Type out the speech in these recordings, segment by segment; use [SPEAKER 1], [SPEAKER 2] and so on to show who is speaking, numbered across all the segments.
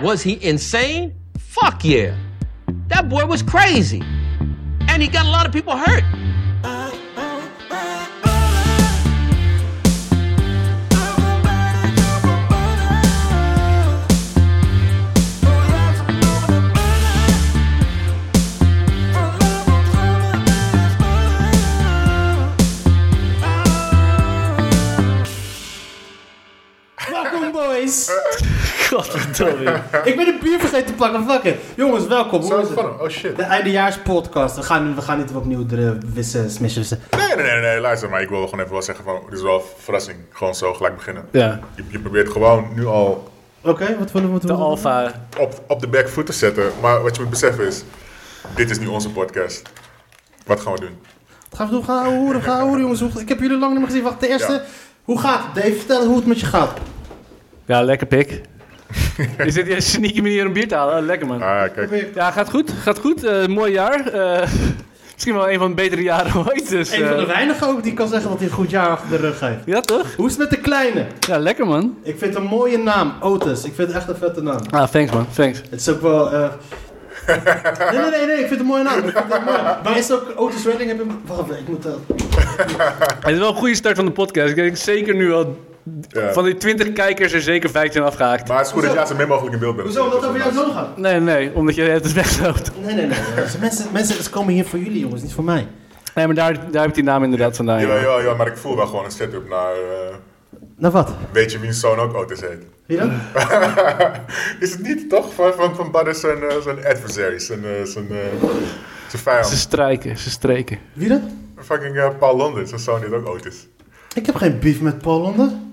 [SPEAKER 1] Was he insane? Fuck yeah. That boy was crazy. And he got a lot of people hurt.
[SPEAKER 2] Welkom boys! Godverdomme. Ik ben de bier vergeten te plakken, fuck it. Jongens, welkom. Hoe
[SPEAKER 3] Zo
[SPEAKER 2] is
[SPEAKER 3] is het
[SPEAKER 2] het?
[SPEAKER 3] van hem. Oh shit.
[SPEAKER 2] De eindejaars podcast. We gaan, we gaan niet opnieuw de wissen, smishen, wissen.
[SPEAKER 3] Nee, nee, nee, nee, luister. Maar ik wilde gewoon even wel zeggen van, dit is wel een verrassing. Gewoon zo gelijk beginnen.
[SPEAKER 2] Ja.
[SPEAKER 3] Je, je probeert gewoon nu al
[SPEAKER 2] Oké, wat willen we moeten
[SPEAKER 4] De
[SPEAKER 2] we-
[SPEAKER 4] Alfa.
[SPEAKER 3] op, op de back foot te zetten. Maar wat je moet beseffen is, dit is nu onze podcast. Wat gaan we doen?
[SPEAKER 2] Wat gaan we doen? We gaan ouwe hoeren, we gaan ouwe hoeren, jongens. Hoe- Ik heb jullie lang niet meer gezien. Wacht, de eerste.
[SPEAKER 3] Ja.
[SPEAKER 2] Hoe gaat het? Dave, vertel hoe het met je gaat.
[SPEAKER 4] Ja, lekker pik. Is dit een sneaky manier om bier te halen? Oh, lekker man.
[SPEAKER 3] Ah, kijk.
[SPEAKER 4] Ja, gaat goed. Gaat goed. Eh, mooi jaar. Eh, misschien wel een van de betere jaren ooit. Dus,
[SPEAKER 2] Een van de
[SPEAKER 4] eh,
[SPEAKER 2] weinigen ook die kan zeggen dat hij een goed jaar achter de rug heeft.
[SPEAKER 4] ja, toch?
[SPEAKER 2] Hoe is het met de kleine?
[SPEAKER 4] Ja, lekker man.
[SPEAKER 2] Ik vind het een mooie naam, Otis. Ik vind het echt een vette naam.
[SPEAKER 4] Ah, thanks man. Thanks.
[SPEAKER 2] Het is ook wel. eh, nee, nee, nee, nee, ik vind het een mooie naam. Ik vind het een mooie naam. Maar is het ook Otis Redding? Heb je... Wacht even, ik moet dat.
[SPEAKER 4] Het is wel een goede start van de podcast. Ik denk zeker nu al...
[SPEAKER 3] Ja.
[SPEAKER 4] Van die 20 kijkers er zeker 15 afgehaakt.
[SPEAKER 3] Maar het is goed dat jij zo min mogelijk in beeld bent.
[SPEAKER 2] Hoezo, omdat het over jou zo gaat?
[SPEAKER 4] Nee, nee. Omdat je het wegloopt.
[SPEAKER 2] Nee, nee, nee. eh, Mensen, mensen ze komen hier voor jullie, jongens, niet voor mij.
[SPEAKER 4] Nee, maar daar, daar heb ik die naam inderdaad vandaan.
[SPEAKER 3] Ja,
[SPEAKER 4] ja.
[SPEAKER 3] ja, ja, maar ik voel wel gewoon een setup naar... eh,
[SPEAKER 2] Nou, wat?
[SPEAKER 3] weet je wiens zoon ook Otis heet?
[SPEAKER 2] Wie dan?
[SPEAKER 3] Is het niet, toch? Van, van, van Butters zijn, eh, zijn adversary, zijn, eh, zijn, eh, zijn vijand.
[SPEAKER 4] Ze strijken. Ze streken.
[SPEAKER 2] Wie dan?
[SPEAKER 3] Fucking eh, Paul London, zijn zoon heet ook Otis.
[SPEAKER 2] Ik heb geen beef met Paul Londen.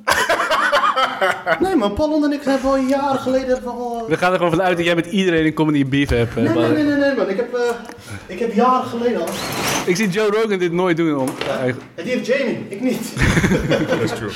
[SPEAKER 2] Nee, maar Paul Londen en ik hebben al jaren geleden. hebben we al, eh,
[SPEAKER 4] We gaan er gewoon vanuit dat jij met iedereen een comedy beef hebt. eh,
[SPEAKER 2] Nee, nee,
[SPEAKER 4] Bader.
[SPEAKER 2] nee, nee, nee, man. Ik heb, eh, ik heb jaren geleden al.
[SPEAKER 4] Ik zie Joe Rogan dit nooit doen. Om... eh,
[SPEAKER 2] En die heeft Jamie, ik niet.
[SPEAKER 3] That's true.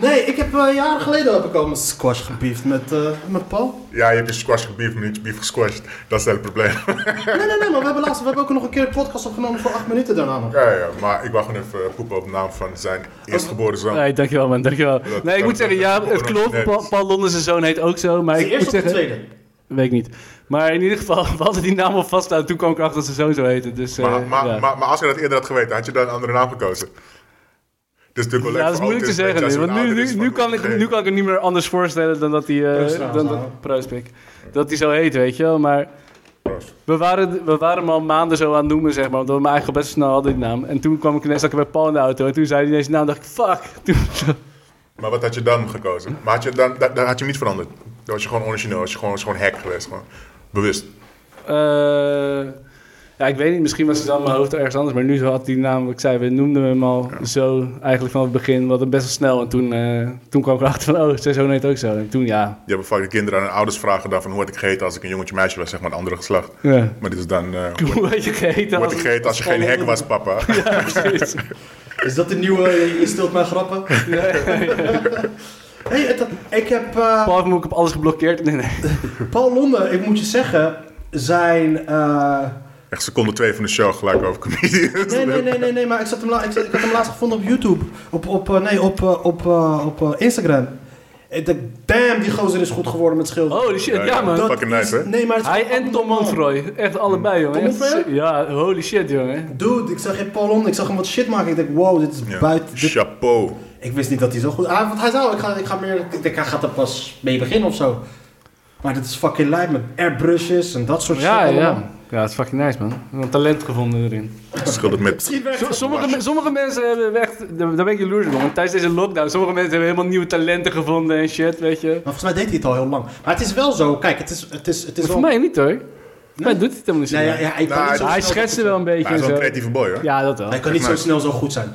[SPEAKER 2] Nee, ik heb eh, jaren geleden heb ik al mijn squash gebeefd met, eh, met Paul.
[SPEAKER 3] Ja, je hebt je squash gebief, maar niet je beef gesquashed. Dat is het hele probleem.
[SPEAKER 2] Nee, nee, nee, maar we hebben laatst, we hebben ook nog een keer een podcast opgenomen voor acht minuten daarna nog.
[SPEAKER 3] ja, ja, maar ik wou gewoon even eh, poepen op naam van zijn eerstgeboren zoon.
[SPEAKER 4] Nee, dankjewel man, dankjewel. Nee, ik moet zeggen, ja, het klopt. Paul, Paul Londen zijn zoon heet ook zo, maar
[SPEAKER 2] Is
[SPEAKER 4] ik
[SPEAKER 2] die eerste
[SPEAKER 4] moet
[SPEAKER 2] of de
[SPEAKER 4] zeggen...
[SPEAKER 2] tweede?
[SPEAKER 4] Weet ik niet. Maar in ieder geval, we hadden die naam al vaststaan. Toen kwam ik erachter dat ze zoon zo heette. Dus, eh,
[SPEAKER 3] Maar, maar,
[SPEAKER 4] ja.
[SPEAKER 3] maar, maar als je dat eerder had geweten, had je dan een andere naam gekozen? Dus natuurlijk wel
[SPEAKER 4] ja, dat is moeilijk te zeggen. nu, want nu,
[SPEAKER 3] dus
[SPEAKER 4] nu, nu, kan ik, nu kan ik het niet meer anders voorstellen dan dat hij... eh,
[SPEAKER 2] Proost trouwens,
[SPEAKER 4] dan
[SPEAKER 2] nou.
[SPEAKER 4] dat, proost, Pik. Dat hij zo heet, weet je wel. Maar we waren, we waren hem al maanden zo aan het noemen, zeg maar. Omdat we hem eigenlijk al best snel hadden, die naam. En toen kwam ik ineens zat ik bij Paul in de auto. En toen zei hij ineens die naam. dacht ik, fuck. Toen,
[SPEAKER 3] Maar wat had je dan gekozen? Maar had je, dan, dan, dan had je hem niet veranderd. Dan was je gewoon origineel, was je gewoon, was gewoon hack geweest. Gewoon. Bewust.
[SPEAKER 4] Eh, ja, ik weet niet. Misschien was het dan in mijn hoofd ergens anders. Maar nu had die naam, wat ik zei, we noemden hem al zo eigenlijk vanaf het begin. Wat best wel snel. En toen, eh, toen kwam ik erachter van, oh, zijn zoon heet ook zo. En toen, ja.
[SPEAKER 3] Je hebt vaak de kinderen aan hun ouders vragen dan van hoe had ik geheten als ik een jongetje meisje was, zeg maar, een andere geslacht.
[SPEAKER 4] ja.
[SPEAKER 3] Maar dit is dan, eh, hoe
[SPEAKER 4] Hoe had je geheten?
[SPEAKER 3] had ik geheten als je geen hek was, papa?
[SPEAKER 4] Ja, precies.
[SPEAKER 2] Is dat de nieuwe, eh, je stilt mijn grappen? Hey, het- ik heb eh,
[SPEAKER 4] Paul heeft me ook op alles geblokkeerd. Nee, nee.
[SPEAKER 2] Paul Londen, ik moet je zeggen, zijn... eh,
[SPEAKER 3] Echt seconde twee van de show gelijk over comedians.
[SPEAKER 2] Nee, nee, nee, nee, nee, maar ik, zat hem la- ik, zat- ik had hem laatst gevonden op YouTube. Op, op, eh, nee, op, eh, op, eh, op eh, Instagram. Ik dacht, damn, die gozer is goed geworden met schilderen.
[SPEAKER 4] Holy shit, ja man.
[SPEAKER 3] Dat- fucking nice, hè?
[SPEAKER 2] Nee, maar het is
[SPEAKER 4] Hij en Tom Montroy. Echt allebei, jongen.
[SPEAKER 2] Tom
[SPEAKER 4] Echt
[SPEAKER 2] Montroy?
[SPEAKER 4] si- Ja, holy shit, jongen.
[SPEAKER 2] Dude, ik zag in Paul Londen, ik zag hem wat shit maken. Ik dacht, wow, dit is
[SPEAKER 3] Ja.
[SPEAKER 2] buiten... dit-
[SPEAKER 3] Chapeau.
[SPEAKER 2] Ik wist niet dat hij zo goed... Ah, want hij zou, ik ga, ik ga meer... Ik denk, hij gaat er pas mee beginnen of zo. Maar dit is fucking lijp met airbrushes en dat soort
[SPEAKER 4] Ja,
[SPEAKER 2] shit
[SPEAKER 4] ja. Ja, het is fucking nice, man. Een talent gevonden erin.
[SPEAKER 3] Schildert met
[SPEAKER 2] Misschien werkt
[SPEAKER 4] Zo-
[SPEAKER 2] het.
[SPEAKER 4] Sommige, me- sommige mensen hebben echt, daar daar ben ik jaloers op, want tijdens deze lockdown, sommige mensen hebben helemaal nieuwe talenten gevonden en shit, weet je.
[SPEAKER 2] Maar volgens mij deed hij het al heel lang. Maar het is wel zo, kijk, het is... Het is, het is
[SPEAKER 4] Maar
[SPEAKER 2] wel...
[SPEAKER 4] voor mij niet hoor. Voor mij doet hij het helemaal niet zo.
[SPEAKER 2] Nee, ja,
[SPEAKER 4] lang.
[SPEAKER 2] ja, ik kan
[SPEAKER 3] Nou,
[SPEAKER 2] niet zo
[SPEAKER 4] hij
[SPEAKER 2] snel-
[SPEAKER 4] schetste wel een beetje
[SPEAKER 3] Hij
[SPEAKER 4] en
[SPEAKER 3] is wel
[SPEAKER 4] zo.
[SPEAKER 3] een creatieve boy, hoor.
[SPEAKER 4] Ja, dat wel.
[SPEAKER 2] Hij kan niet zo snel zo goed zijn.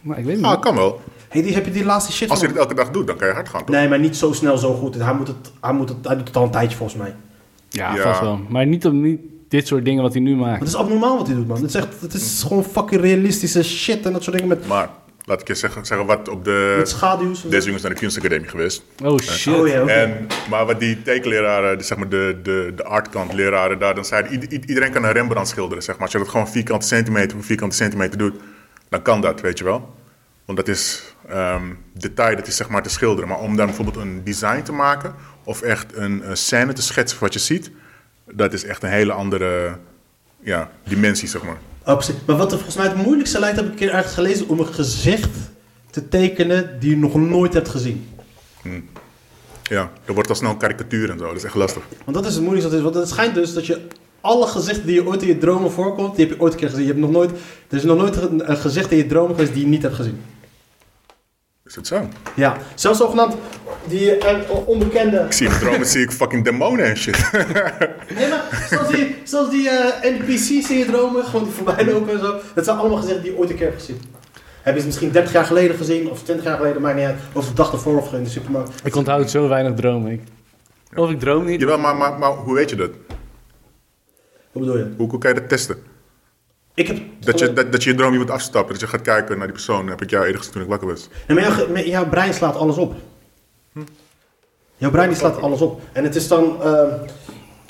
[SPEAKER 4] Maar ik weet niet.
[SPEAKER 3] Ah, kan wel.
[SPEAKER 2] Hey, die, heb je die laatste shit
[SPEAKER 3] Als je
[SPEAKER 2] van
[SPEAKER 3] dit elke dag doet, dan kan je hard gaan. toch?
[SPEAKER 2] Nee, maar niet zo snel zo goed. Hij, moet het, hij, moet het, hij doet het al een tijdje volgens mij. Maar
[SPEAKER 4] ja,
[SPEAKER 3] Ja.
[SPEAKER 4] vast wel. Maar niet, om, niet dit soort dingen wat hij nu maakt.
[SPEAKER 2] het is abnormaal wat hij doet, man. Het is, echt, het is gewoon fucking realistische shit en dat soort dingen met,
[SPEAKER 3] Maar laat ik je zeggen, zeggen wat op de...
[SPEAKER 2] met schaduws. en-
[SPEAKER 3] Eh, Deze jongens naar de kunstacademie geweest.
[SPEAKER 4] Oh shit.
[SPEAKER 2] Oh ja, oké.
[SPEAKER 3] En, maar wat die tekenleraren, de, zeg maar de, de, de artkant leraren daar, dan zeiden ied- ied- iedereen kan een Rembrandt schilderen. Zeg maar. Als je dat gewoon vierkante centimeter voor vierkante centimeter doet, dan kan dat, weet je wel. Want dat is ehm, detail, dat is zeg maar te schilderen. Maar om daar bijvoorbeeld een design te maken, of echt een, eh, scène te schetsen van wat je ziet, dat is echt een hele andere ja, dimensie, zeg maar.
[SPEAKER 2] Oh, precies. Maar wat er volgens mij het moeilijkste lijkt, heb ik een keer ergens gelezen, om een gezicht te tekenen die je nog nooit hebt gezien.
[SPEAKER 3] Ja, er wordt al snel een karikatuur en zo, dat is echt lastig.
[SPEAKER 2] Want dat is het moeilijkste. dat is. Want het schijnt dus dat je alle gezichten die je ooit in je dromen voorkomt, die heb je ooit een keer gezien. Je hebt nog nooit, er is nog nooit een, een gezicht in je dromen geweest die je niet hebt gezien.
[SPEAKER 3] Is het zo?
[SPEAKER 2] Ja, zelfs zogenaamd die eh, onbekende.
[SPEAKER 3] Ik zie in dromen zie ik fucking demonen en shit.
[SPEAKER 2] Nee, maar zelfs die, zelfs die eh, NPC's in je dromen, gewoon die voorbij lopen en zo. Dat zijn allemaal gezichten die je ooit een keer hebt gezien. Heb je ze misschien 30 jaar geleden gezien, of 20 jaar geleden, maakt niet uit. Of de dag ervoor of in de supermarkt.
[SPEAKER 4] Ik onthoud zo weinig dromen. Ik- Of ik droom niet.
[SPEAKER 3] Jawel, maar, maar, maar hoe weet je dat?
[SPEAKER 2] Hoe bedoel je?
[SPEAKER 3] Hoe, hoe kan je dat testen?
[SPEAKER 2] Ik heb
[SPEAKER 3] Dat je, dat, dat je je droom iemand afstapt, dat je gaat kijken naar die persoon. Heb ik jou eerder gezien toen ik wakker was.
[SPEAKER 2] Nee, maar jouw, ge- maar jouw brein slaat alles op. Jouw brein die slaat alles op. En het is dan. eh,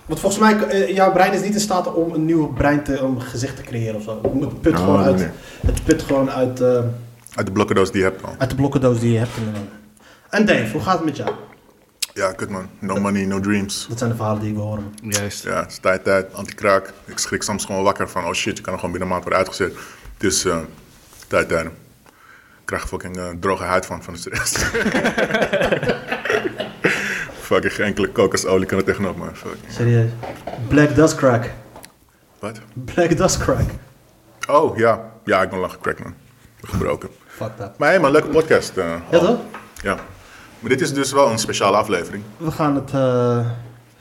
[SPEAKER 2] want volgens mij, eh, jouw brein is niet in staat om een nieuw brein te, om een gezicht te creëren of zo. Het put
[SPEAKER 3] Oh,
[SPEAKER 2] gewoon uit,
[SPEAKER 3] nee.
[SPEAKER 2] het put gewoon uit, eh,
[SPEAKER 3] Uit de blokkendoos die je hebt al.
[SPEAKER 2] uit de blokkendoos die je hebt. inderdaad. En Dave, hoe gaat het met jou?
[SPEAKER 3] Ja, kut man. No money, no dreams.
[SPEAKER 2] Dat zijn de verhalen die ik wil horen.
[SPEAKER 4] Juist.
[SPEAKER 3] Ja, het is tijd, tijd, antikraak. Ik schrik soms gewoon wakker van, oh shit, je kan er gewoon binnen een maand worden uitgezet. Dus, eh tijd, tijd. Ik krijg fucking eh, droge huid van, van de stress. fucking geen enkele kokosolie kan er tegenop, man. Fucking.
[SPEAKER 2] Serieus. Black Dust Crack.
[SPEAKER 3] Wat?
[SPEAKER 2] Black Dust Crack.
[SPEAKER 3] Oh, ja. Ja, ik ben lang gecrackt, man. Gebroken.
[SPEAKER 2] Fuck that.
[SPEAKER 3] Maar hé, man, leuke podcast. eh,
[SPEAKER 2] Ja
[SPEAKER 3] al.
[SPEAKER 2] toch?
[SPEAKER 3] Ja. Maar dit is dus wel een speciale aflevering.
[SPEAKER 2] We gaan het. eh,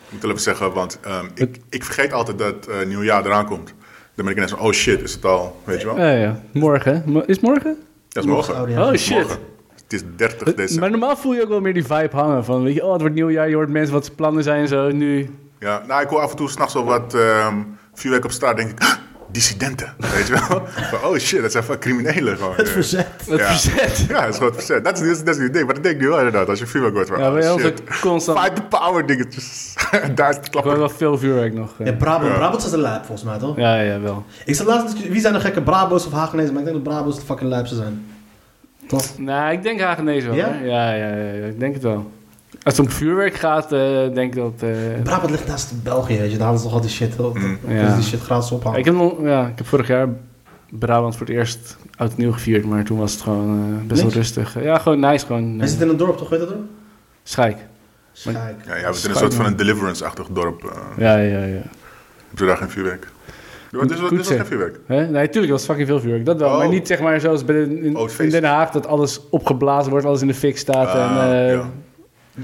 [SPEAKER 3] Ik moet wel even zeggen, want ehm, ik, ik vergeet altijd dat eh nieuwjaar eraan komt. Dan ben ik ineens van, oh shit, is het al, weet je wel?
[SPEAKER 4] Ja, ja. Morgen. hè? Mo- Is morgen?
[SPEAKER 3] Dat is morgen.
[SPEAKER 2] audio.
[SPEAKER 4] Oh shit.
[SPEAKER 3] Morgen. Het is 30
[SPEAKER 4] Maar
[SPEAKER 3] december.
[SPEAKER 4] normaal voel je ook wel meer die vibe hangen. Van, weet je, oh, het wordt nieuwjaar, je hoort mensen wat zijn plannen zijn en zo. Nu,
[SPEAKER 3] Ja, nou, ik hoor af en toe s'nachts al wat ehm vuurwerk op straat. denk ik, "Ah, dissidenten, weet je wel? Van, oh shit, dat zijn van criminelen gewoon.
[SPEAKER 2] Het
[SPEAKER 3] eh.
[SPEAKER 2] verzet.
[SPEAKER 4] het
[SPEAKER 3] Ja.
[SPEAKER 4] verzet.
[SPEAKER 3] Ja, dat is gewoon het verzet. Dat is, dat is, dat is het ding. Maar dat denk ik nu wel inderdaad, als je vuurwerk hoort.
[SPEAKER 4] Ja,
[SPEAKER 3] Ja,
[SPEAKER 4] wij
[SPEAKER 3] oh,
[SPEAKER 4] hebben
[SPEAKER 3] shit.
[SPEAKER 4] constant-
[SPEAKER 3] Fight the power dingetjes. Daar is het
[SPEAKER 4] Ik hoor
[SPEAKER 3] klappen.
[SPEAKER 4] wel veel vuurwerk nog. eh.
[SPEAKER 2] Ja, Brabant. Brabant is een lijp volgens mij toch?
[SPEAKER 4] Ja, ja, wel.
[SPEAKER 2] Ik zat laatst natuurlijk, wie zijn de gekke Brabo's of Hagenezen, maar ik denk dat Brabo's de fucking lijpste zijn. Toch?
[SPEAKER 4] Nou, ik denk Hagenees wel.
[SPEAKER 2] Ja?
[SPEAKER 4] hoor. Ja? Ja, ja, ja, ik denk het wel. Als het om vuurwerk gaat, eh, denk ik dat... eh,
[SPEAKER 2] Brabant ligt naast België, weet je, daar hadden ze toch al die shit, dat-
[SPEAKER 3] Mm.
[SPEAKER 2] dat-
[SPEAKER 4] Ja.
[SPEAKER 2] dat die shit gratis ophalen.
[SPEAKER 4] ik, heb nog, ja, ik heb vorig jaar Brabant voor het eerst oud en nieuw gevierd, maar toen was het gewoon eh, best wel
[SPEAKER 2] Niks?
[SPEAKER 4] rustig. Ja, gewoon nice, gewoon
[SPEAKER 2] Hij
[SPEAKER 4] eh,
[SPEAKER 2] zit in een dorp, toch? Weet je dat hoor?
[SPEAKER 4] schijk.
[SPEAKER 2] Schijk.
[SPEAKER 3] Ja, ja, we zijn een soort van een deliverance-achtig dorp. eh.
[SPEAKER 4] Ja, ja, ja.
[SPEAKER 3] Heb je daar geen vuurwerk? Dus, dus, dus,
[SPEAKER 4] Goed
[SPEAKER 3] dus
[SPEAKER 4] zeg.
[SPEAKER 3] geen vuurwerk.
[SPEAKER 4] Hè? Nee, tuurlijk was het fucking veel vuurwerk. Dat wel.
[SPEAKER 3] Oh.
[SPEAKER 4] Maar niet zeg maar zoals bij de- in,
[SPEAKER 3] Oh, het
[SPEAKER 4] in
[SPEAKER 3] feest.
[SPEAKER 4] Den Haag dat alles opgeblazen wordt, alles in de fik staat. en
[SPEAKER 3] Ah,
[SPEAKER 4] eh,
[SPEAKER 3] ja.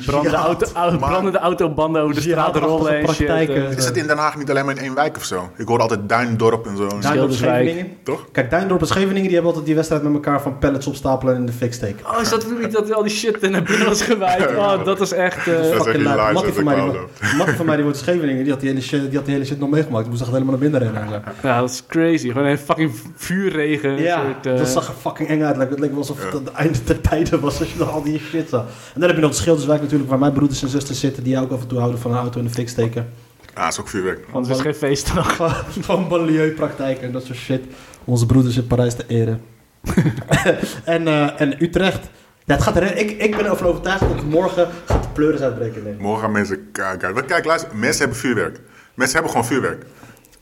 [SPEAKER 4] brandende,
[SPEAKER 2] Jihad.
[SPEAKER 4] auto, au-
[SPEAKER 3] Maar-
[SPEAKER 4] brandende autobanden over de straat
[SPEAKER 2] Jihadachtige
[SPEAKER 4] rollen en shit.
[SPEAKER 2] praktijken.
[SPEAKER 4] eh.
[SPEAKER 3] Is het in Den Haag niet alleen maar in één wijk of zo? Ik hoor altijd Duindorp en zo.
[SPEAKER 2] Duindorp
[SPEAKER 4] Schilderswijk.
[SPEAKER 2] Scheveningen.
[SPEAKER 3] Toch?
[SPEAKER 2] Kijk, Duindorp en Scheveningen die hebben altijd die wedstrijd met elkaar van pallets opstapelen en in de fik steken.
[SPEAKER 4] Oh, is dat natuurlijk niet dat al die shit naar binnen was gewaaid? Oh, dat is echt... eh,
[SPEAKER 3] is echt
[SPEAKER 2] Fucking
[SPEAKER 3] die
[SPEAKER 2] lijp.
[SPEAKER 3] lies
[SPEAKER 2] Mattie
[SPEAKER 3] dat
[SPEAKER 2] van,
[SPEAKER 3] ik
[SPEAKER 2] mij, die
[SPEAKER 3] wou
[SPEAKER 2] wo- Mattie van mij die wordt in Scheveningen, die had die hele shit, die had die hele shit nog meegemaakt. Die moest echt helemaal naar binnen rennen. en zo.
[SPEAKER 4] ja, dat is crazy. Gewoon een fucking vuurregen. een
[SPEAKER 2] Ja,
[SPEAKER 4] soort, eh,
[SPEAKER 2] dat zag er fucking eng uit. Het leek- Het leek wel alsof het het einde der tijden was als je nog al die shit zag. En dan heb je nog de Schilderswijk natuurlijk, waar mijn broeders en zusters zitten, die ook af en toe houden van een auto in de fik steken.
[SPEAKER 3] Ah, is ook vuurwerk.
[SPEAKER 4] Want het is geen feestdag.
[SPEAKER 2] Van- van banlieue-praktijken en dat soort shit. Onze broeders in Parijs te eren. en, eh, en Utrecht. Ja, het gaat er, ik, ik ben ervan overtuigd dat morgen gaat de pleuris uitbreken. Nee.
[SPEAKER 3] Morgen gaan mensen kijken. uit. Want kijk, luister, mensen hebben vuurwerk. Mensen hebben gewoon vuurwerk.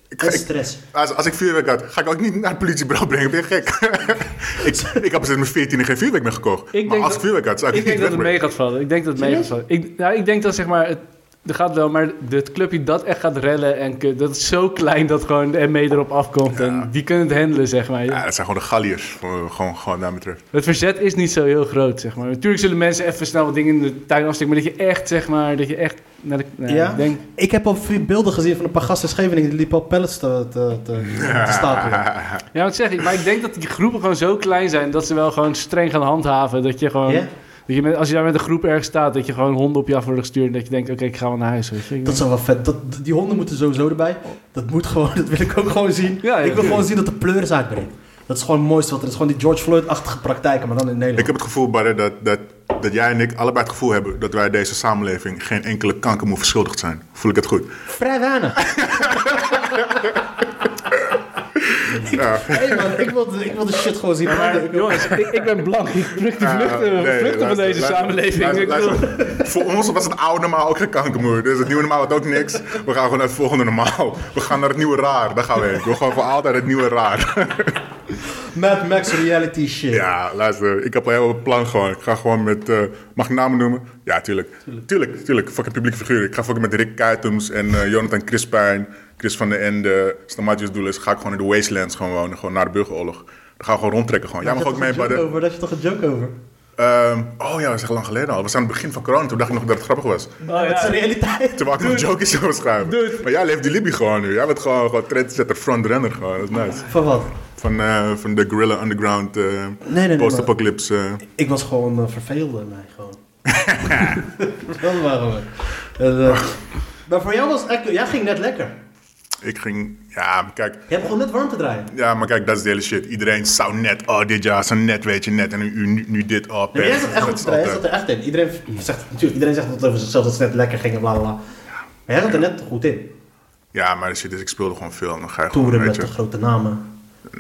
[SPEAKER 3] Ik,
[SPEAKER 2] En
[SPEAKER 3] ga- ik,
[SPEAKER 2] stress.
[SPEAKER 3] als, als ik vuurwerk had, ga ik ook niet naar het politiebureau brengen. Ben je gek? ik, ik heb sinds mijn 14 geen vuurwerk meer gekocht.
[SPEAKER 4] denk
[SPEAKER 3] maar als
[SPEAKER 4] dat-
[SPEAKER 3] ik vuurwerk had, zou ik,
[SPEAKER 4] Ik denk
[SPEAKER 3] het
[SPEAKER 4] dat
[SPEAKER 3] niet
[SPEAKER 4] het mee
[SPEAKER 3] wegbrengen.
[SPEAKER 4] gaat vallen. Ik denk dat het mee gaat vallen. Ik, nou, ik denk dat zeg maar, het, er gaat wel, maar het clubje dat echt gaat rellen en kut, dat is zo klein dat gewoon de ME erop afkomt en die kunnen het handelen, zeg maar.
[SPEAKER 3] Ja, dat zijn gewoon de galliërs. eh, Gewoon, gewoon daar betreft.
[SPEAKER 4] Het verzet is niet zo heel groot, zeg maar. Natuurlijk zullen mensen even snel wat dingen in de tuin afsteken, maar dat je echt, zeg maar, dat je echt naar de, nou,
[SPEAKER 2] Ja?
[SPEAKER 4] ik denk,
[SPEAKER 2] Ik heb al veel beelden gezien van een paar gasten in Scheveningen die liepen al pallets te, te, te, te stapelen.
[SPEAKER 4] ja, wat zeg ik, maar ik denk dat die groepen gewoon zo klein zijn dat ze wel gewoon streng gaan handhaven, dat je gewoon...
[SPEAKER 2] Ja?
[SPEAKER 4] Dat je met, als je daar met een groep ergens staat, dat je gewoon honden op je af wordt gestuurd. En dat je denkt, oké, ik ga wel naar huis. Weet je?
[SPEAKER 2] Dat
[SPEAKER 4] Ik denk-
[SPEAKER 2] zou wel vet. Dat, die honden moeten sowieso erbij. Dat moet gewoon, dat wil ik ook gewoon zien.
[SPEAKER 4] Ja,
[SPEAKER 2] ik
[SPEAKER 4] ja,
[SPEAKER 2] wil gewoon
[SPEAKER 4] tuurlijk.
[SPEAKER 2] zien dat de pleuris uitbreekt. Dat is gewoon het mooiste wat er is. Gewoon die George Floyd-achtige praktijken, maar dan in Nederland.
[SPEAKER 3] Ik heb het gevoel, Barre, dat, dat, dat jij en ik allebei het gevoel hebben dat wij deze samenleving geen enkele kankermoe verschuldigd zijn. Voel ik het goed?
[SPEAKER 2] Vrij weinig.
[SPEAKER 3] Ja.
[SPEAKER 2] Hé man, ik wil, ik wil de shit gewoon zien.
[SPEAKER 3] maar-
[SPEAKER 4] Jongens, ik, ik ben blank. Ik vlucht, ik vlucht,
[SPEAKER 3] Ja, Ah, Eh, nee,
[SPEAKER 4] vluchten van
[SPEAKER 3] luister,
[SPEAKER 4] deze
[SPEAKER 3] luister,
[SPEAKER 4] samenleving.
[SPEAKER 3] luister,
[SPEAKER 4] Ik bedoel-
[SPEAKER 3] luister. Voor ons was het oude normaal ook geen kankermoer. Dus het nieuwe normaal had ook niks. We gaan gewoon naar het volgende normaal. We gaan naar het nieuwe raar. Daar gaan we heen. We gaan gewoon voor altijd het nieuwe raar.
[SPEAKER 2] Mad Max reality shit.
[SPEAKER 3] Ja, luister. Ik heb al heel wat plan gewoon. Ik ga gewoon met... eh, mag ik namen noemen? Ja, tuurlijk. Tuurlijk, tuurlijk. Fucking publieke figuur. Ik ga fucking met Rick Kuitums en eh, Jonathan Crispijn. Chris van den Ende. Stamatius Doelis. Ga ik gewoon in de Wastelands gewoon wonen. Gewoon naar de burgeroorlog. Dan gaan we gewoon rondtrekken gewoon. Jij
[SPEAKER 2] Daar
[SPEAKER 3] mag
[SPEAKER 2] zit
[SPEAKER 3] ook mee
[SPEAKER 2] toch
[SPEAKER 3] bij
[SPEAKER 2] een joke
[SPEAKER 3] de...
[SPEAKER 2] over, daar zit toch een joke over.
[SPEAKER 3] Ehm, oh ja, dat is echt lang geleden al. We zijn aan het begin van corona. Toen dacht ik nog dat het grappig was.
[SPEAKER 4] Oh,
[SPEAKER 2] Dat is
[SPEAKER 4] ja.
[SPEAKER 2] de realiteit.
[SPEAKER 3] Toen wou ik nog een jokeje zou schrijven.
[SPEAKER 4] Dude.
[SPEAKER 3] Maar jij leeft die Libby gewoon nu. Jij bent gewoon, gewoon trendsetter, frontrunner gewoon. Dat is nice.
[SPEAKER 2] Van wat?
[SPEAKER 3] Van, eh, van de Gorilla Underground eh
[SPEAKER 2] nee, nee,
[SPEAKER 3] post-apocalypse. eh.
[SPEAKER 2] Ik was gewoon eh, verveelde mij gewoon. dat waren we. En, eh, maar voor jou was het echt, jij ging net lekker.
[SPEAKER 3] ik ging... Ja, maar kijk...
[SPEAKER 2] Jij begon net warm te draaien.
[SPEAKER 3] Ja, maar kijk, dat is de hele shit. Iedereen zou net, oh dit jaar, zou net, weet je, net. En nu, nu, nu dit, oh
[SPEAKER 2] Nee,
[SPEAKER 3] pers.
[SPEAKER 2] maar jij zat echt goed
[SPEAKER 3] is
[SPEAKER 2] te draaien, jij zat
[SPEAKER 3] altijd-
[SPEAKER 2] er echt in. Iedereen zegt, natuurlijk, iedereen zegt altijd over zichzelf dat ze net lekker gingen, bla bla bla. Maar jij zat er net goed in.
[SPEAKER 3] Ja, maar de shit is, ik speelde gewoon veel. En dan ga je
[SPEAKER 2] Toeren
[SPEAKER 3] gewoon,
[SPEAKER 2] met
[SPEAKER 3] weet
[SPEAKER 2] de
[SPEAKER 3] je...
[SPEAKER 2] grote namen,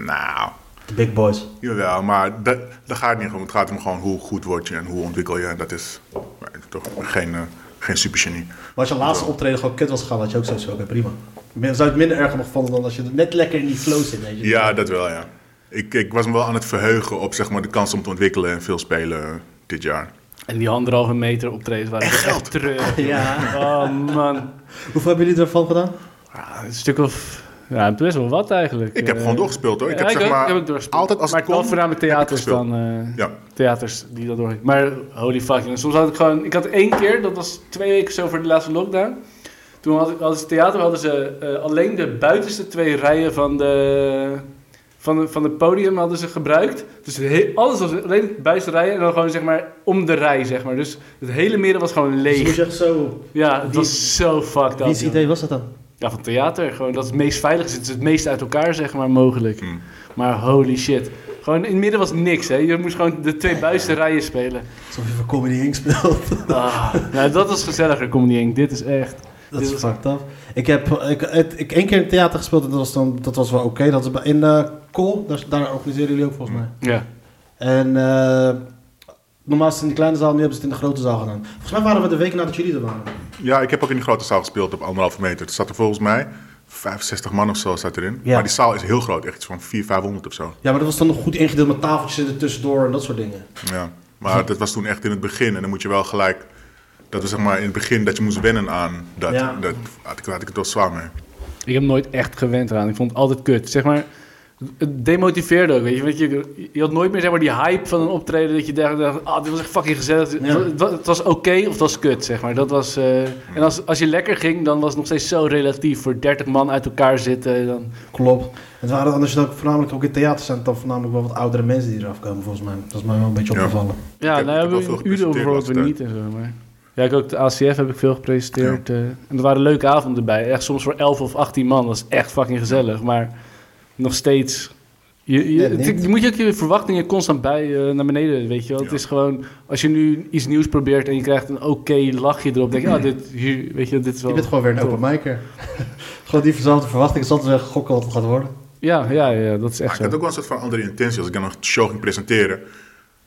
[SPEAKER 3] Nou,
[SPEAKER 2] de big boys.
[SPEAKER 3] jawel, maar dat, dat gaat niet om. Het gaat om gewoon hoe goed word je en hoe ontwikkel je. En dat is maar, toch geen, eh, geen supergenie.
[SPEAKER 2] Maar als je laatste optreden gewoon kut was gegaan, had je ook sowieso, oké prima. Min- Zou je het minder erg hebben gevonden dan als je er net lekker in die flow zit, weet je.
[SPEAKER 3] Ja, dat wel, ja. Ik, ik was me wel aan het verheugen op zeg maar, de kans om te ontwikkelen en veel spelen eh, dit jaar.
[SPEAKER 4] En die anderhalve meter optredens waren dus echt, echt treurig.
[SPEAKER 2] Ja.
[SPEAKER 4] Oh man.
[SPEAKER 2] Hoeveel hebben jullie ervan gedaan?
[SPEAKER 4] Ja, een stuk of... Ja, best wel wat eigenlijk.
[SPEAKER 3] Ik heb
[SPEAKER 4] Eh,
[SPEAKER 3] gewoon doorgespeeld hoor. Ik
[SPEAKER 4] ja,
[SPEAKER 3] heb, zeg
[SPEAKER 4] ook-
[SPEAKER 3] maar,
[SPEAKER 4] ik heb ook doorgespeeld.
[SPEAKER 3] altijd als
[SPEAKER 4] maar
[SPEAKER 3] ik
[SPEAKER 4] wel
[SPEAKER 3] kon,
[SPEAKER 4] voornamelijk
[SPEAKER 3] heb ik
[SPEAKER 4] theaters
[SPEAKER 3] gespeeld.
[SPEAKER 4] dan. eh,
[SPEAKER 3] Ja.
[SPEAKER 4] Theaters die dat door. Maar holy fuck. jongens. Soms had ik gewoon... Ik had één keer, dat was twee weken zo voor de laatste lockdown. Toen hadden, hadden ze theater, hadden ze eh, alleen de buitenste twee rijen van de... Van, de, van het podium hadden ze gebruikt. Dus he- alles was alleen de buitenste rijen. En dan gewoon zeg maar om de rij, zeg maar. Dus het hele midden was gewoon
[SPEAKER 2] Dus je
[SPEAKER 4] leeg.
[SPEAKER 2] moest echt zo...
[SPEAKER 4] Ja, het
[SPEAKER 2] Wie-
[SPEAKER 4] was zo fucked up.
[SPEAKER 2] Wiens
[SPEAKER 4] joh.
[SPEAKER 2] idee was dat dan?
[SPEAKER 4] Ja, van theater. Gewoon dat is het meest veilig is. Het is het meest uit elkaar, zeg maar, mogelijk.
[SPEAKER 3] Mm.
[SPEAKER 4] Maar holy shit. Gewoon in het midden was niks, hè. Je moest gewoon de twee buitenste rijen spelen.
[SPEAKER 2] Alsof je voor Comedy Inc. speelt.
[SPEAKER 4] Ah, nou, dat was gezelliger, Comedy Inc. Dit is echt...
[SPEAKER 2] Dat
[SPEAKER 4] Dit
[SPEAKER 2] is
[SPEAKER 4] was-
[SPEAKER 2] fucked up. Ik heb ik, het, ik één keer in het theater gespeeld en dat was, dan, dat was wel oké. Dat was bij- in eh Kool, daar, daar organiseren jullie ook
[SPEAKER 4] Mm.
[SPEAKER 2] volgens mij.
[SPEAKER 4] Ja.
[SPEAKER 2] En eh, normaal is het in de kleine zaal, nu hebben ze het in de grote zaal gedaan. Volgens mij waren we de week nadat jullie er waren.
[SPEAKER 3] Ja, ik heb ook in die grote zaal gespeeld op anderhalve meter. Er zat er volgens mij 65 man of zo zat erin.
[SPEAKER 2] Ja.
[SPEAKER 3] Maar die zaal is heel groot, echt iets van 400, 500 of zo.
[SPEAKER 2] Ja, maar dat was dan nog goed ingedeeld met tafeltjes er tussendoor en dat soort dingen.
[SPEAKER 3] Ja. Maar dat was toen echt in het begin. En dan moet je wel gelijk... Dat was zeg maar in het begin dat je moest wennen aan dat.
[SPEAKER 2] Ja.
[SPEAKER 3] dat had, ik, had ik het wel zwaar mee.
[SPEAKER 4] Ik heb nooit echt gewend eraan. Ik vond het altijd kut. Zeg maar, het demotiveerde ook, weet je. Want je, je had nooit meer zeg maar, die hype van een optreden dat je dacht, dacht, ah, dit was echt fucking gezellig. Het
[SPEAKER 2] Ja.
[SPEAKER 4] wa- Het, wa- het was oké of het was kut, zeg maar. Dat was, eh, En als, als je lekker ging, dan was het nog steeds zo relatief. Voor 30 man uit elkaar zitten, dan...
[SPEAKER 2] Klopt. Het waren anders dan ook voornamelijk ook in het theater zijn het dan voornamelijk wel wat oudere mensen die eraf komen volgens mij. Dat is mij wel een beetje
[SPEAKER 3] Ja.
[SPEAKER 2] opgevallen.
[SPEAKER 4] Ja, nou
[SPEAKER 3] heb- ik heb
[SPEAKER 4] hebben
[SPEAKER 3] wel
[SPEAKER 4] we in
[SPEAKER 3] veel
[SPEAKER 4] Udo
[SPEAKER 3] gepresenteerd
[SPEAKER 4] bijvoorbeeld weer
[SPEAKER 3] laatst,
[SPEAKER 4] niet en zo, maar... Ja, ik ook de ACF heb ik veel gepresenteerd. eh, en er waren leuke avonden bij. Echt soms voor 11 of 18 man. Dat is echt fucking gezellig. Maar nog steeds... Je, je,
[SPEAKER 2] Net
[SPEAKER 4] het-
[SPEAKER 2] niet.
[SPEAKER 4] je moet je ook je verwachtingen constant bij eh, naar beneden, weet je wel. Het
[SPEAKER 3] Ja.
[SPEAKER 4] is gewoon... Als je nu iets nieuws probeert en je krijgt een oké lachje erop... denk je, ah, dit, hier, weet je, dit is wel...
[SPEAKER 2] Je bent gewoon weer een
[SPEAKER 4] top.
[SPEAKER 2] open micer. gewoon die verzamelte verwachtingen. Zat te zeggen gokken wat het gaat worden.
[SPEAKER 4] Ja, ja, ja, dat is
[SPEAKER 3] Maar
[SPEAKER 4] echt
[SPEAKER 3] Ah, ik had
[SPEAKER 4] zo.
[SPEAKER 3] ook wel een soort van andere intentie als ik dan een show ging presenteren.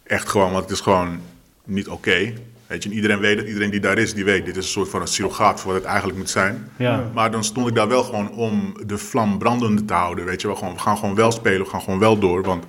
[SPEAKER 3] Echt gewoon, want het is gewoon niet oké. Weet je, en iedereen weet het, iedereen die daar is, die weet. Dit is een soort van een surrogaat voor wat het eigenlijk moet zijn.
[SPEAKER 4] Ja.
[SPEAKER 3] Maar dan stond ik daar wel gewoon om de vlam brandende te houden. Weet je wel, gewoon, we gaan gewoon wel spelen, we gaan gewoon wel door. Want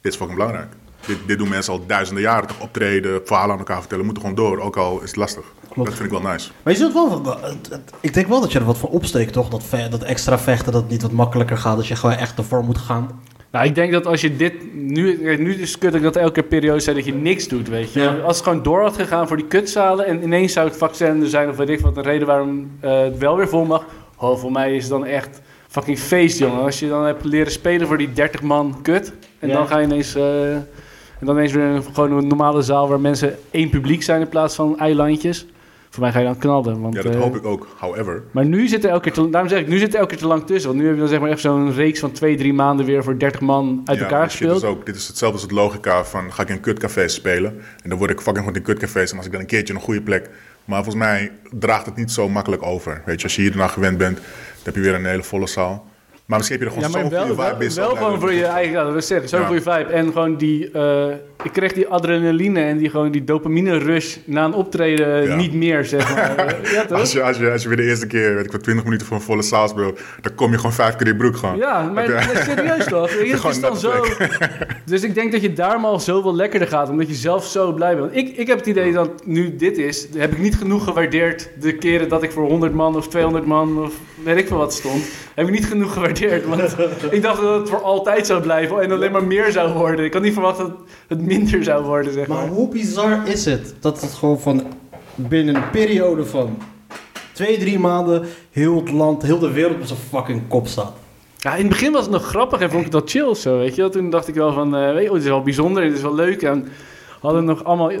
[SPEAKER 3] dit is fucking belangrijk. Dit, dit doen mensen al duizenden jaren. Toch optreden, verhalen aan elkaar vertellen. We moeten gewoon door, ook al is het lastig.
[SPEAKER 2] Klopt.
[SPEAKER 3] Dat vind ik wel nice.
[SPEAKER 2] Maar je zult wel, het- het- ik denk wel dat je er wat voor opsteekt, toch? Dat, ve- dat extra vechten, dat het niet wat makkelijker gaat. Dat je gewoon echt ervoor moet gaan.
[SPEAKER 4] Nou, ik denk dat als je dit nu... kijk, Nu is het kut dat ik dat elke keer periode zei dat je niks doet, weet je.
[SPEAKER 2] Ja.
[SPEAKER 4] Als het gewoon door had gegaan voor die kutzalen... en ineens zou het vaccin er zijn of weet ik wat... een reden waarom eh, het wel weer vol mag... Oh, voor mij is het dan echt fucking feest, jongen. Als je dan hebt leren spelen voor die 30 man kut... en
[SPEAKER 2] Ja.
[SPEAKER 4] dan ga je ineens... eh, en dan ineens weer een, gewoon een normale zaal... waar mensen één publiek zijn in plaats van eilandjes. Voor mij ga je dan knallen, want...
[SPEAKER 3] Ja, dat
[SPEAKER 4] eh,
[SPEAKER 3] hoop ik ook. However,
[SPEAKER 4] maar nu zit er elke keer te, daarom zeg ik, nu zit er elke keer te lang tussen. Want nu heb je dan zeg maar echt zo'n reeks van twee, drie maanden weer voor 30 man uit
[SPEAKER 3] Ja,
[SPEAKER 4] elkaar
[SPEAKER 3] maar shit
[SPEAKER 4] gespeeld.
[SPEAKER 3] Is ook, dit is hetzelfde als het logica van ga ik in kutcafés spelen en dan word ik fucking goed in kutcafés en als ik dan een keertje een goede plek. Maar volgens mij draagt het niet zo makkelijk over. Weet je, als je hier daarna gewend bent, dan heb je weer een hele volle zaal. Maar misschien heb je er
[SPEAKER 4] Ja,
[SPEAKER 3] gewoon
[SPEAKER 4] maar
[SPEAKER 3] zo'n goede
[SPEAKER 4] wel,
[SPEAKER 3] vibe
[SPEAKER 4] wel,
[SPEAKER 3] in.
[SPEAKER 4] wel gewoon voor je eigen, ja, dat wil ik zeggen, zo'n
[SPEAKER 3] Ja.
[SPEAKER 4] goede vibe. En gewoon die, eh, ik kreeg die adrenaline en die, gewoon die dopamine rush na een optreden eh,
[SPEAKER 3] Ja.
[SPEAKER 4] niet meer, zeg maar. ja, toch?
[SPEAKER 3] Als je, als, je, als je weer de eerste keer, weet ik wat, 20 minuten voor een volle zaal speelt, dan kom je gewoon vijf keer in je broek gewoon.
[SPEAKER 4] Ja, maar maar serieus toch? Het
[SPEAKER 3] Gewoon
[SPEAKER 4] is dan
[SPEAKER 3] dat
[SPEAKER 4] zo... Dus ik denk dat je daar maar al zoveel lekkerder gaat, omdat je zelf zo blij bent. Ik, ik heb het idee dat nu dit is, heb ik niet genoeg gewaardeerd de keren dat ik voor 100 man of 200 man of weet ik veel wat stond. Heb ik niet genoeg gewaardeerd, want ik dacht dat het voor altijd zou blijven en alleen maar meer zou worden. Ik had niet verwacht dat het minder zou worden, zeg maar.
[SPEAKER 2] Maar hoe bizar is het dat het gewoon van binnen een periode van twee, drie maanden heel het land, heel de wereld op zijn fucking kop staat?
[SPEAKER 4] Ja, in het begin was het nog grappig en vond ik dat chill zo, weet je wel. Toen dacht ik wel van, eh, weet je, oh, dit is wel bijzonder, dit is wel leuk. En hadden nog allemaal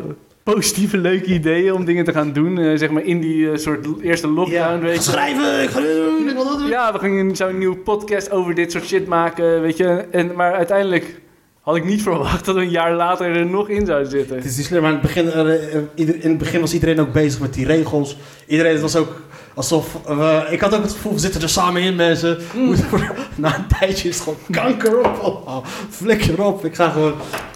[SPEAKER 4] positieve, leuke ideeën om dingen te gaan doen. eh, zeg maar in die eh, soort l- eerste lockdown,
[SPEAKER 2] ik ga
[SPEAKER 4] weet je.
[SPEAKER 2] schrijven, ik ga dit doen, ik wil dat doen.
[SPEAKER 4] Ja, we gingen zo'n nieuwe podcast over dit soort shit maken, weet je. En, maar uiteindelijk had ik niet verwacht dat we een jaar later er nog in zou zitten.
[SPEAKER 2] Het is niet slim, maar in het, begin, eh, eh, ieder- in het begin was iedereen ook bezig met die regels. Iedereen was ook alsof... we- ik had ook het gevoel, we zitten er samen in, mensen. Na een tijdje is het gewoon kanker op. Oh, flikker op, ik ga gewoon...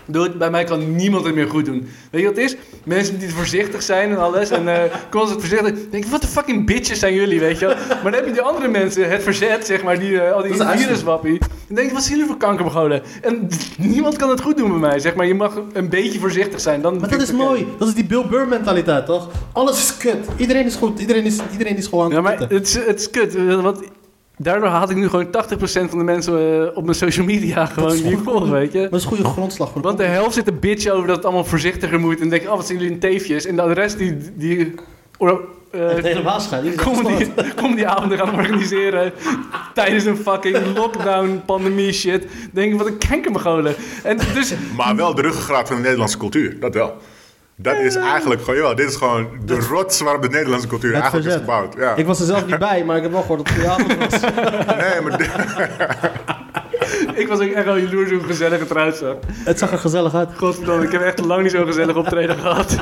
[SPEAKER 4] Dude, bij mij kan niemand het meer goed doen. Weet je wat het is? Mensen die voorzichtig zijn en alles. En eh, constant voorzichtig. Dan Denk ik, wat de fucking bitches zijn jullie, weet je wel? Maar dan heb je die andere mensen, het verzet, zeg maar. Die, eh, al die
[SPEAKER 2] Dat is eigenlijk-
[SPEAKER 4] viruswappie. Dan denk ik, wat zijn jullie voor kankerbegoden? En niemand kan het goed doen bij mij, zeg maar. Je mag een beetje voorzichtig zijn. Dan
[SPEAKER 2] Maar dat is mooi. Dat is die Bill Burr mentaliteit, toch? Alles is kut. Iedereen is goed. Iedereen is, iedereen is gewoon aan
[SPEAKER 4] Ja,
[SPEAKER 2] het
[SPEAKER 4] maar
[SPEAKER 2] kutten.
[SPEAKER 4] het is, het is kut. eh, Want daardoor haat ik nu gewoon 80% van de mensen eh, op mijn social media gewoon
[SPEAKER 2] is
[SPEAKER 4] die ik
[SPEAKER 2] goed.
[SPEAKER 4] volg, weet je?
[SPEAKER 2] Dat is een goede grondslag voor de
[SPEAKER 4] Want de helft zit een bitch over dat het allemaal voorzichtiger moet. En denkt, oh, wat zijn jullie in teefjes? En de rest die. die or, eh,
[SPEAKER 2] Het hele baas gaat. Iedereen is gestoord.
[SPEAKER 4] comedy, comedyavonden gaan organiseren. tijdens een fucking lockdown, pandemie shit. Denk ik, wat een kankermogolen. En dus.
[SPEAKER 3] Maar wel de ruggengraat van de Nederlandse cultuur, dat wel. Dat is eigenlijk gewoon, jawel, dit is gewoon de rots waarop de Nederlandse cultuur
[SPEAKER 2] Het
[SPEAKER 3] eigenlijk
[SPEAKER 2] verzet.
[SPEAKER 3] is gebouwd. Ja.
[SPEAKER 2] Ik was er zelf niet bij, maar ik heb wel gehoord dat het theater was.
[SPEAKER 3] Nee, maar dit-
[SPEAKER 4] ik was ook echt wel jaloers hoe gezellig het eruit zag.
[SPEAKER 2] Het zag er gezellig uit.
[SPEAKER 4] Godverdomme, ik heb echt lang niet zo'n gezellig optreden gehad.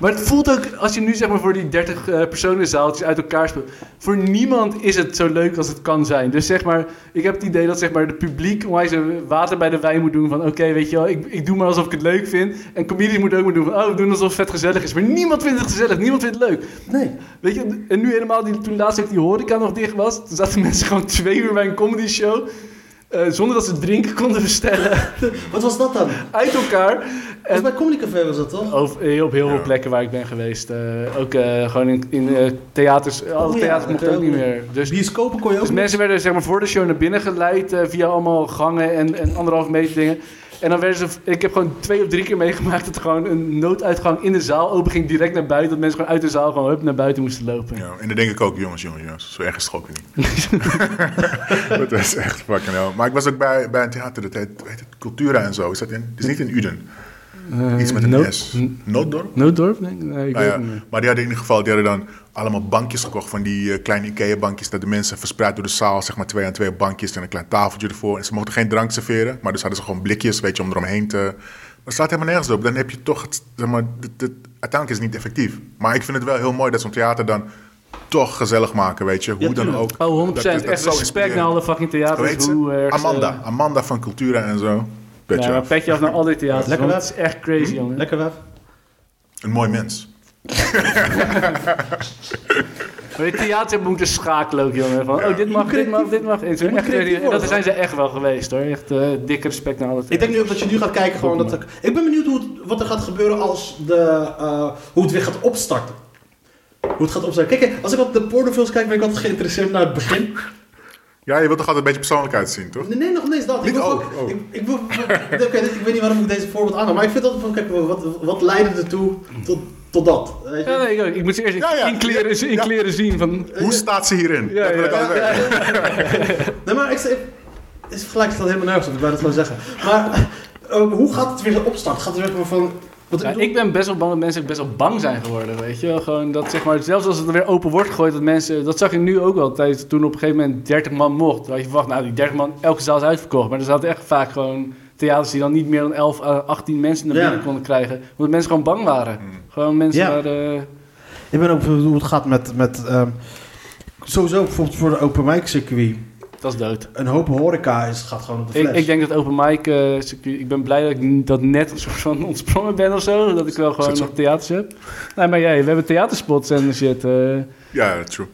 [SPEAKER 4] Maar het voelt ook, als je nu zeg maar voor die 30 eh, personen zaaltjes uit elkaar speelt. Voor niemand is het zo leuk als het kan zijn. Dus zeg maar, ik heb het idee dat zeg maar het publiek onwijs een water bij de wijn moet doen. Van oké, weet je wel, ik, ik doe maar alsof ik het leuk vind. En comedians moeten ook maar doen van oh, we doen alsof het vet gezellig is. Maar niemand vindt het gezellig, niemand vindt het leuk.
[SPEAKER 2] Nee.
[SPEAKER 4] Weet je, en nu helemaal, die, toen laatst ook die horeca nog dicht was, toen zaten mensen gewoon twee uur bij een comedy show. eh, zonder dat ze drinken konden bestellen.
[SPEAKER 2] Wat was dat dan? Dat
[SPEAKER 4] Uit elkaar.
[SPEAKER 2] was
[SPEAKER 4] En-
[SPEAKER 2] bij Comedy Café was dat, toch?
[SPEAKER 4] Over- eh, op heel veel plekken waar ik ben geweest. eh, ook eh, gewoon in, in eh, theaters. Alle
[SPEAKER 2] Oh ja,
[SPEAKER 4] theaters
[SPEAKER 2] dat
[SPEAKER 4] mochten ook
[SPEAKER 2] ook.
[SPEAKER 4] niet meer. Dus,
[SPEAKER 2] Bioscopen kon je ook
[SPEAKER 4] dus mensen werden zeg maar, voor de show naar binnen geleid eh, via allemaal gangen en, en anderhalf meter dingen. En dan werden ze, ik heb gewoon twee of drie keer meegemaakt dat er gewoon een nooduitgang in de zaal open ging direct naar buiten. Dat mensen gewoon uit de zaal gewoon hup, naar buiten moesten lopen.
[SPEAKER 3] ja, en dan denk ik ook, jongens, jongens, jongens, zo erg is het ook weer niet. dat is echt fucking hell. Maar ik was ook bij, bij een theater, dat heet, hoe heet het Cultura en zo. Is dat in, het is niet in Uden, iets met een
[SPEAKER 4] nood-
[SPEAKER 3] S. Nooddorp?
[SPEAKER 4] Nooddorp? Nee, nee, ik
[SPEAKER 3] Nou
[SPEAKER 4] weet
[SPEAKER 3] ja,
[SPEAKER 4] het niet.
[SPEAKER 3] maar die hadden in ieder geval die hadden dan allemaal bankjes gekocht van die eh, kleine Ikea-bankjes. Dat de mensen verspreid door de zaal, zeg maar twee aan twee bankjes en een klein tafeltje ervoor. En ze mochten geen drank serveren, maar dus hadden ze gewoon blikjes, weet je, om eromheen te... Maar het staat helemaal nergens op. Dan heb je toch, het, zeg maar, het, het- uiteindelijk is het niet effectief. Maar ik vind het wel heel mooi dat zo'n theater dan toch gezellig maken, weet je. Hoe dan
[SPEAKER 2] tuurlijk.
[SPEAKER 3] ook.
[SPEAKER 4] Oh, 100%.
[SPEAKER 3] Dat is- dat
[SPEAKER 4] echt
[SPEAKER 3] is zo
[SPEAKER 4] respect
[SPEAKER 3] inspirerend.
[SPEAKER 4] naar alle fucking
[SPEAKER 3] Hoe
[SPEAKER 4] theaters.
[SPEAKER 3] heet ze?
[SPEAKER 4] Hoe erg ze-
[SPEAKER 3] Amanda. Amanda van Cultura en zo. Petje
[SPEAKER 4] Ja, maar
[SPEAKER 3] af.
[SPEAKER 4] petje af naar al die theaters.
[SPEAKER 2] Lekker
[SPEAKER 4] want
[SPEAKER 2] wel.
[SPEAKER 4] het is echt crazy, jongen.
[SPEAKER 2] Lekker weg.
[SPEAKER 3] Een mooi mens.
[SPEAKER 4] Maar het theater hebben moeten schakelen ook, jongen. Van, oh, dit mag, dit mag, dit mag. En, zo, echt,
[SPEAKER 2] creatief
[SPEAKER 4] en dat
[SPEAKER 2] worden.
[SPEAKER 4] zijn ze echt wel geweest, hoor. Echt eh dik respect naar alle
[SPEAKER 2] Ik denk nu ook dat je nu gaat kijken gewoon dat... Ik, ik ben benieuwd hoe het- wat er gaat gebeuren als de... eh, hoe het weer gaat opstarten. Hoe het gaat opstarten. Kijk, als ik op de pornofilms kijk, ben ik altijd geïnteresseerd naar het begin.
[SPEAKER 3] Ja, je wilt toch altijd een beetje persoonlijkheid zien, toch?
[SPEAKER 2] Nee, nee nog niet eens dat. Ik,
[SPEAKER 3] Niet-
[SPEAKER 2] wil
[SPEAKER 3] oh,
[SPEAKER 2] gewoon-
[SPEAKER 3] oh.
[SPEAKER 2] Ik, ik, wil- Oké, ik weet niet waarom ik deze voorbeeld aanhaal, maar ik vind altijd van, kijk, wat, wat leidde ertoe tot, tot dat? Weet je?
[SPEAKER 4] Ja, nee, ik, ook. ik moet ze eerst in,
[SPEAKER 3] Ja, ja.
[SPEAKER 4] in kleren, in
[SPEAKER 3] Ja.
[SPEAKER 4] kleren zien. Van,
[SPEAKER 3] Hoe staat ze hierin?
[SPEAKER 4] Ja,
[SPEAKER 3] Dat wil ik
[SPEAKER 4] ja,
[SPEAKER 3] altijd weten.
[SPEAKER 2] Nee, maar ik, ik, is vergelijk staat helemaal nergens op, ik wou dat gewoon zeggen. Maar eh, hoe gaat het weer opstarten? Gaat het weer van... Wat,
[SPEAKER 4] Ja, ik ben best wel bang dat mensen ook best wel bang zijn geworden, weet je wel. Gewoon dat, zeg maar, zelfs als het er weer open wordt gegooid, dat mensen... Dat zag je nu ook wel, tijdens, toen op een gegeven moment 30 man mocht. Toen had je verwacht, nou, die 30 man, elke zaal is uitverkocht. Maar er zaten echt vaak gewoon theaters die dan niet meer dan 11 à 18 mensen naar
[SPEAKER 2] Ja.
[SPEAKER 4] binnen konden krijgen. Omdat mensen gewoon bang waren. Gewoon mensen
[SPEAKER 2] Ja.
[SPEAKER 4] waren... eh,
[SPEAKER 2] Ik ben ook benieuwd hoe het gaat met... met ehm, sowieso bijvoorbeeld voor de open mic circuit.
[SPEAKER 4] dat is dood.
[SPEAKER 2] Een hoop horeca is, gaat gewoon op de
[SPEAKER 4] Ik,
[SPEAKER 2] fles.
[SPEAKER 4] ik denk dat open mic, eh, circuit- ik ben blij dat ik n- dat net een soort van ontsprongen ben of zo. Dat ik wel gewoon
[SPEAKER 3] Is dat
[SPEAKER 4] nog theaters heb. Nee, maar jij, we hebben theaterspots en shit. eh.
[SPEAKER 3] Ja, true.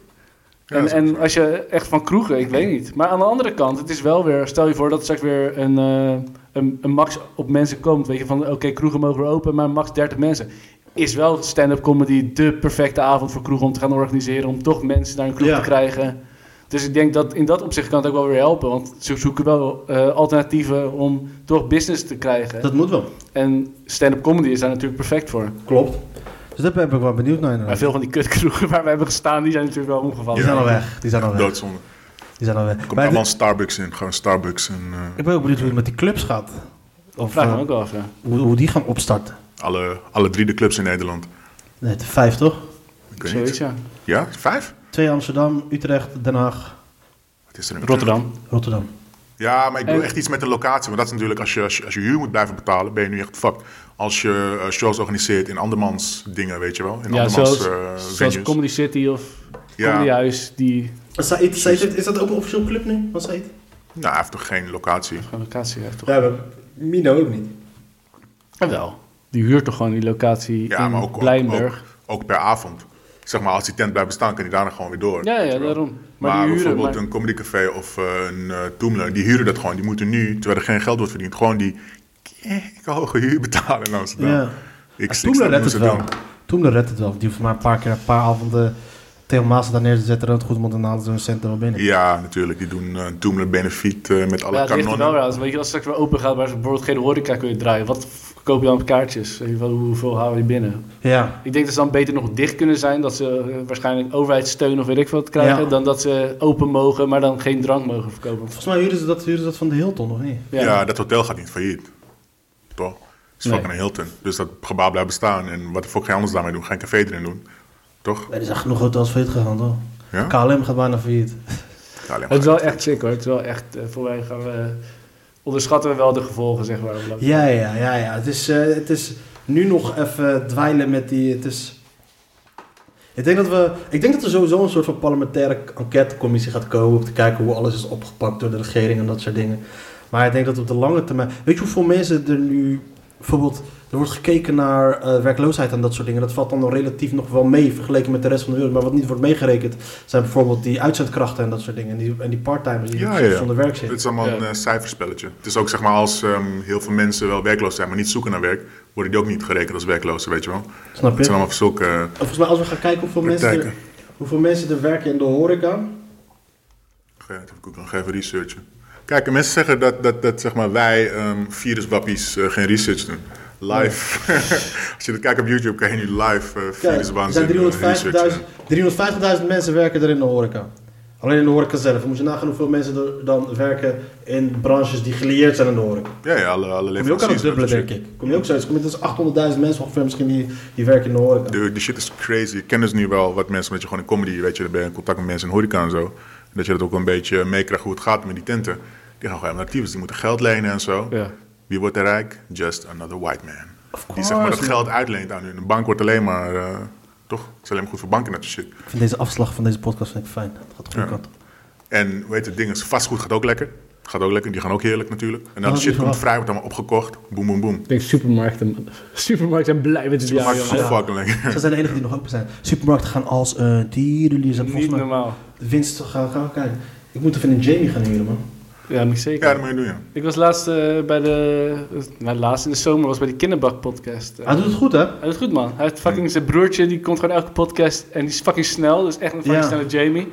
[SPEAKER 3] Ja,
[SPEAKER 4] en
[SPEAKER 3] dat is
[SPEAKER 4] en
[SPEAKER 3] ook zo.
[SPEAKER 4] als je echt van kroegen, ik weet niet. Maar aan de andere kant, het is wel weer, stel je voor dat straks weer een, eh, een, een max op mensen komt. Weet je, van oké, kroegen mogen weer open, maar max 30 mensen. Is wel stand-up comedy de perfecte avond voor kroegen om te gaan organiseren. Om toch mensen naar een kroeg
[SPEAKER 2] Ja.
[SPEAKER 4] te krijgen. Dus ik denk dat in dat opzicht kan het ook wel weer helpen. Want ze zoeken wel eh, alternatieven om toch business te krijgen.
[SPEAKER 2] Dat moet wel.
[SPEAKER 4] En stand-up comedy is daar natuurlijk perfect voor.
[SPEAKER 2] Klopt. Dus daar ben ik wel benieuwd naar.
[SPEAKER 4] Maar
[SPEAKER 2] inderdaad.
[SPEAKER 4] veel van die kutkroegen waar we hebben gestaan, die zijn natuurlijk wel omgevallen.
[SPEAKER 2] Die zijn al weg. Die zijn al weg.
[SPEAKER 3] Doodzonde. Er
[SPEAKER 2] Die zijn al weg.
[SPEAKER 3] komt
[SPEAKER 2] Maar
[SPEAKER 3] allemaal
[SPEAKER 2] dit-
[SPEAKER 3] Starbucks in. Gewoon Starbucks en eh,
[SPEAKER 2] ik ben ook benieuwd hoe het met die clubs gaat. Of
[SPEAKER 4] Vraag
[SPEAKER 2] eh,
[SPEAKER 4] me ook wel af, ja.
[SPEAKER 2] hoe, hoe die gaan opstarten.
[SPEAKER 3] alle, alle drie de clubs in Nederland.
[SPEAKER 2] Nee, de vijf toch?
[SPEAKER 3] Ik weet
[SPEAKER 4] Zoiets,
[SPEAKER 3] niet.
[SPEAKER 4] ja.
[SPEAKER 3] Ja, vijf?
[SPEAKER 2] Twee Amsterdam, Utrecht, Den Haag,
[SPEAKER 3] Wat is er in
[SPEAKER 4] Rotterdam.
[SPEAKER 2] Rotterdam.
[SPEAKER 3] Ja, maar ik bedoel
[SPEAKER 4] En-
[SPEAKER 3] echt iets met de locatie. Want dat is natuurlijk, als je, als je, als je huur moet blijven betalen, ben je nu echt fucked. Als je eh, shows organiseert in andermans dingen, weet je wel. In
[SPEAKER 4] Ja,
[SPEAKER 3] andermans
[SPEAKER 4] zoals,
[SPEAKER 3] eh,
[SPEAKER 4] zoals
[SPEAKER 3] venues.
[SPEAKER 4] Comedy City of
[SPEAKER 3] Ja.
[SPEAKER 4] Comedy Huis, die
[SPEAKER 2] Said, Said, is dat ook een officieel club nu? Van Said?
[SPEAKER 3] Nou, hij heeft toch geen locatie.
[SPEAKER 4] gewoon locatie heeft toch?
[SPEAKER 2] Ja, we, Mino ook niet.
[SPEAKER 4] Wel. Die huurt toch gewoon die locatie
[SPEAKER 3] Ja,
[SPEAKER 4] in
[SPEAKER 3] maar ook, ook,
[SPEAKER 4] Blijnberg.
[SPEAKER 3] ook, ook per avond. Zeg maar, als die tent blijft bestaan, kan die daarna gewoon weer door.
[SPEAKER 4] Ja,
[SPEAKER 3] weet
[SPEAKER 4] ja,
[SPEAKER 3] je wel.
[SPEAKER 4] daarom. Maar,
[SPEAKER 3] Maar,
[SPEAKER 4] die huren,
[SPEAKER 3] bijvoorbeeld
[SPEAKER 4] maar,
[SPEAKER 3] een comedycafé of eh, een eh Toemler, die huren dat gewoon. Die moeten nu, terwijl er geen geld wordt verdiend, gewoon die kek hoge huur betalen in Amsterdam.
[SPEAKER 2] Ja.
[SPEAKER 3] Ik, ik snap
[SPEAKER 2] Toen
[SPEAKER 3] niet
[SPEAKER 2] redt het
[SPEAKER 3] hoe ze
[SPEAKER 2] wel.
[SPEAKER 3] doen.
[SPEAKER 2] Toen redt het wel. Die hoeft maar een paar keer, een paar avonden Theo Maas daar neer te zetten. Dat goed, want dan halen ze hun centen wel binnen.
[SPEAKER 3] Ja, natuurlijk. Die doen eh, een Toemler benefiet eh, met alle
[SPEAKER 4] ja, het ligt er
[SPEAKER 3] kanonnen.
[SPEAKER 4] wel weer aan. Dus Weet je, als het straks weer open gaat, waar ze bijvoorbeeld geen horeca kunnen draaien, wat f- koop je dan op kaartjes? Weet je wel, hoeveel hou je binnen?
[SPEAKER 2] Ja.
[SPEAKER 4] Ik denk dat ze dan beter nog dicht kunnen zijn. Dat ze eh, waarschijnlijk overheidssteun of weet ik wat krijgen.
[SPEAKER 2] Ja.
[SPEAKER 4] Dan dat ze open mogen, maar dan geen drank mogen verkopen.
[SPEAKER 2] Volgens mij huren ze dat, huren ze dat van de Hilton, of niet?
[SPEAKER 3] Ja. dat hotel gaat niet failliet. Toch? Het is
[SPEAKER 2] Nee.
[SPEAKER 3] fucking een Hilton. Dus dat gebouw blijft bestaan. En wat de fuck ga je anders daarmee doen? Geen café erin doen. Toch?
[SPEAKER 2] Er is echt genoeg hotels failliet gegaan, toch?
[SPEAKER 3] Ja?
[SPEAKER 2] KLM gaat bijna failliet.
[SPEAKER 3] Ja, alleen maar
[SPEAKER 4] Het is wel echt sick hoor. Het is wel echt, eh, voor mij gaan we, onderschatten we wel de gevolgen, zeg maar.
[SPEAKER 2] Ja, ja, ja, ja. Het is, eh, het is nu nog even dweilen met die. Het is... Ik denk, dat we, ik denk dat er sowieso een soort van parlementaire enquêtecommissie gaat komen om te kijken hoe alles is opgepakt door de regering en dat soort dingen. Maar ik denk dat op de lange termijn. Weet je hoeveel mensen er nu. Bijvoorbeeld, er wordt gekeken naar eh, werkloosheid en dat soort dingen. Dat valt dan nog relatief nog wel mee vergeleken met de rest van de wereld. Maar wat niet wordt meegerekend zijn bijvoorbeeld die uitzendkrachten en dat soort dingen. En die, en die part-timers die
[SPEAKER 3] Ja, ja, ja.
[SPEAKER 2] zonder werk
[SPEAKER 3] Het
[SPEAKER 2] zitten.
[SPEAKER 3] is allemaal een
[SPEAKER 4] Ja.
[SPEAKER 3] eh, cijferspelletje. Het is ook zeg maar als ehm, heel veel mensen wel werkloos zijn, maar niet zoeken naar werk, worden die ook niet gerekend als werklozen, weet je wel.
[SPEAKER 2] Snap
[SPEAKER 3] Het
[SPEAKER 2] je?
[SPEAKER 3] zijn allemaal zulke. eh,
[SPEAKER 2] Volgens mij, als we gaan kijken hoeveel mensen, er,
[SPEAKER 3] Praktijken.
[SPEAKER 2] hoeveel mensen er werken in de horeca.
[SPEAKER 3] ge- dat heb ik ook nog even researchen. Kijk, en mensen zeggen dat, dat, dat zeg maar, wij ehm viruswappies eh, geen research doen. Live. als je dat kijkt op YouTube, kan je nu live eh
[SPEAKER 2] Kijk, er zijn
[SPEAKER 3] viruswaanzin eh, researchen.
[SPEAKER 2] 350.000 350.000 mensen werken er in de horeca. Alleen in de horeca zelf. Moet je nagaan hoeveel mensen er dan werken in branches die gelieerd zijn aan de horeca.
[SPEAKER 3] Ja, ja, alle, alle
[SPEAKER 2] Kom je ook aan het
[SPEAKER 3] leveranciers,
[SPEAKER 2] dubbele,
[SPEAKER 3] dat
[SPEAKER 2] denk
[SPEAKER 3] soort
[SPEAKER 2] ik. Kom je ook zoiets. Kom je dus 800.000 mensen ongeveer misschien die, die werken in de horeca.
[SPEAKER 3] shit. Dude, die shit is crazy. Ik ken dus nu wel wat mensen, omdat je gewoon in comedy, weet je, dan ben je in contact met mensen in horeca en zo. En dat je dat ook een beetje meekrijgt hoe het gaat met die tenten. Die gaan gewoon naar actief, dus die moeten geld lenen en zo.
[SPEAKER 4] Ja.
[SPEAKER 3] Wie wordt er rijk? Just another white man. Die
[SPEAKER 2] course,
[SPEAKER 3] zeg maar dat
[SPEAKER 2] man.
[SPEAKER 3] geld uitleent aan hun. Een bank wordt alleen maar, eh, toch? Het is alleen maar goed voor banken dat soort shit.
[SPEAKER 2] Ik vind deze afslag van deze podcast vind ik fijn. Dat gaat de goede
[SPEAKER 3] Ja.
[SPEAKER 2] kant op.
[SPEAKER 3] En weet het ding is, vastgoed gaat ook lekker. Gaat ook lekker, die gaan ook heerlijk natuurlijk. En dan
[SPEAKER 2] Oh,
[SPEAKER 3] de shit
[SPEAKER 2] die
[SPEAKER 3] komt
[SPEAKER 2] verwacht.
[SPEAKER 3] vrij, wordt allemaal opgekocht. Boem, boem, boem.
[SPEAKER 4] Ik denk supermarkten, supermarkten zijn blij met dit
[SPEAKER 3] Ja,
[SPEAKER 4] jaar,
[SPEAKER 3] Maakt
[SPEAKER 4] jongen.
[SPEAKER 3] gewoon fucking lekker.
[SPEAKER 2] Ze zijn de enigen die nog open zijn. Supermarkten gaan als eh dierenlier. Ze hebben
[SPEAKER 4] Niet
[SPEAKER 2] volgens mij
[SPEAKER 4] normaal.
[SPEAKER 2] de winst gaan, gaan kijken. Ik moet even een Jamie gaan huren, man.
[SPEAKER 4] Ja, moet ik
[SPEAKER 3] Ja,
[SPEAKER 4] zeker.
[SPEAKER 3] dat moet je doen, ja.
[SPEAKER 4] Ik was laatst eh, bij de... eh, Nou, laatst in de zomer was bij die kinderbak-podcast. Eh,
[SPEAKER 2] Hij doet het goed, hè?
[SPEAKER 4] Hij doet goed, man. Hij heeft fucking zijn broertje, die komt gewoon elke podcast en die is fucking snel. Dus echt een fucking
[SPEAKER 2] Ja.
[SPEAKER 4] snelle Jamie.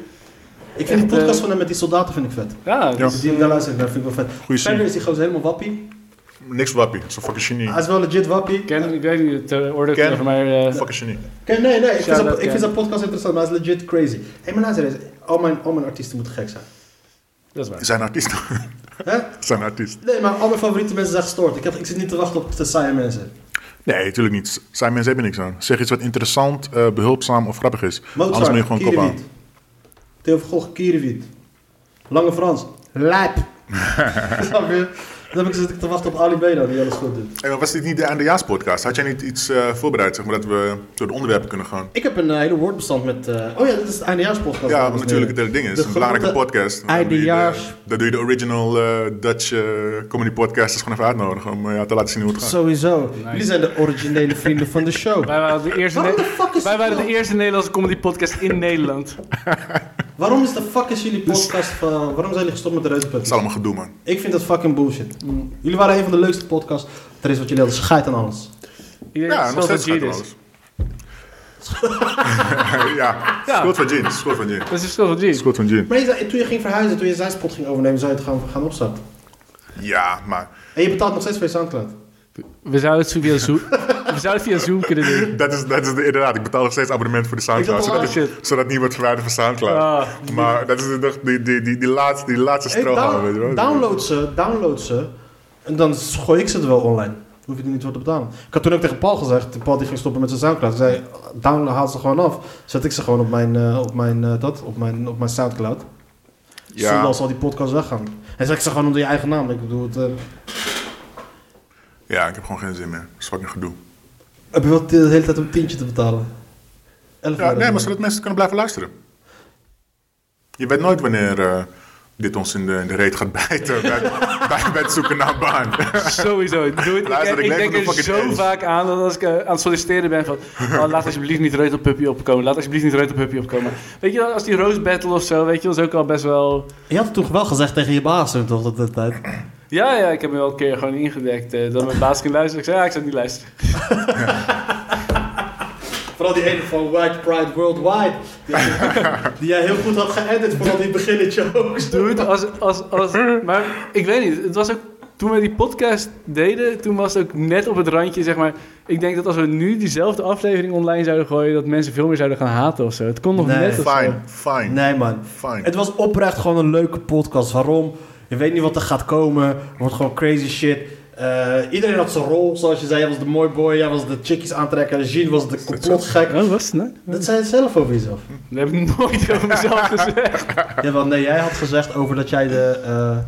[SPEAKER 2] Ik vind
[SPEAKER 4] Echt,
[SPEAKER 2] de podcast
[SPEAKER 4] eh,
[SPEAKER 2] van hem met die soldaten vind ik vet.
[SPEAKER 4] Ja, dus,
[SPEAKER 2] Die hem daar luistert, dat vind ik wel vet. Verder
[SPEAKER 3] Goeie scene.
[SPEAKER 2] is die gozer helemaal wappie.
[SPEAKER 3] Niks wappie, zo'n fucking genie.
[SPEAKER 2] Hij is wel legit wappie.
[SPEAKER 4] Ken, ik weet niet, het oordeelt
[SPEAKER 3] Ken.
[SPEAKER 4] over maar... eh,
[SPEAKER 3] Fucking genie.
[SPEAKER 2] Ken- nee, nee, ik vind,
[SPEAKER 4] Shout-out,
[SPEAKER 2] zijn, ik
[SPEAKER 4] Ken.
[SPEAKER 2] vind zijn podcast interessant, maar hij is legit crazy. Hé, maar luister eens. Al mijn, al mijn artiesten moeten gek zijn.
[SPEAKER 4] dat is waar.
[SPEAKER 3] Zijn artiest.
[SPEAKER 2] Hè?
[SPEAKER 3] Zijn artiest.
[SPEAKER 2] Nee, maar al mijn favoriete mensen zijn gestoord. Ik, heb, ik zit niet te wachten op de saaie mensen.
[SPEAKER 3] Nee, natuurlijk niet. Zijn mensen hebben niks aan. Zeg iets wat interessant, eh, behulpzaam of grappig is. Anders
[SPEAKER 2] Mozart,
[SPEAKER 3] moet je gewoon kop aan.
[SPEAKER 2] Kierewiet. Theo van Gogh, Kierewiet. Lange Frans. Lijp. Snap je? Dan heb ik zit ik te wachten op Ali Beda, die alles goed doet.
[SPEAKER 3] Hey, maar was dit niet de eindejaarspodcast? Had jij niet iets eh, voorbereid, zeg maar, dat we door de onderwerpen kunnen gaan?
[SPEAKER 2] Ik heb een eh, hele woordbestand met... eh, oh ja, dit is het eindejaarspodcast.
[SPEAKER 3] Ja, want natuurlijk het hele ding is.
[SPEAKER 2] De
[SPEAKER 3] Een belangrijke
[SPEAKER 2] grote
[SPEAKER 3] podcast. Dan
[SPEAKER 2] eindejaars-
[SPEAKER 3] doe je de- Dan doe je de original eh, Dutch eh, comedy podcasters gewoon even uitnodigen om eh, ja, te laten zien hoe het gaat.
[SPEAKER 2] Sowieso. Jullie zijn de originele vrienden van de show.
[SPEAKER 4] Wij waren de eerste,
[SPEAKER 2] Waarom
[SPEAKER 4] Ne-
[SPEAKER 2] de fuck is
[SPEAKER 4] wij
[SPEAKER 2] dit
[SPEAKER 4] waren de
[SPEAKER 2] nou?
[SPEAKER 4] eerste Nederlandse comedy podcast in Nederland.
[SPEAKER 2] Waarom is de fuck is jullie podcast van... Waarom zijn jullie gestopt met de
[SPEAKER 3] Dat
[SPEAKER 2] reuzenpunt?
[SPEAKER 3] is allemaal gedoe, man.
[SPEAKER 2] Ik vind dat fucking bullshit. Mm. Jullie waren een van de leukste podcasts. Er is wat jullie hadden schijt aan alles.
[SPEAKER 4] Iedereen
[SPEAKER 3] Ja,
[SPEAKER 4] is
[SPEAKER 3] nog
[SPEAKER 4] wel
[SPEAKER 3] steeds
[SPEAKER 4] van Genius.
[SPEAKER 3] gaat alles. ja, schuld van Jeans, schuld van Jeans.
[SPEAKER 4] Dat is de schuld van Genius.
[SPEAKER 3] Schuld van Jeans.
[SPEAKER 2] Maar je zei- toen je ging verhuizen, toen je zijn spot ging overnemen, zou je het gaan, gaan opstarten.
[SPEAKER 3] Ja, maar
[SPEAKER 2] En je betaalt nog steeds voor je Soundcloud.
[SPEAKER 4] We zouden het via Zoom, we zouden het via Zoom kunnen doen.
[SPEAKER 3] dat is, dat is de, inderdaad, ik betaal nog steeds abonnement voor de Soundcloud.
[SPEAKER 2] Ik dacht al,
[SPEAKER 3] Zodat,
[SPEAKER 4] ah,
[SPEAKER 3] het- zodat niet wordt verwijderd van Soundcloud.
[SPEAKER 4] Ah.
[SPEAKER 3] maar dat is de, die, die, die, die laatste, die laatste
[SPEAKER 2] Hey,
[SPEAKER 3] strohalm,
[SPEAKER 2] down-
[SPEAKER 3] weet je wel.
[SPEAKER 2] download ze, download ze. En dan gooi ik ze er wel online. Dan hoef je er niet voor te betalen. Ik had toen ook tegen Paul gezegd, Paul die ging stoppen met zijn Soundcloud. Ik zei, download, haal ze gewoon af. Zet ik ze gewoon op mijn, eh, op mijn, eh, dat, op mijn, op mijn Soundcloud. Ja.
[SPEAKER 3] Ja,
[SPEAKER 2] Zondag zal die podcast weggaan. En zeg ik ze gewoon onder je eigen naam. Ik bedoel, het, eh,
[SPEAKER 3] ja, ik heb gewoon geen zin meer. Dat is fucking gedoe.
[SPEAKER 2] heb je wel de hele tijd een tientje te betalen? Elf
[SPEAKER 3] Ja,
[SPEAKER 2] euro.
[SPEAKER 3] nee, maar zodat mensen kunnen blijven luisteren. Je weet nooit wanneer eh, dit ons in de, in de reet gaat bijten bij, bij, bij het zoeken naar een baan.
[SPEAKER 4] Sowieso. Doe het.
[SPEAKER 3] Luister,
[SPEAKER 4] ik,
[SPEAKER 3] ik
[SPEAKER 4] ik
[SPEAKER 3] leef
[SPEAKER 4] denk
[SPEAKER 3] in een
[SPEAKER 4] er
[SPEAKER 3] fucking
[SPEAKER 4] zo
[SPEAKER 3] tent.
[SPEAKER 4] vaak aan dat als ik eh, aan het solliciteren ben van... Oh, laat alsjeblieft niet Reutel Puppy opkomen. Laat alsjeblieft niet Reutel Puppy opkomen. Weet je wel, als die Rose Battle of zo, weet je, dat is ook al best wel...
[SPEAKER 2] Je had het toen wel gezegd tegen je baas toen toch, dat, dat tijd.
[SPEAKER 4] Ja, ja, ik heb me wel een keer gewoon ingedekt eh, dat mijn baas ging luisteren. Ik zei, ja, ik zou niet luisteren.
[SPEAKER 2] Vooral die ene van White Pride Worldwide. Die, die jij heel goed had geëdit, vooral die beginnetje ook.
[SPEAKER 4] Dude, als, als, als... Maar ik weet niet, het was ook... Toen we die podcast deden, toen was het ook net op het randje, zeg maar... Ik denk dat als we nu diezelfde aflevering online zouden gooien... dat mensen veel meer zouden gaan haten of zo. Het kon nog
[SPEAKER 2] Nee.
[SPEAKER 4] net of zo.
[SPEAKER 3] Fine, fine,
[SPEAKER 2] Nee man,
[SPEAKER 3] fine.
[SPEAKER 2] het was oprecht gewoon een leuke podcast. Waarom? Je weet niet wat er gaat komen. Het wordt gewoon crazy shit. Eh, iedereen had zijn rol, zoals je zei. Jij was de mooi boy, jij was de chickies aantrekker. Jean was de complotgek.
[SPEAKER 4] Oh, was het nou?
[SPEAKER 2] Dat zei je zelf over jezelf.
[SPEAKER 4] Dat heb ik nooit over mezelf gezegd.
[SPEAKER 2] Jawel, nee, jij had gezegd over dat jij de... eh,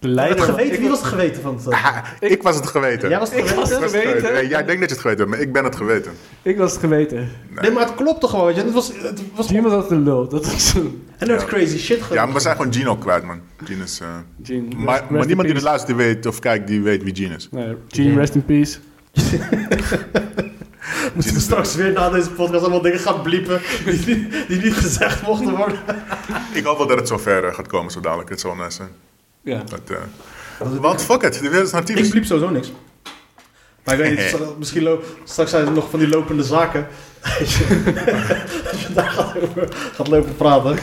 [SPEAKER 4] De
[SPEAKER 2] het
[SPEAKER 4] leider.
[SPEAKER 2] geweten, wie was het geweten van het... eh,
[SPEAKER 3] Ah, ik was het geweten.
[SPEAKER 2] Jij was het
[SPEAKER 4] Ik was
[SPEAKER 2] geweten?
[SPEAKER 4] het geweten.
[SPEAKER 3] Nee, jij denkt dat je het geweten hebt, maar ik ben het geweten.
[SPEAKER 4] Ik was het geweten.
[SPEAKER 2] Nee, maar het klopte gewoon, weet je. Het was, het was, en
[SPEAKER 4] Iemand had een lul. Dat was een...
[SPEAKER 2] er werd crazy shit
[SPEAKER 3] Ja,
[SPEAKER 2] gedaan.
[SPEAKER 3] maar we zijn gewoon Gino kwijt, man. Gene is... eh,
[SPEAKER 4] Gene, rest-
[SPEAKER 3] maar,
[SPEAKER 4] rest
[SPEAKER 3] maar
[SPEAKER 4] in
[SPEAKER 3] niemand die
[SPEAKER 4] peace.
[SPEAKER 3] dit luistert, die weet of kijkt, die weet wie Gene is.
[SPEAKER 4] Nee, Gene, rest in peace.
[SPEAKER 2] Moeten we straks weer na deze podcast allemaal dingen gaan bliepen die, die, die niet gezegd mochten worden.
[SPEAKER 3] Ik hoop wel dat het zover ver eh, gaat komen zo dadelijk. Het zal nice zijn.
[SPEAKER 4] Ja.
[SPEAKER 3] Dat, eh, want fuck it, de wereld is naar typisch.
[SPEAKER 2] Ik bliep sowieso niks. Maar ik weet niet, stra- misschien lo- straks zijn er nog van die lopende zaken. Als je daar gaat, over, gaat lopen praten.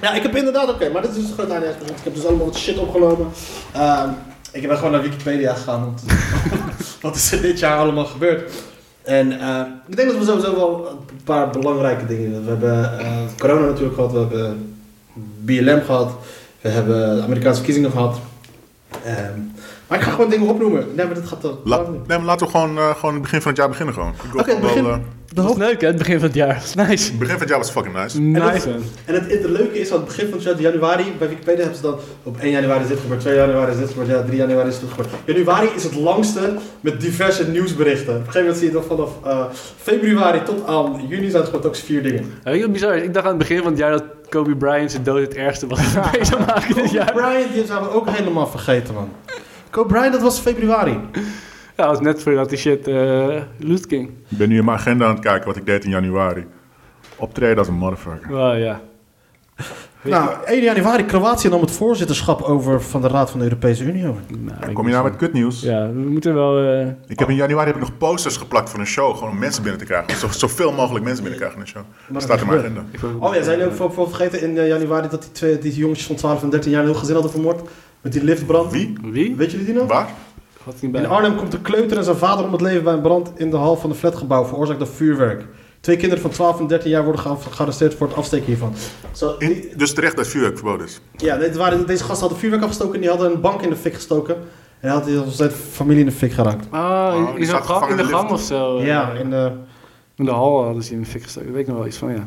[SPEAKER 2] Ja, ik heb inderdaad, oké, maar dit is dus een groot aandachtsproject. Ik heb dus allemaal wat shit opgenomen. Ehm, ik ben gewoon naar Wikipedia gegaan om te zien wat is er dit jaar allemaal gebeurd. En eh, ik denk dat we sowieso wel een paar belangrijke dingen hebben. We hebben eh, corona natuurlijk gehad, we hebben BLM gehad, we hebben de Amerikaanse verkiezingen gehad. Ehm, maar ik ga gewoon dingen opnoemen. Nee, maar dat gaat te
[SPEAKER 3] La-
[SPEAKER 2] lang.
[SPEAKER 3] nee, maar laten we gewoon, eh, gewoon het begin van het jaar beginnen gewoon. Ik wil
[SPEAKER 2] Oké,
[SPEAKER 3] gewoon
[SPEAKER 2] begin.
[SPEAKER 3] wel, eh,
[SPEAKER 2] De
[SPEAKER 4] Dat was
[SPEAKER 2] hoop-
[SPEAKER 4] leuk, hè? Het begin van het jaar. Dat is nice.
[SPEAKER 3] het begin van het jaar was fucking nice.
[SPEAKER 4] Nice, man.
[SPEAKER 2] En het, het leuke is, aan het begin van het jaar, januari, bij Wikipedia hebben ze dan op 1 januari is dit gebeurd, 2 januari is dit gebeurd, ja, 3 januari is dit gebeurd. Januari is het langste met diverse nieuwsberichten. Op een gegeven moment zie je dan vanaf eh, februari tot aan juni zijn het gewoon ook vier dingen.
[SPEAKER 4] Ja, weet je wat bizar is? Ik dacht aan het begin van het jaar dat Kobe Bryant zijn dood het ergste was. mee zou maken dit jaar.
[SPEAKER 2] Brian, die zijn we ook helemaal vergeten, man. Kobe Bryant, dat was februari.
[SPEAKER 4] Ja, dat was net voordat die shit eh loot ging.
[SPEAKER 3] Ik ben nu in mijn agenda aan het kijken wat ik deed in januari. Optreden als een motherfucker.
[SPEAKER 4] Oh, ja.
[SPEAKER 2] Nou, 1 januari, Kroatië nam het voorzitterschap over van de Raad van de Europese Unie over.
[SPEAKER 4] Nou, ik
[SPEAKER 3] Kom je nou met kutnieuws?
[SPEAKER 4] Ja, we moeten wel... eh,
[SPEAKER 3] Ik heb in januari heb ik nog posters geplakt van een show, gewoon om mensen binnen te krijgen. Zo, zoveel mogelijk mensen binnen te krijgen in een show. Dat staat in mijn
[SPEAKER 2] gebeurt.
[SPEAKER 3] agenda.
[SPEAKER 2] Oh ja, zijn jullie ook voor, voor vergeten in eh, januari dat die, twee, die jongetjes van 12 en 13 jaar een heel gezin hadden vermoord? Met die liftbrand.
[SPEAKER 3] Wie?
[SPEAKER 4] Wie?
[SPEAKER 2] Weet jullie die nou? nog?
[SPEAKER 3] Waar?
[SPEAKER 4] Had ik niet
[SPEAKER 2] In
[SPEAKER 4] bij.
[SPEAKER 2] Arnhem komt een kleuter en zijn vader om het leven bij een brand in de hal van een flatgebouw veroorzaakt door vuurwerk. Twee kinderen van 12 en 13 jaar worden ge- gearresteerd voor het afsteken hiervan. Zo, die-
[SPEAKER 3] In- dus terecht dat vuurwerk verboden is.
[SPEAKER 2] ja, dit waren, deze gasten hadden vuurwerk afgestoken en die hadden een bank in de fik gestoken. En had die had zijn familie in de fik geraakt.
[SPEAKER 4] Ah,
[SPEAKER 3] Oh,
[SPEAKER 4] in-
[SPEAKER 3] die
[SPEAKER 4] in, zo'n
[SPEAKER 3] zat
[SPEAKER 4] gang-
[SPEAKER 3] gevangen
[SPEAKER 4] in de
[SPEAKER 3] in de
[SPEAKER 4] gang
[SPEAKER 3] lift.
[SPEAKER 4] of zo. eh.
[SPEAKER 2] Ja, in de...
[SPEAKER 4] In de hal hadden ze in de fik gestoken. Daar weet ik nog wel iets van, ja.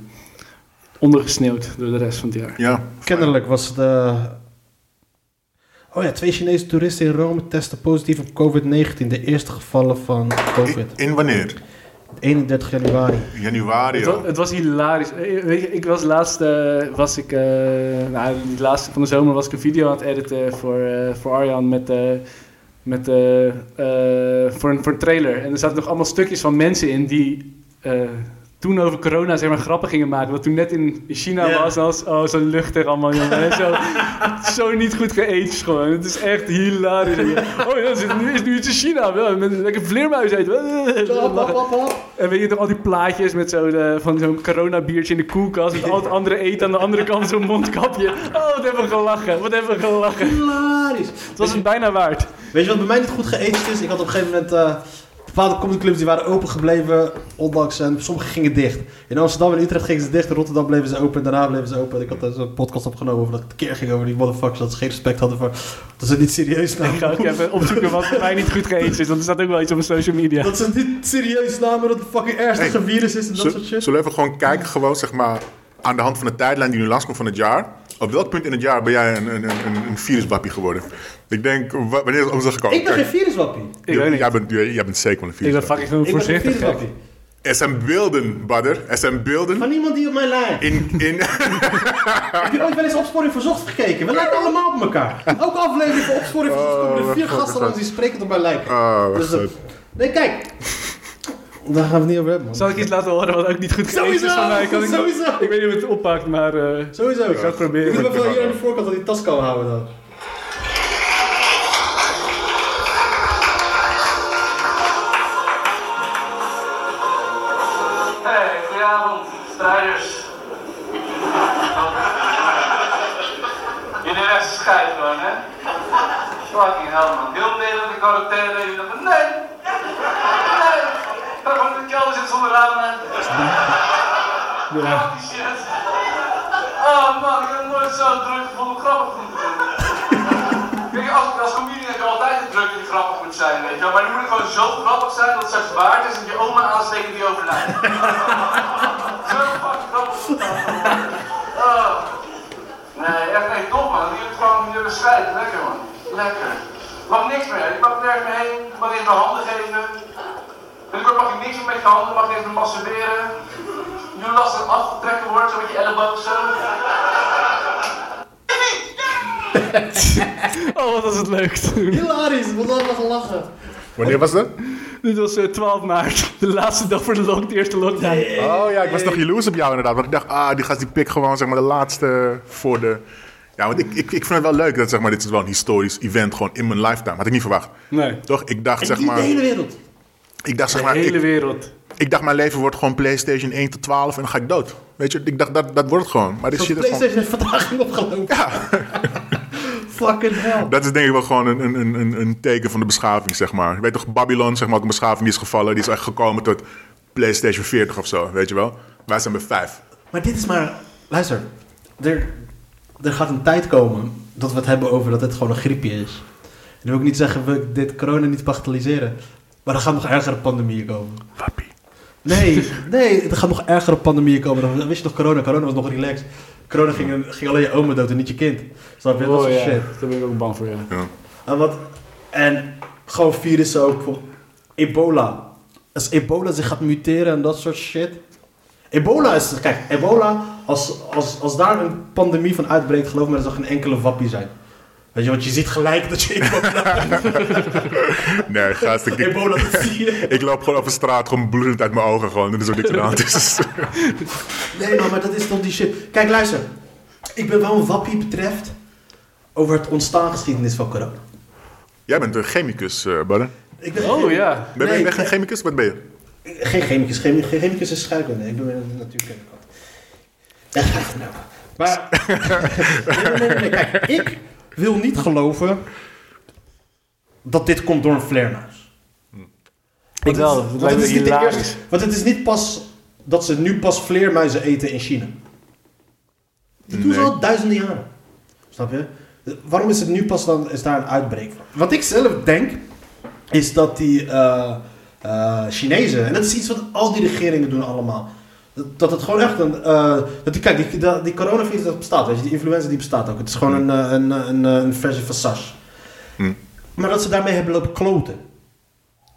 [SPEAKER 4] Ondergesneeuwd door de rest van het jaar.
[SPEAKER 3] Ja.
[SPEAKER 2] Kennelijk was de. Oh ja, twee Chinese toeristen in Rome testen positief op COVID-19. De eerste gevallen van COVID.
[SPEAKER 3] In wanneer?
[SPEAKER 2] 31 januari.
[SPEAKER 3] Januari
[SPEAKER 4] Het was,
[SPEAKER 3] al.
[SPEAKER 4] het was hilarisch. Eh, Weet je, ik was laatst, eh, was ik, eh, nou, die laatste van de zomer was ik een video aan het editen voor, eh, voor Arjan met, eh, met, eh, eh, voor, een, voor een trailer. En er zaten nog allemaal stukjes van mensen in die eh, toen over corona zeg maar grappen gingen maken. Wat toen net in China
[SPEAKER 2] Ja.
[SPEAKER 4] was, als oh, zo luchtig allemaal jongen. En zo, zo niet goed geëtst gewoon. Het is echt hilarisch. Oh ja, er zit nu, is nu iets in China. Wel, met een lekker vleermuis eten. En weet je toch al die plaatjes met zo de, van zo'n coronabiertje in de koelkast. Met al het andere eten aan de andere kant zo'n mondkapje. Oh, wat hebben we gelachen. Wat hebben we gelachen.
[SPEAKER 2] Hilarisch.
[SPEAKER 4] Het was het bijna waard.
[SPEAKER 2] Weet je wat bij mij niet goed geëtst is? Ik had op een gegeven moment eh, bepaalde comedyclubs die waren open gebleven, ondanks en sommige gingen dicht. In Amsterdam en Utrecht gingen ze dicht, in Rotterdam bleven ze open en daarna bleven ze open. En ik had daar zo'n podcast opgenomen over dat het keer ging over die motherfuckers dat ze geen respect hadden voor dat ze niet serieus
[SPEAKER 4] Ik ga
[SPEAKER 2] namen.
[SPEAKER 4] ook even opzoeken wat bij mij niet goed gegeten is. Want er staat ook wel iets op mijn social media.
[SPEAKER 2] Dat ze niet serieus namen dat het fucking ernstige virus is en dat
[SPEAKER 3] Zul-
[SPEAKER 2] soort shit.
[SPEAKER 3] Zullen we even gewoon kijken, gewoon zeg maar, aan de hand van de tijdlijn die nu langskomt van het jaar. Op welk punt in het jaar ben jij een, een, een, een viruswappie geworden? Ik denk, wa- wanneer is het anders gekomen?
[SPEAKER 2] ik ben geen
[SPEAKER 3] Kijk,
[SPEAKER 2] viruswappie.
[SPEAKER 4] Ik weet niet.
[SPEAKER 3] jij, bent, jij, jij bent zeker wel een
[SPEAKER 4] Ik ben
[SPEAKER 3] viruswappie.
[SPEAKER 4] fucking gewoon
[SPEAKER 2] Ik ben geen
[SPEAKER 4] voorzichtig. gek.
[SPEAKER 2] viruswappie.
[SPEAKER 3] Er zijn beelden, Badder. Er zijn beelden
[SPEAKER 2] Van iemand die op mijn lijn.
[SPEAKER 3] in... in
[SPEAKER 2] Heb je ooit wel eens Opsporing Verzocht gekeken? We lijken allemaal op elkaar. Elke aflevering van Opsporing Verzocht komen er vier gasten langs die sprekend op mij lijken.
[SPEAKER 3] Oh, wat
[SPEAKER 2] Dus dat-
[SPEAKER 3] goed.
[SPEAKER 2] nee, kijk. Daar gaan we het niet over hebben, man.
[SPEAKER 4] Zal ik iets laten horen wat ook niet goed gegeten
[SPEAKER 2] Sowieso,
[SPEAKER 4] is van mij? Kan ik,
[SPEAKER 2] sowieso.
[SPEAKER 4] ik weet niet hoe het oppakt, maar eh,
[SPEAKER 2] Sowieso. Ik
[SPEAKER 4] ga het proberen.
[SPEAKER 2] moet hem even hier aan de voorkant aan die tas kan houden dan.
[SPEAKER 5] Hey, goedenavond, strijders. Jullie rechts schijt gewoon, hè? Fucking hell, man. Heel Nederland in quarantaine. Jullie dachten, nee! Nee! Ik ga gewoon in de kelder zitten zonder ramen. Ja. die shit. Oh man, ik heb nooit zo druk gevonden om grappig te doen. Kijk, als, als comedian heb je altijd de druk dat je grappig moet zijn, weet je wel. Maar nu moet het gewoon zo grappig zijn dat het straks waard is dat je oma aansteken die overlijdt. zo fucking grappig. Oh. Nee, echt nee, top man. Jullie hebben gewoon jullie hebben schijt. Lekker man. Lekker. Je mag niks meer. Je mag nergens meer heen. Je mag niet eens mijn handen geven. Binnenkort mag je niks meer met je handen. Je mag niet eens meer masturberen. Je last het afgetrekken wordt, zo met je elleboog zo.
[SPEAKER 4] oh, wat was het leuk toen.
[SPEAKER 2] Hilarisch, wat was we lachen.
[SPEAKER 3] Wanneer was dat?
[SPEAKER 4] Dit was eh, 12 maart, de laatste dag voor de, lock, de eerste lockdown.
[SPEAKER 3] Oh ja, ik was nog jaloers op jou inderdaad. Want ik dacht, ah, die gast die pik gewoon zeg maar de laatste voor de... Ja, want ik, ik, ik vind het wel leuk dat zeg maar, dit is wel een historisch event gewoon in mijn lifetime. Had ik niet verwacht.
[SPEAKER 4] Nee,
[SPEAKER 3] Toch? Ik dacht
[SPEAKER 2] En
[SPEAKER 3] zeg
[SPEAKER 2] die
[SPEAKER 3] maar...
[SPEAKER 2] de hele wereld.
[SPEAKER 3] Ik dacht zeg
[SPEAKER 4] de
[SPEAKER 3] maar...
[SPEAKER 4] hele
[SPEAKER 3] ik-
[SPEAKER 4] wereld.
[SPEAKER 3] Ik dacht, mijn leven wordt gewoon PlayStation 1 tot 12 en dan ga ik dood. Weet je, ik dacht, dat, dat wordt het gewoon. Maar dit
[SPEAKER 2] Zo'n
[SPEAKER 3] shit is gewoon...
[SPEAKER 2] Playstation heeft vertraging opgelopen. Fucking hell.
[SPEAKER 3] Dat is denk ik wel gewoon een, een, een, een teken van de beschaving, zeg maar. Je weet toch, Babylon, zeg maar, ook een beschaving die is gevallen. Die is echt gekomen tot PlayStation 40 of zo, weet je wel. Wij zijn bij 5.
[SPEAKER 2] Maar dit is maar... Luister. Er, er gaat een tijd komen dat we het hebben over dat dit gewoon een griepje is. En dan wil ik niet zeggen, we dit corona niet bagatelliseren. Maar er gaan nog ergere pandemieën komen.
[SPEAKER 3] Wappie.
[SPEAKER 2] Nee, nee, er gaan nog ergere pandemieën komen. Dan wist je nog corona. Corona was nog relaxed. Corona ging, ging alleen je oma dood en niet je kind. Snap je? Dat soort shit.
[SPEAKER 4] Oh, Daar ben ik ook bang voor, ja.
[SPEAKER 3] Ja.
[SPEAKER 2] En, wat, en gewoon virussen ook. Ebola. Als ebola zich gaat muteren en dat soort shit. Ebola is... Kijk, ebola... Als, als, als daar een pandemie van uitbreekt... geloof me, dat zal geen enkele wappie zijn. Weet je, want je ziet gelijk dat je ebola...
[SPEAKER 3] Nee, gast, ik, ik,
[SPEAKER 2] ebola dat zie je.
[SPEAKER 3] ik loop gewoon over straat, gewoon bloedend uit mijn ogen gewoon. Er is ook niks aan de hand. Dus-
[SPEAKER 2] Nee, man, maar dat is toch die shit. Kijk, luister. Ik ben wel een wappie betreft over het ontstaansgeschiedenis van corona.
[SPEAKER 3] Jij bent een chemicus, eh Badden.
[SPEAKER 2] Ik ben
[SPEAKER 4] Oh ja.
[SPEAKER 3] Ben, ben,
[SPEAKER 2] Nee,
[SPEAKER 3] ben je geen
[SPEAKER 2] ik-
[SPEAKER 3] chemicus? Wat ben je?
[SPEAKER 2] Geen chemicus. Chemie, geen chemicus is scheikunde. Ik ben een natuurkundige. Ja, echt nou. Maar... nee, nee, nee, nee. Kijk, ik wil niet geloven dat dit komt door een vleermuis.
[SPEAKER 4] Ik wel.
[SPEAKER 2] Want
[SPEAKER 4] Het lijkt
[SPEAKER 2] is
[SPEAKER 4] me
[SPEAKER 2] niet de
[SPEAKER 4] hilarisch.
[SPEAKER 2] eerste- Want het is niet pas dat ze nu pas vleermuizen eten in China. Dat doen ze
[SPEAKER 3] Nee.
[SPEAKER 2] al duizenden jaren. Snap je? Waarom is het nu pas dan is daar een uitbreek van? Wat ik zelf denk, is dat die eh, eh, Chinezen, en dat is iets wat al die regeringen doen allemaal. Dat, dat het gewoon echt een. eh, dat die, kijk, die, dat- die coronavirus dat bestaat, weet je, die influenza die bestaat ook. Het is gewoon een, eh, een, een, een, een eh, versie van SARS. Maar dat ze daarmee hebben lopen kloten.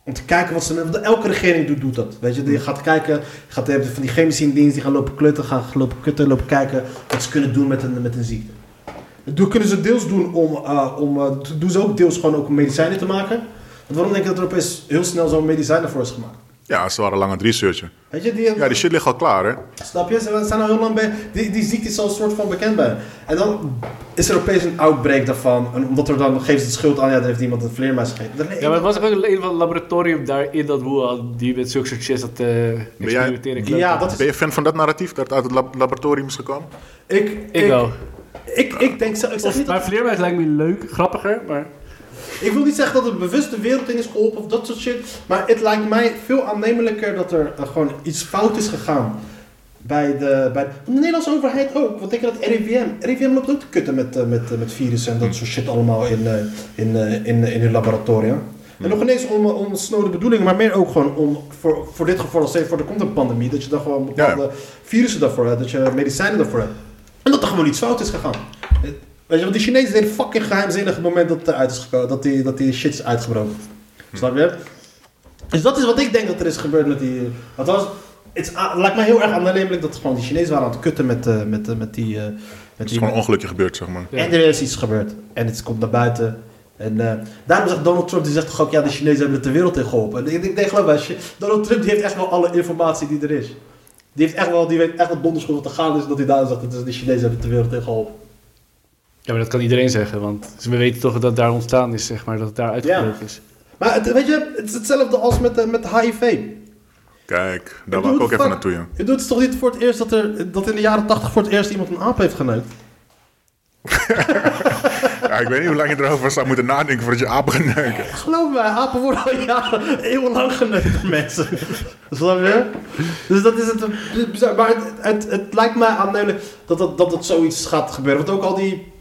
[SPEAKER 2] Om te kijken wat ze... want Elke regering doet, doet dat. Weet je, die gaat kijken... je Gaat, je hebt van die chemische in dienst die gaan lopen klutten, gaan lopen kutten, lopen kijken wat ze kunnen doen met een, met een ziekte. Dat kunnen ze deels doen om... eh, om eh, doen ze ook deels gewoon ook om medicijnen te maken. Want waarom denk je dat er opeens heel snel zo'n medicijn ervoor is gemaakt?
[SPEAKER 3] Ja, ze waren lang aan het researchen.
[SPEAKER 2] Weet je, die,
[SPEAKER 3] Ja, die shit ligt al klaar, hè?
[SPEAKER 2] Snap je? Ze zijn al heel lang bij. Die, die ziekte is al een soort van bekend bij. hen. En dan is er opeens een outbreak daarvan. En omdat er dan geeft ze de schuld aan, ja, daar heeft iemand een vleermuis gegeten. Dat-
[SPEAKER 4] Ja, maar het was er ook een van het laboratorium daar in dat Wuhan die met zulke soort shit dat eh experimenteren klopt.
[SPEAKER 2] Ja, dat is.
[SPEAKER 3] Ben je fan van dat narratief dat uit het lab- laboratorium is gekomen?
[SPEAKER 2] Ik,
[SPEAKER 4] Ik wel.
[SPEAKER 2] Ik, ik denk zo. Ik, zeg
[SPEAKER 4] Of,
[SPEAKER 2] niet
[SPEAKER 4] maar
[SPEAKER 2] dat,
[SPEAKER 4] vleermuis lijkt me leuk, grappiger, maar...
[SPEAKER 2] ik wil niet zeggen dat het bewust de wereld in is geholpen of dat soort shit. Maar het lijkt mij veel aannemelijker dat er eh, gewoon iets fout is gegaan. Bij de, bij de Nederlandse overheid ook. Wat denk je dat RIVM? RIVM loopt ook te kutten met, eh, met, eh, met virussen en dat soort shit allemaal in, eh, in, eh, in, eh, in hun laboratoria. En nog ineens om, eh, om snode bedoelingen, maar meer ook gewoon om voor, voor dit geval, als stel je voor er komt een pandemie, dat je daar gewoon bepaalde virussen daarvoor hebt, dat je medicijnen daarvoor hebt. En dat er gewoon iets fout is gegaan. Eh, Weet je, want die Chinezen deden fucking geheimzinnig het moment dat het eruit is gekomen, dat die, dat die shit is uitgebroken. Snap je? Dus dat is wat ik denk dat er is gebeurd met die. Althans, het is a- lijkt mij heel erg aannemelijk dat gewoon die Chinezen waren aan het kutten met, eh, met, eh, met die. eh, met
[SPEAKER 3] Het is
[SPEAKER 2] die
[SPEAKER 3] gewoon een ongelukje gebeurd, zeg maar.
[SPEAKER 2] en er is iets gebeurd. En het komt naar buiten. En eh, daarom zegt Donald Trump, die zegt toch ook, ja, de Chinezen hebben het de wereld in geholpen. En ik denk, nee, geloof mij, Chi- Donald Trump die heeft echt wel alle informatie die er is. Die, heeft echt wel, die weet echt wat donders goed wat er gaande is, dat hij daar zegt, dat de Chinezen hebben het de wereld in geholpen.
[SPEAKER 4] Ja, maar dat kan iedereen zeggen, want we weten toch dat het daar ontstaan is, zeg maar, dat het daar uitgebroken is.
[SPEAKER 2] Maar het, weet je, het is hetzelfde als met, eh, met HIV.
[SPEAKER 3] Kijk, daar
[SPEAKER 2] Ik
[SPEAKER 3] wou ik
[SPEAKER 2] bedoel,
[SPEAKER 3] ook even
[SPEAKER 2] fuck,
[SPEAKER 3] naartoe, ja.
[SPEAKER 2] Ik bedoel, Het is toch niet voor het eerst dat, er, dat in de jaren 80 voor het eerst iemand een aap heeft geneukt?
[SPEAKER 3] Ja, Ik weet niet hoe lang je erover zou moeten nadenken voordat je apen gaat neuken.
[SPEAKER 2] Geloof mij, apen worden al jaren eeuwenlang geneukt door mensen. Snap je? Dus dat is het eh, bizar. Maar het, het, het lijkt mij aannemelijk dat, dat, dat het zoiets gaat gebeuren. Want ook al die...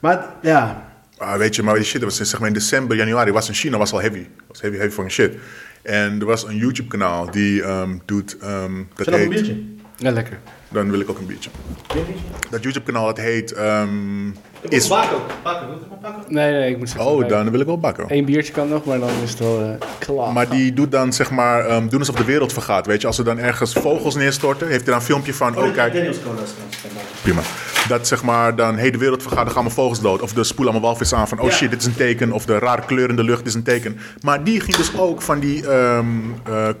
[SPEAKER 2] Maar het- ja...
[SPEAKER 3] Ah, weet je, maar die shit, dat was in, zeg maar in december, januari, was in China, was al heavy. was heavy, heavy fucking shit. En er was een YouTube-kanaal die ehm, doet, ehm, dat
[SPEAKER 2] Vind dat een
[SPEAKER 3] heet...
[SPEAKER 2] biertje?
[SPEAKER 4] Ja, lekker.
[SPEAKER 3] Dan wil ik ook een biertje. Dat YouTube-kanaal, dat heet... ehm, is...
[SPEAKER 2] Bakken. Bakken. Wil je maar bakken?
[SPEAKER 4] Nee, nee, ik moet zeggen...
[SPEAKER 3] Oh, dan wil ik wel bakken.
[SPEAKER 4] Eén biertje kan nog, maar dan is het wel eh, klaar.
[SPEAKER 3] Maar die doet dan, zeg maar, ehm, doen alsof de wereld vergaat. Weet je, als er dan ergens vogels neerstorten, heeft hij dan een filmpje van, oh kijk,
[SPEAKER 2] Daniels cola is
[SPEAKER 3] prima. Dat zeg maar dan, hey, de wereld vergaat, dan gaan we vogels dood. Of de spoelen allemaal walvis aan van, oh
[SPEAKER 2] Ja.
[SPEAKER 3] shit, dit is een teken. Of de raar kleur in de lucht is een teken. Maar die ging dus ook van die eh,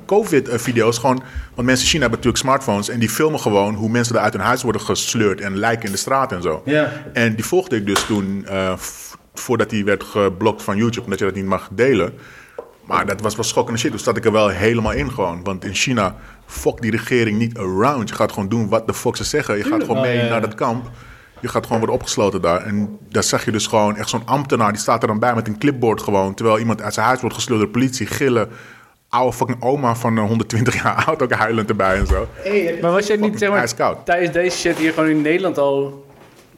[SPEAKER 3] COVID-video's gewoon, want mensen in China hebben natuurlijk smartphones. En die filmen gewoon hoe mensen daar uit hun huis worden gesleurd en lijken in de straat en zo.
[SPEAKER 2] Ja.
[SPEAKER 3] En die volgde ik dus toen, eh, v- voordat die werd geblokt van YouTube, omdat je dat niet mag delen. Maar dat was wel schokkende shit. Dus zat ik er wel helemaal in gewoon. Want in China, fuck die regering niet around. Je gaat gewoon doen wat de fuck ze zeggen. Je gaat gewoon mee naar dat kamp. Je gaat gewoon worden opgesloten daar. En daar zag je dus gewoon echt zo'n ambtenaar. Die staat er dan bij met een clipboard gewoon. Terwijl iemand uit zijn huis wordt gesleurd door de politie. Gillen. Oude fucking oma van eh, 120 jaar oud ook huilend erbij en zo.
[SPEAKER 4] Maar was jij niet, zeg maar,
[SPEAKER 3] ijskoud.
[SPEAKER 4] tijdens deze shit hier gewoon in Nederland al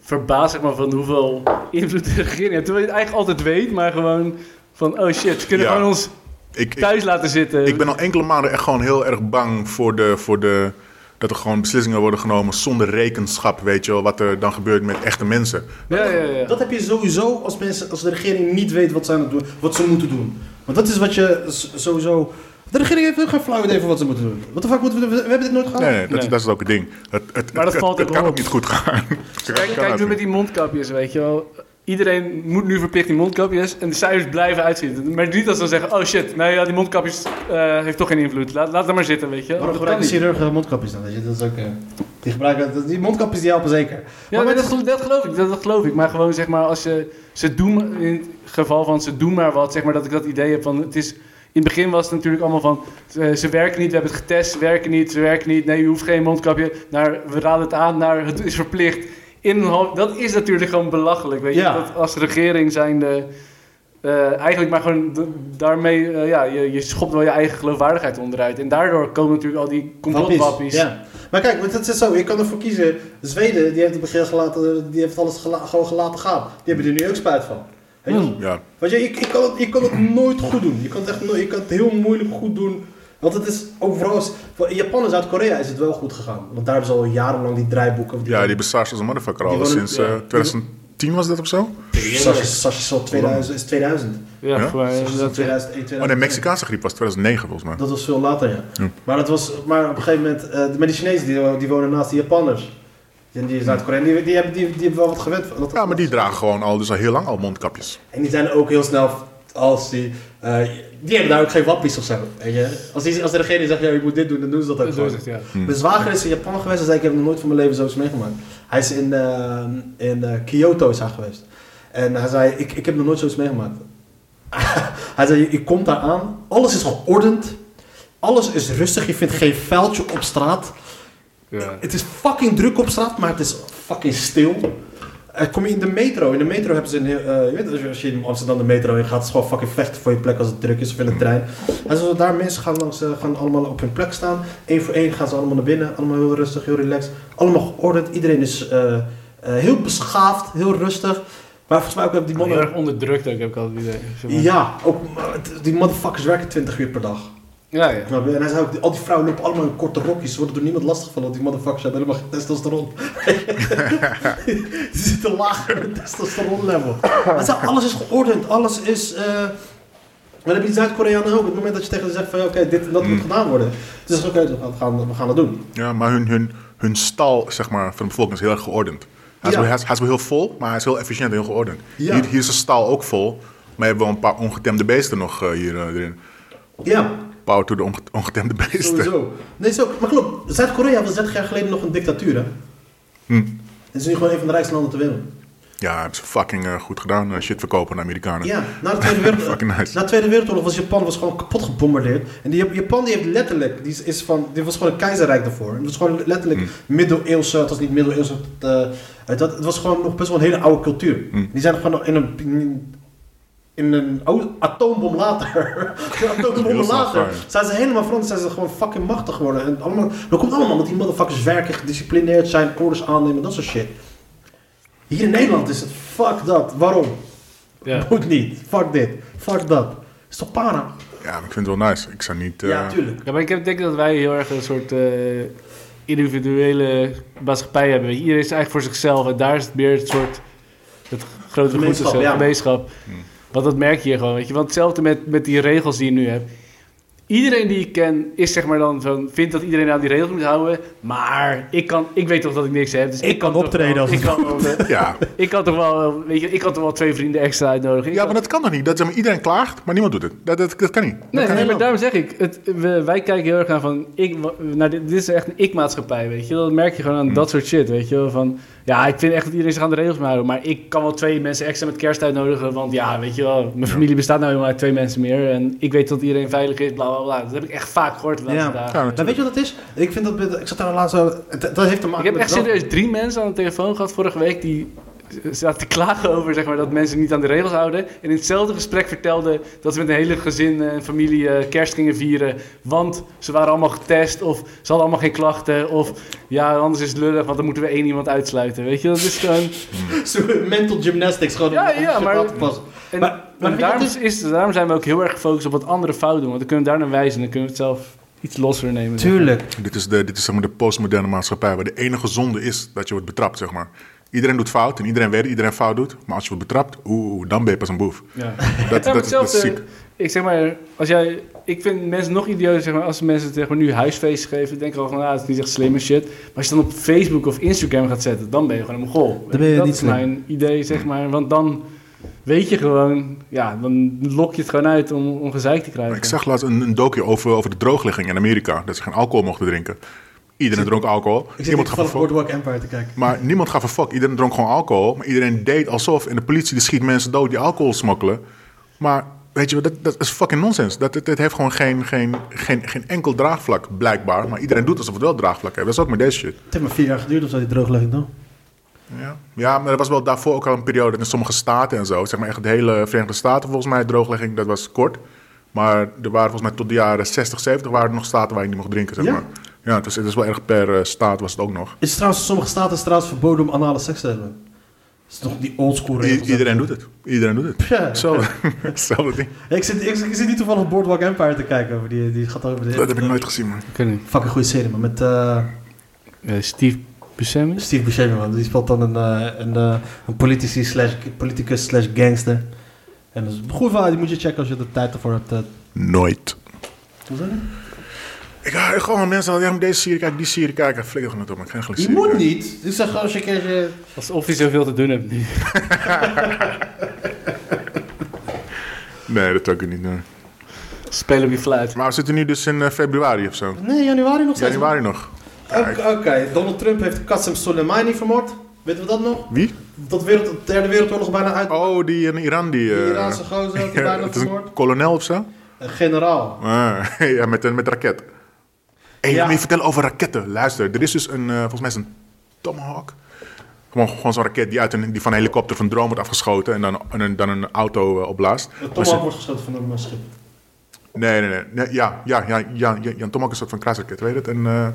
[SPEAKER 4] verbaasd zeg maar, van hoeveel invloed de regering heeft? Terwijl je het eigenlijk altijd weet, maar gewoon van, oh shit, ze kunnen
[SPEAKER 3] Ja.
[SPEAKER 4] gewoon ons
[SPEAKER 3] Ik, ik,
[SPEAKER 4] thuis laten zitten.
[SPEAKER 3] ik ben al enkele maanden echt gewoon heel erg bang voor de... Voor de dat er gewoon beslissingen worden genomen zonder rekenschap, weet je wel, wat er dan gebeurt met echte mensen.
[SPEAKER 4] Ja, ja, ja.
[SPEAKER 2] Dat heb je sowieso als, mensen, als de regering niet weet wat ze, aan het doen, wat ze moeten doen. Want dat is wat je s- sowieso... De regering heeft ook geen flauw idee van wat ze moeten doen. Wat de fuck moeten we doen? We hebben dit nooit gehad.
[SPEAKER 3] Nee, nee, dat,
[SPEAKER 4] Nee.
[SPEAKER 3] dat is ook het ding. Het, het,
[SPEAKER 4] Maar dat
[SPEAKER 3] het-
[SPEAKER 4] valt
[SPEAKER 3] het
[SPEAKER 4] ook
[SPEAKER 3] kan
[SPEAKER 4] wel
[SPEAKER 3] ook
[SPEAKER 4] op. Dus
[SPEAKER 3] niet goed gaan.
[SPEAKER 4] Kijk, kijk nu met die mondkapjes, weet je wel. Iedereen moet nu verplicht die mondkapjes en de cijfers blijven uitzien. Maar niet als ze zeggen, oh shit, nou ja, die mondkapjes eh, heeft toch geen invloed. Laat, laat dat maar zitten, weet je wel.
[SPEAKER 2] Waarom
[SPEAKER 4] Dat kan
[SPEAKER 2] gebruiken
[SPEAKER 4] niet.
[SPEAKER 2] chirurgen mondkapjes dan? Weet je? Dat is ook, eh, die, gebruiken, die mondkapjes die helpen zeker.
[SPEAKER 4] Ja,
[SPEAKER 2] maar
[SPEAKER 4] nee,
[SPEAKER 2] met-
[SPEAKER 4] dat, gel- dat geloof ik, dat, dat geloof ik. Maar gewoon zeg maar, als je, ze doen, in het geval van ze doen maar wat, zeg maar dat ik dat idee heb van, het is, in het begin was het natuurlijk allemaal van, eh, ze werken niet, we hebben het getest, ze werken niet, ze werken niet, nee, je hoeft geen mondkapje, naar, we raden het aan, naar, het is verplicht. In een hoofd- dat is natuurlijk gewoon belachelijk, weet je,
[SPEAKER 2] Ja.
[SPEAKER 4] dat als regering zijnde, eh, eigenlijk maar gewoon d- daarmee, eh, ja, je, je schopt wel je eigen geloofwaardigheid onderuit. En daardoor komen natuurlijk al die
[SPEAKER 2] Wappies,
[SPEAKER 4] complotwappies.
[SPEAKER 2] Ja. Maar kijk, want het is zo, je kan ervoor kiezen. Zweden, die heeft het begin gelaten, die heeft alles gela- gewoon gelaten gaan. Die hebben er nu ook spijt van. Weet je?
[SPEAKER 4] Hmm.
[SPEAKER 3] Ja.
[SPEAKER 2] Weet je, ik, ik, kan het, ik kan het nooit goed doen. Je kan het, echt, nooit- je kan het heel moeilijk goed doen. Want het is overal... is- voor- In Japan en Zuid-Korea is het wel goed gegaan. Want daar hebben ze al jarenlang die draaiboeken.
[SPEAKER 3] ja, die besaars als een motherfucker al
[SPEAKER 2] Die wonen-
[SPEAKER 3] sinds eh,
[SPEAKER 2] ja.
[SPEAKER 3] 2010 2010 was dat of zo?
[SPEAKER 2] Sasha Sasha Sol 2000 is 2000.
[SPEAKER 4] Ja,
[SPEAKER 3] Ja?
[SPEAKER 4] voor mij
[SPEAKER 2] Sasha
[SPEAKER 4] is
[SPEAKER 2] Sol
[SPEAKER 4] dat-
[SPEAKER 2] 2001,
[SPEAKER 3] Oh nee,
[SPEAKER 2] 2002.
[SPEAKER 3] Mexicaanse griep was 2009 volgens mij.
[SPEAKER 2] Dat was veel later, ja.
[SPEAKER 3] Ja.
[SPEAKER 2] Maar, dat was, maar op een gegeven moment, eh maar die Chinezen die, wo- die wonen naast de Japanners. En die Zuid-Korea, die, die, hebben, die, die hebben wel wat gewend. van- dat-
[SPEAKER 3] Ja, maar die dragen gewoon al, dus al heel lang al mondkapjes.
[SPEAKER 2] En die zijn ook heel snel, als die... eh, die hebben daar ook geen wappies of zo. Weet je? Als, die, als de regering zegt, ja, je moet dit doen, dan doen ze dat ook
[SPEAKER 4] dat
[SPEAKER 2] gewoon.
[SPEAKER 4] is het, ja.
[SPEAKER 2] Mijn zwager is in Japan geweest en zei ik heb nog nooit van mijn leven zoiets meegemaakt. Hij is in, eh, in eh, Kyoto is hij geweest. En hij zei, ik, ik heb nog nooit zoiets meegemaakt. hij zei, je komt daar aan, alles is geordend. Alles is rustig, je vindt geen vuiltje op straat.
[SPEAKER 4] ja.
[SPEAKER 2] Het is fucking druk op straat, maar het is fucking stil. Eh, kom je in de metro. In de metro hebben ze een heel... eh, je weet, als je- als je in Amsterdam de metro in gaat, is het gewoon fucking vechten voor je plek als het druk is of in de trein. En zoals daar mensen gaan langs, eh, gaan allemaal op hun plek staan. Eén voor één gaan ze allemaal naar binnen. Allemaal heel rustig, heel relaxed. Allemaal geordend. Iedereen is eh, eh, heel beschaafd, heel rustig. Maar volgens mij ook hebben die
[SPEAKER 4] Heel
[SPEAKER 2] mannen...
[SPEAKER 4] erg onderdrukt ook, heb ik altijd het idee. zeg maar.
[SPEAKER 2] Ja, ook, eh, die motherfuckers werken 20 uur per dag.
[SPEAKER 4] Ja, ja.
[SPEAKER 2] Snap je? En hij zei ook, die- al die vrouwen lopen allemaal in korte rokjes. Ze worden door niemand lastiggevallen, want die motherfuckers hebben helemaal geen testosteron. Ze zitten laag in het testosteron level. Hij zei, alles is geordend, alles is... eh, Maar dan heb je die Zuid-Koreanen ook. Op het moment dat je tegen ze zegt van, ja, oké, dit en dat moet gedaan worden. Dus oké, we, gaan, we gaan dat doen.
[SPEAKER 3] Ja, maar hun, hun, hun stal zeg maar, van de bevolking is heel erg geordend. Hij is,
[SPEAKER 2] Ja.
[SPEAKER 3] wel, hij, is, hij is wel heel vol, maar hij is heel efficiënt en heel geordend.
[SPEAKER 2] Ja.
[SPEAKER 3] Hier, hier is de stal ook vol, maar je hebt wel een paar ongetemde beesten nog eh, hier eh, erin.
[SPEAKER 2] Ja,
[SPEAKER 3] Power to de onge- ongetemde beesten.
[SPEAKER 2] Sowieso. Nee, zo. Maar klopt, Zuid-Korea was 30 jaar geleden nog een dictatuur, hè? Het is nu gewoon een van de rijkste landen ter wereld.
[SPEAKER 3] Ja, hebben ze fucking eh, goed gedaan. eh, shit verkopen aan Amerikanen.
[SPEAKER 2] Ja, na de Tweede, Wereld-
[SPEAKER 3] Fucking nice.
[SPEAKER 2] na de Tweede Wereldoorlog was Japan was gewoon kapot gebombardeerd. En die, Japan die heeft letterlijk, die is, is van, dit was gewoon een keizerrijk daarvoor. En Het was gewoon letterlijk middeleeuwse, het was niet middeleeuwse, het, eh, het, had- het was gewoon nog best wel een hele oude cultuur. Die zijn gewoon in een, in een oude atoombom later, een atoombom
[SPEAKER 3] Heel snel
[SPEAKER 2] later,
[SPEAKER 3] gaan.
[SPEAKER 2] zijn ze helemaal veranderd, zijn ze gewoon fucking machtig geworden. En allemaal, dat komt allemaal omdat die motherfuckers werken, gedisciplineerd zijn, orders aannemen, dat soort shit. Hier in Nederland is het fuck dat. Waarom?
[SPEAKER 4] ja.
[SPEAKER 2] Moet niet. Fuck dit. Fuck dat. Is toch para?
[SPEAKER 3] Ja, maar ik vind het wel nice. Ik zou niet... eh,
[SPEAKER 2] Ja, tuurlijk.
[SPEAKER 4] Ja, maar ik heb denk dat wij heel erg een soort eh, individuele maatschappij hebben. Iedereen is eigenlijk voor zichzelf en daar is het meer het soort het grote goed of
[SPEAKER 2] Gemeenschap,
[SPEAKER 4] zo,
[SPEAKER 2] ja.
[SPEAKER 4] gemeenschap.
[SPEAKER 2] Hm.
[SPEAKER 4] Want dat merk je hier gewoon, weet je. Want hetzelfde met, met die regels die je nu hebt. Iedereen die ik ken is zeg maar dan van, vindt dat iedereen aan die regels moet houden. Maar ik, kan, ik weet toch dat ik niks heb. Dus ik,
[SPEAKER 2] kan
[SPEAKER 4] toch
[SPEAKER 2] optreden
[SPEAKER 4] wel-
[SPEAKER 2] als
[SPEAKER 4] ik
[SPEAKER 2] het
[SPEAKER 4] kan, wel-
[SPEAKER 3] Ja.
[SPEAKER 4] ik kan toch wel, eh, weet je, ik kan toch wel twee vrienden extra uitnodigen. Ik
[SPEAKER 3] ja,
[SPEAKER 4] kan-
[SPEAKER 3] maar dat kan toch niet? Dat, zeg maar, iedereen klaagt, maar niemand doet het. Dat, dat, dat kan niet. Dat
[SPEAKER 4] Nee,
[SPEAKER 3] kan
[SPEAKER 4] nee,
[SPEAKER 3] niet
[SPEAKER 4] maar daarom
[SPEAKER 3] lopen.
[SPEAKER 4] zeg ik, het, we, wij kijken heel erg aan van, ik, wa- nou, dit, dit is echt een ik-maatschappij, weet je wel. Dat merk je gewoon aan dat soort shit, weet je wel. Van, ja, ik vind echt dat iedereen zich aan de regels moet houden, maar ik kan wel twee mensen extra met kerst uitnodigen, want ja, weet je wel, mijn familie bestaat nou helemaal uit twee mensen meer en ik weet dat iedereen veilig is, bla bla bla. Dat heb ik echt vaak gehoord de laatste
[SPEAKER 2] Ja.
[SPEAKER 4] dagen.
[SPEAKER 3] Ja,
[SPEAKER 2] Maar weet je wat het is? Ik vind dat... met- Ik zat daar laatst... over- het- Dat heeft te maken
[SPEAKER 4] Ik heb
[SPEAKER 2] met...
[SPEAKER 4] echt
[SPEAKER 2] zelf-
[SPEAKER 4] serieus drie mensen aan de telefoon gehad vorige week die zaten te klagen over zeg maar, dat mensen niet aan de regels houden. En in hetzelfde gesprek vertelden dat ze met een hele gezin en familie eh, kerst gingen vieren. Want ze waren allemaal getest of ze hadden allemaal geen klachten. Of ja, anders is het lullig, want dan moeten we één iemand uitsluiten. Weet je, dat is gewoon...
[SPEAKER 2] Zo'n mental gymnastics gewoon.
[SPEAKER 4] Ja,
[SPEAKER 2] om- om
[SPEAKER 4] ja,
[SPEAKER 2] shit
[SPEAKER 4] maar-
[SPEAKER 2] aan te passen.
[SPEAKER 4] En,
[SPEAKER 2] Maar-
[SPEAKER 4] en
[SPEAKER 2] maar weet je dus-
[SPEAKER 4] daarom,
[SPEAKER 2] wat
[SPEAKER 4] is, daarom zijn we ook heel erg gefocust op wat anderen fout doen. Want dan kunnen we daar naar wijzen en dan kunnen we het zelf iets losser nemen.
[SPEAKER 2] Tuurlijk.
[SPEAKER 3] Dit is, de, dit is zeg maar de postmoderne maatschappij waar de enige zonde is dat je wordt betrapt, zeg maar. Iedereen doet fout en iedereen weet dat iedereen fout doet. Maar als je wordt betrapt, oeh, dan ben je pas een boef.
[SPEAKER 4] Ja.
[SPEAKER 3] Dat,
[SPEAKER 4] Ja, maar
[SPEAKER 3] dat, dat is
[SPEAKER 4] hetzelfde,
[SPEAKER 2] eh,
[SPEAKER 3] ziek.
[SPEAKER 4] ik zeg maar, als jij, ik vind mensen nog idioot, zeg maar, als mensen zeg maar, nu huisfeesten geven, denken al van, ah, het is niet echt slim en shit. Maar als je dan op Facebook of Instagram gaat zetten, dan ben je gewoon een mogol.
[SPEAKER 2] Dan ben je
[SPEAKER 4] dat
[SPEAKER 2] niet
[SPEAKER 4] is
[SPEAKER 2] slim.
[SPEAKER 4] mijn idee, zeg maar, want dan weet je gewoon, ja, dan lok je het gewoon uit om, om gezeik te krijgen.
[SPEAKER 3] Ik zag laatst een, een docu over, over de drooglegging in Amerika. Dat ze geen alcohol mochten drinken. Iedereen dronk alcohol.
[SPEAKER 2] Ik zit
[SPEAKER 3] Niemand
[SPEAKER 2] hier
[SPEAKER 3] gaf een
[SPEAKER 2] van
[SPEAKER 3] fuck.
[SPEAKER 2] Boardwalk Empire te kijken.
[SPEAKER 3] Maar niemand gaf een fuck. Iedereen dronk gewoon alcohol. Maar iedereen deed alsof. En de politie die schiet mensen dood die alcohol smokkelen. Maar weet je, wat, dat, dat is fucking nonsens. Dat, dat, dat heeft gewoon geen, geen, geen, geen enkel draagvlak, blijkbaar. Maar iedereen doet alsof het wel draagvlak heeft. Dat is ook met deze shit.
[SPEAKER 2] Het heeft maar vier jaar geduurd of zo, die drooglegging dan.
[SPEAKER 3] Ja. ja, maar er was wel daarvoor ook al een periode dat in sommige staten en zo. Zeg maar echt de hele Verenigde Staten volgens mij, drooglegging, dat was kort. Maar er waren volgens mij tot de jaren 60, 70 waren er nog staten waar je niet mocht drinken, zeg
[SPEAKER 2] Ja?
[SPEAKER 3] maar. Ja, het is, het is wel erg per eh, staat was het ook nog.
[SPEAKER 2] Is het trouwens, in sommige staten is het trouwens verboden om anale seks te hebben. Dat is toch die oldschool
[SPEAKER 3] I-
[SPEAKER 2] regels.
[SPEAKER 3] iedereen doet het. Iedereen doet het.
[SPEAKER 2] Ja.
[SPEAKER 3] Zo, hetzelfde ding.
[SPEAKER 2] Ik zit, ik, ik zit niet toevallig Boardwalk Empire te kijken. maar Die, die gaat over de...
[SPEAKER 3] Dat heb ik nooit gezien, man.
[SPEAKER 4] Kunnen.
[SPEAKER 2] Fucking goede serie, man. Met... eh,
[SPEAKER 4] Steve Buscemi?
[SPEAKER 2] Steve Buscemi, man. Die speelt dan een, eh, een, eh, een politici slash, politicus slash gangster. En dat is een goed verhaal. Die moet je checken als je er tijd ervoor hebt. eh.
[SPEAKER 3] Nooit.
[SPEAKER 2] Hoe zeg je?
[SPEAKER 3] Ik hou gewoon van mensen, ja, moet deze serie kijken, die serie kijken. Flikker gewoon op, maar ik ga geen
[SPEAKER 2] Je
[SPEAKER 3] serie
[SPEAKER 2] moet
[SPEAKER 3] kijken.
[SPEAKER 2] niet. Ik zeg gewoon als je een eh, keertje...
[SPEAKER 4] Alsof je zoveel te doen hebt nu.
[SPEAKER 3] Nee, dat ook niet. nee.
[SPEAKER 4] Spelen op je fluit.
[SPEAKER 3] Maar we zitten nu dus in eh, februari of zo.
[SPEAKER 2] Nee, januari nog steeds.
[SPEAKER 3] Januari nog.
[SPEAKER 2] Oké, oké. Donald Trump heeft Qasem Soleimani vermoord. Weten we dat nog?
[SPEAKER 3] Wie?
[SPEAKER 2] Dat wereld, de derde wereldoorlog bijna uit.
[SPEAKER 3] Oh, die in Iran, die...
[SPEAKER 2] Die
[SPEAKER 3] eh,
[SPEAKER 2] Iraanse gozer, die
[SPEAKER 3] ja,
[SPEAKER 2] bijna
[SPEAKER 3] het is
[SPEAKER 2] vermoord.
[SPEAKER 3] een kolonel of zo?
[SPEAKER 2] Een generaal.
[SPEAKER 3] Ah, ja, met, een- met raket. Hé,
[SPEAKER 2] Ja.
[SPEAKER 3] hey, laat me je vertellen over raketten. Luister, er is dus een, eh, volgens mij is het een Tomahawk. Gewoon, gewoon zo'n raket die, uit een, die van een helikopter van een drone wordt afgeschoten en dan, en een- dan een auto eh, opblaast. Maar
[SPEAKER 2] Tomahawk
[SPEAKER 3] ze-
[SPEAKER 2] wordt geschoten van een schip.
[SPEAKER 3] Nee, nee, nee. nee ja, ja, ja, ja, ja, ja, een Tomahawk is een soort van kruisraket, weet je het? En, eh,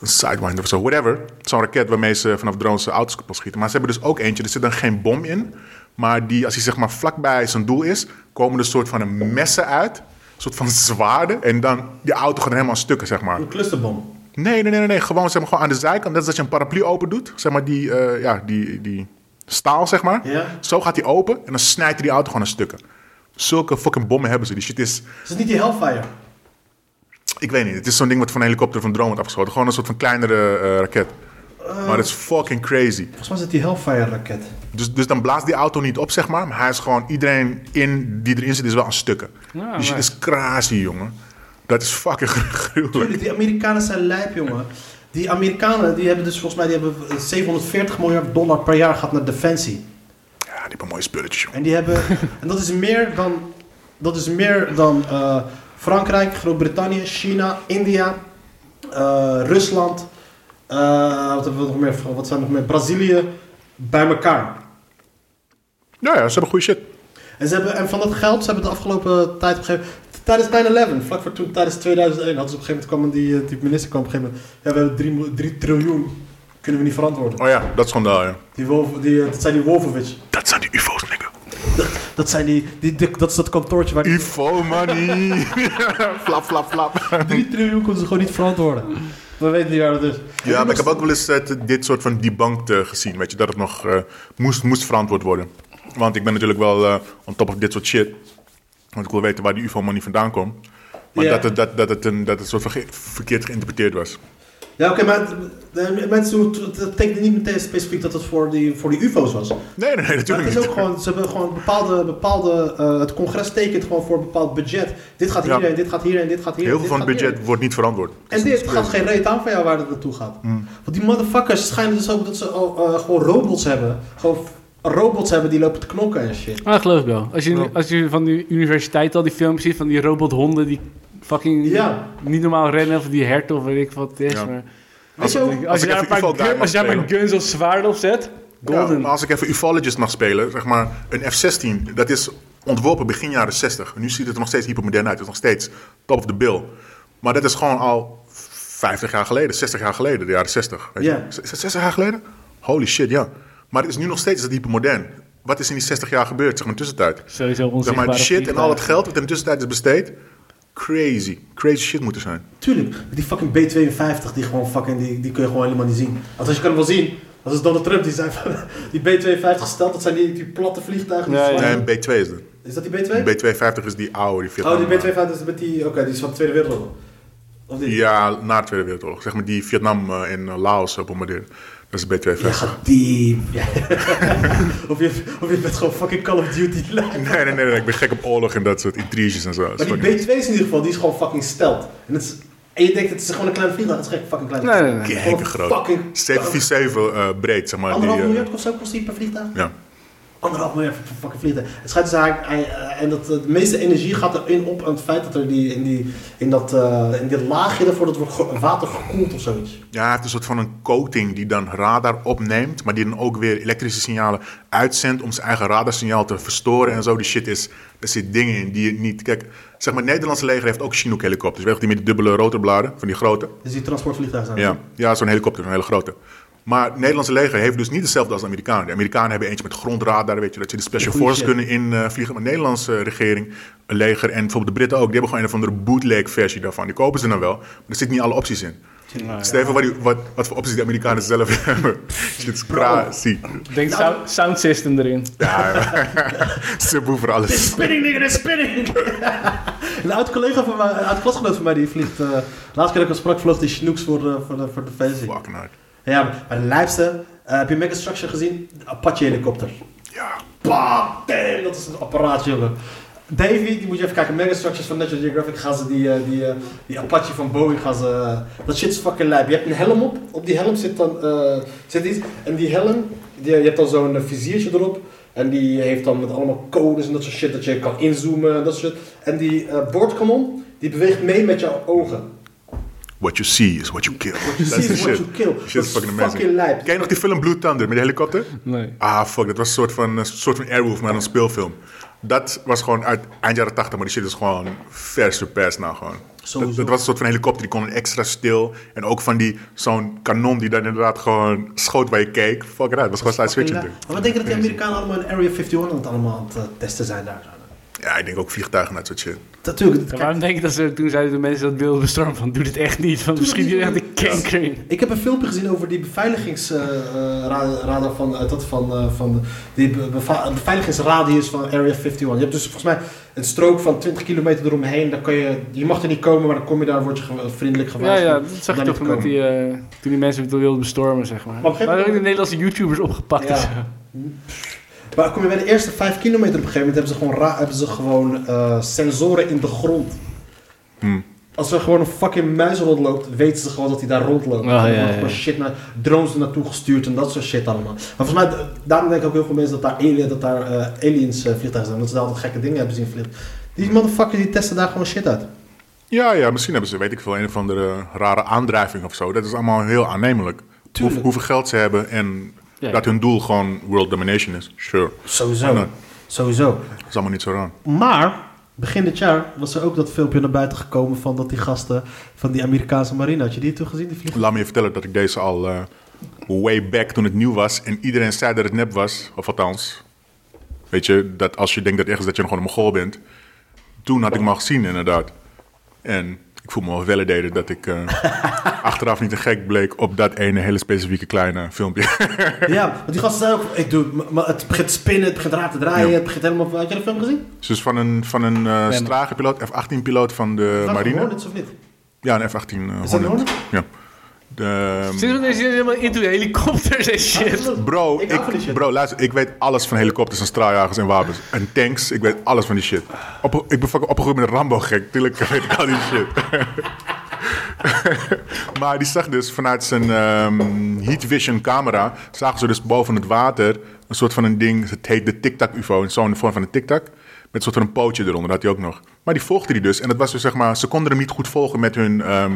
[SPEAKER 3] een Sidewinder of zo, whatever. Zo'n raket waarmee ze vanaf drones eh, auto's kapot schieten. Maar ze hebben dus ook eentje, er zit dan geen bom in. Maar die, als hij zeg maar vlakbij zijn doel is, komen er een soort van een messen uit. Een soort van zwaarden. En dan, die auto gaat helemaal aan stukken, zeg maar.
[SPEAKER 2] Een clusterbom.
[SPEAKER 3] Nee, nee, nee, nee, nee. Gewoon, zeg maar, gewoon aan de zijkant. Net als dat je een paraplu open doet. Zeg maar die, eh, ja, die, die staal, zeg maar.
[SPEAKER 2] Ja.
[SPEAKER 3] Zo gaat die open en dan snijdt hij die auto gewoon aan stukken. Zulke fucking bommen hebben ze. Die shit is...
[SPEAKER 2] Is het niet die Hellfire?
[SPEAKER 3] Ik weet niet. Het is zo'n ding wat van een helikopter van een drone wordt afgeschoten. Gewoon een soort van kleinere eh, raket. maar dat is fucking crazy.
[SPEAKER 2] Volgens mij is het die Hellfire-raket.
[SPEAKER 3] Dus, dus dan blaast die auto niet op, zeg maar. Maar hij is gewoon... Iedereen in, die erin zit is wel aan stukken.
[SPEAKER 4] Ja,
[SPEAKER 3] die shit
[SPEAKER 4] maar-
[SPEAKER 3] is crazy, jongen. Dat is fucking gruwelijk.
[SPEAKER 2] Jullie, die Amerikanen zijn lijp, jongen. Die Amerikanen, die hebben dus volgens mij die hebben 740 miljard dollar per jaar gehad naar defensie.
[SPEAKER 3] Ja, die hebben mooie spulletjes, jongen.
[SPEAKER 2] En die hebben, en dat is meer dan, dat is meer dan eh, Frankrijk, Groot-Brittannië, China, India, eh, Rusland, eh, wat hebben we nog meer, wat zijn er nog meer, Brazilië, bij elkaar.
[SPEAKER 3] Ja, Nou ja, ze hebben goede shit.
[SPEAKER 2] En, ze hebben, en van dat geld, ze hebben de afgelopen tijd op een gegeven Tijdens 9-11, vlak voor toen, tijdens 2001, hadden ze op een gegeven moment, kwam die, eh, die minister kwam op een gegeven moment, ja, we hebben 3, mo- 3 triljoen, kunnen we niet verantwoorden.
[SPEAKER 3] Oh ja, dat is gewoon daar, ja.
[SPEAKER 2] Die Wolf, die, eh, dat zijn die Wolfowitz.
[SPEAKER 3] Dat zijn die UFO's, nigga.
[SPEAKER 2] Dat zijn die, die, die- dat is dat kantoortje waar die
[SPEAKER 3] UFO money. flap, flap, flap.
[SPEAKER 2] 3 triljoen konden ze gewoon niet verantwoorden. We weten niet waar dat is.
[SPEAKER 3] Ja, maar ik heb ook wel eens eh, dit soort van debunked eh, gezien. Weet je, dat het nog eh, moest, moest verantwoord worden. Want ik ben natuurlijk wel eh on top of dit soort shit. Want ik wil weten waar die UFO money vandaan komt. Maar
[SPEAKER 2] Ja.
[SPEAKER 3] dat, het, dat, dat, het een, dat het soort van ge- verkeerd geïnterpreteerd was.
[SPEAKER 2] Ja, oké, maar het- de mensen doen het- het betekent niet meteen specifiek dat het voor die, voor die UFO's was.
[SPEAKER 3] Nee, nee, nee,
[SPEAKER 2] Maar
[SPEAKER 3] natuurlijk
[SPEAKER 2] het is
[SPEAKER 3] niet.
[SPEAKER 2] ook gewoon, ze hebben gewoon bepaalde, bepaalde eh, het congres tekent gewoon voor een bepaald budget. Dit gaat
[SPEAKER 3] Ja.
[SPEAKER 2] hierheen, dit gaat hierheen, dit gaat hierheen.
[SPEAKER 3] Heel veel
[SPEAKER 2] dit
[SPEAKER 3] van het
[SPEAKER 2] gaat
[SPEAKER 3] budget
[SPEAKER 2] hierheen.
[SPEAKER 3] wordt Mm. niet verantwoord.
[SPEAKER 2] En dit gaat geen reet aan van jou waar het naartoe gaat. Want die motherfuckers schijnen dus ook dat ze al, eh, gewoon robots hebben. Gewoon robots hebben die lopen te knokken en shit.
[SPEAKER 4] Ah, geloof ik wel. Als je, als je van die universiteit al die films ziet van die robothonden die fucking
[SPEAKER 2] Ja.
[SPEAKER 4] niet normaal rennen of die herten of weet ik wat het is.
[SPEAKER 3] Ja.
[SPEAKER 4] Maar
[SPEAKER 2] Weet je ook?
[SPEAKER 4] als,
[SPEAKER 3] als
[SPEAKER 4] je
[SPEAKER 3] ik
[SPEAKER 4] daar
[SPEAKER 3] even
[SPEAKER 4] een
[SPEAKER 3] Ivo
[SPEAKER 4] paar,
[SPEAKER 3] Duin
[SPEAKER 4] gun-
[SPEAKER 3] mag
[SPEAKER 4] als je daar een paar guns of zwaarden op zet, golden.
[SPEAKER 3] Ja, maar als ik even ufologist mag spelen, zeg maar, een F-16, dat is ontworpen begin jaren 60. En nu ziet het er nog steeds hypermodern uit. Het is nog steeds top of the bill. Maar dat is gewoon al 50 jaar geleden, 60 jaar geleden, de jaren 60. Weet je?
[SPEAKER 2] Ja.
[SPEAKER 3] Z- Is het 60 jaar geleden? Holy shit, ja. Maar het is nu nog steeds is het hypermodern. Wat is in die 60 jaar gebeurd, zeg maar, in de tussentijd?
[SPEAKER 4] Sowieso
[SPEAKER 3] Zeg maar,
[SPEAKER 4] onzichtbare
[SPEAKER 3] die shit en al het
[SPEAKER 4] vliegtuigen.
[SPEAKER 3] geld wat in de tussentijd is besteed. Crazy. Crazy shit moeten zijn.
[SPEAKER 2] Tuurlijk, die fucking B52, die gewoon fucking, die, die kun je gewoon helemaal niet zien. Althans, je kan hem wel zien. Dat is Donald Trump die zei van, die B52 stelt, dat zijn die, die platte vliegtuigen. Die
[SPEAKER 4] Ja,
[SPEAKER 2] zwaaien.
[SPEAKER 3] Nee, B2 is dat.
[SPEAKER 2] Is dat die B2?
[SPEAKER 3] B250 is die oude, die
[SPEAKER 2] oh,
[SPEAKER 3] Vietnam.
[SPEAKER 2] die B52 is met die, oké, die is van de Tweede Wereldoorlog. Of die?
[SPEAKER 3] Ja, na de Tweede Wereldoorlog. Zeg maar die Vietnam eh, en eh, Laos eh, bombardeerden. Dat is B250.
[SPEAKER 2] Ja, gaat diep. Ja. of, je, of je bent gewoon fucking Call of Duty. lijp.
[SPEAKER 3] Nee, nee, nee, nee, Ik ben gek op oorlog en dat soort intriges en zo. Dat is
[SPEAKER 2] Maar die
[SPEAKER 3] fucking-
[SPEAKER 2] B2 is in ieder geval, die is gewoon fucking stelt. En, het is, en je denkt, het is gewoon een klein vliegtuig. Het is geen fucking klein
[SPEAKER 4] Nee, nee,
[SPEAKER 2] vliegtuig.
[SPEAKER 4] nee.
[SPEAKER 2] Gewoon
[SPEAKER 3] Gekke
[SPEAKER 2] een
[SPEAKER 3] groot.
[SPEAKER 2] Fucking
[SPEAKER 3] 747 eh, breed, zeg maar.
[SPEAKER 2] Anderhalf
[SPEAKER 3] die, eh,
[SPEAKER 2] miljard of zo kost die per vliegtuig?
[SPEAKER 3] Ja.
[SPEAKER 2] anderhalf miljard voor fucking vliegtuigen. Het schijnt dus eigenlijk- hij- eh, en dat eh, de meeste energie gaat erin op aan het feit dat er die, in, die, in, dat, eh, in dit laagje ervoor dat wordt ge- water gekoeld of zoiets.
[SPEAKER 3] ja, hij heeft een soort van een coating die dan radar opneemt, maar die dan ook weer elektrische signalen uitzendt om zijn eigen radarsignaal te verstoren en zo. Die shit is, er zit dingen in die je niet... Kijk, zeg maar, het Nederlandse leger heeft ook Chinook-helikopters. Weet je, die met die dubbele rotorbladen, van die grote.
[SPEAKER 2] Dus die transportvliegtuigen zijn.
[SPEAKER 3] Ja, ja zo'n helikopter, een hele grote. Maar het Nederlandse leger heeft dus niet hetzelfde als de Amerikanen. De Amerikanen hebben eentje met grondradar, weet je, dat ze de special
[SPEAKER 2] Goeie
[SPEAKER 3] forces
[SPEAKER 2] shit.
[SPEAKER 3] kunnen invliegen. Maar de Nederlandse regering, leger en bijvoorbeeld de Britten ook, die hebben gewoon een of andere bootleg versie daarvan. Die kopen ze dan wel, maar er zitten niet alle opties in. Stel even wat, die- wat, wat voor opties die Amerikanen zelf hebben. Shit is crazy.
[SPEAKER 4] Denk sound, sound system erin.
[SPEAKER 3] Ze boeven voor alles.
[SPEAKER 2] Spinning, nigga, dat is spinning! een oud collega van mij, een oud klasgenoot van mij, die vliegt. eh laatst keer dat ik hem sprak, vloog die Chinooks voor, eh, voor, de, voor de fancy.
[SPEAKER 3] Fucking hard.
[SPEAKER 2] Ja, maar, maar de lijpste. eh, heb je Mega Structure gezien? De Apache-helikopter.
[SPEAKER 3] Ja.
[SPEAKER 2] Bam, bam, dat is een apparaat, jongen. Davy, die moet je even kijken. Mega Structures van National Geographic gaan ze die, eh, die, eh, die Apache van Bowie gaan ze... eh, dat shit is fucking lijp. Je hebt een helm op. Op die helm zit dan eh, zit iets. En die helm, die, je hebt dan zo'n eh, viziertje erop. En die heeft dan met allemaal codes en dat soort shit. Dat je kan inzoomen en dat soort shit. En die eh, boordkanon, die beweegt mee met jouw ogen.
[SPEAKER 3] What you see is what you kill. Dat
[SPEAKER 2] see
[SPEAKER 3] is de
[SPEAKER 2] is what
[SPEAKER 3] shit.
[SPEAKER 2] you kill.
[SPEAKER 3] Shit
[SPEAKER 2] Dat
[SPEAKER 3] is
[SPEAKER 2] is
[SPEAKER 3] fucking amazing.
[SPEAKER 2] fucking lijp.
[SPEAKER 3] Ken je nog die film Blue Thunder met de helikopter?
[SPEAKER 4] Nee.
[SPEAKER 3] Ah, fuck. Dat was een soort van, een soort van Airwolf, maar een speelfilm. Dat was gewoon uit eind jaren 80, maar die shit is gewoon ver surpassed nou gewoon. Dat,
[SPEAKER 2] Sowieso.
[SPEAKER 3] dat was een soort van helikopter, die kon extra stil. En ook van die, zo'n kanon die dan inderdaad gewoon schoot bij je keek. Fuck it, dat was gewoon science fiction.
[SPEAKER 2] Maar
[SPEAKER 3] dude.
[SPEAKER 2] wat denk je dat die Amerikanen allemaal in Area 51 aan het allemaal aan het eh, testen zijn daar?
[SPEAKER 3] Ja, ik denk ook vliegtuigen en dat soort shit.
[SPEAKER 2] Natuurlijk.
[SPEAKER 4] Ja, waarom denk ik dat ze toen zeiden de mensen dat beeld bestormd van doe dit echt niet, want misschien
[SPEAKER 2] niet,
[SPEAKER 4] hier echt
[SPEAKER 2] doe
[SPEAKER 4] een kanker in.
[SPEAKER 2] Ik heb een filmpje gezien over die beveiligingsradar van, eh, dat van, eh, van die be- beva- beveiligingsradius van Area 51. Je hebt dus volgens mij een strook van 20 kilometer eromheen. Dan kan je, je mag er niet komen, maar dan kom je daar, word je ge- vriendelijk
[SPEAKER 4] Ja,
[SPEAKER 2] gewaarschuwd.
[SPEAKER 4] ja, dat zag je
[SPEAKER 2] Dan
[SPEAKER 4] toch
[SPEAKER 2] niet
[SPEAKER 4] met
[SPEAKER 2] komen.
[SPEAKER 4] die, eh, toen die mensen het wilden bestormen, zeg maar.
[SPEAKER 2] Maar op een
[SPEAKER 4] Maar
[SPEAKER 2] gegeven
[SPEAKER 4] ook de
[SPEAKER 2] moment-
[SPEAKER 4] Nederlandse YouTubers opgepakt
[SPEAKER 2] Ja.
[SPEAKER 4] en zo.
[SPEAKER 2] Maar kom je bij de eerste 5 kilometer op een gegeven moment hebben ze gewoon, ra- hebben ze gewoon eh, sensoren in de grond. Als er gewoon een fucking muis rondloopt, weten ze gewoon dat hij daar rondloopt.
[SPEAKER 4] Oh, ja,
[SPEAKER 2] er wordt
[SPEAKER 4] ja,
[SPEAKER 2] gewoon
[SPEAKER 4] ja.
[SPEAKER 2] shit naar drones er naartoe gestuurd en dat soort shit allemaal. Maar volgens mij, d- daarom denken ook heel veel mensen dat daar, alien, dat daar eh, aliens eh, vliegtuigen zijn. Dat ze daar altijd gekke dingen hebben zien vliegen. Die motherfuckers die testen daar gewoon shit uit.
[SPEAKER 3] Ja, ja, misschien hebben ze, weet ik veel, een of andere rare aandrijving of zo. Dat is allemaal heel aannemelijk. Hoe,
[SPEAKER 2] Tuurlijk.
[SPEAKER 3] hoeveel geld ze hebben en
[SPEAKER 4] Ja.
[SPEAKER 3] dat hun doel gewoon world domination is. Sure. Why
[SPEAKER 2] Sowieso.
[SPEAKER 3] not?
[SPEAKER 2] Sowieso.
[SPEAKER 3] Dat is allemaal niet zo raar.
[SPEAKER 2] Maar, begin dit jaar was er ook dat filmpje naar buiten gekomen van dat die gasten van die Amerikaanse marine. Had je die toen gezien, die vliegtuigen?
[SPEAKER 3] Laat me je vertellen dat ik deze al eh, way back toen het nieuw was. En iedereen zei dat het nep was. Of althans, weet je, dat als je denkt dat ergens dat je gewoon een Mongool bent. Toen had ik hem al gezien inderdaad. En ik voel me wel validated dat ik eh, achteraf niet een gek bleek op dat ene hele specifieke kleine filmpje.
[SPEAKER 2] Ja, want die gasten zijn ook, ik doe, maar- maar het begint te spinnen, het begint raar te draaien,
[SPEAKER 3] Ja.
[SPEAKER 2] het begint helemaal, had je de film gezien?
[SPEAKER 3] Dus van een, van een eh Strage-piloot, F-18-piloot van de
[SPEAKER 2] Van
[SPEAKER 3] marine.
[SPEAKER 2] Hornets of niet?
[SPEAKER 3] Ja, een F-18. eh,
[SPEAKER 2] Is dat een
[SPEAKER 3] Hornet.
[SPEAKER 2] Hornet?
[SPEAKER 3] Ja. De, ehm,
[SPEAKER 4] Sinds wanneer zitten ze helemaal into de helikopters en shit?
[SPEAKER 3] bro,
[SPEAKER 2] Ik hou van die
[SPEAKER 3] ik,
[SPEAKER 2] shit.
[SPEAKER 3] bro, luister, ik weet alles van helikopters en straaljagers en wapens. En tanks, ik weet alles van die shit. Op, ik ben fucking opgegroeid met een Rambo-gek, tuurlijk weet ik al die shit. maar die zag dus vanuit zijn ehm, heat vision camera, zagen ze dus boven het water een soort van een ding, het heet de tic-tac-ufo, in zo'n vorm van een tic-tac. Met een soort van een pootje eronder, had hij ook nog. Maar die volgde die dus. En dat was dus zeg maar, ze konden hem niet goed volgen met hun ehm,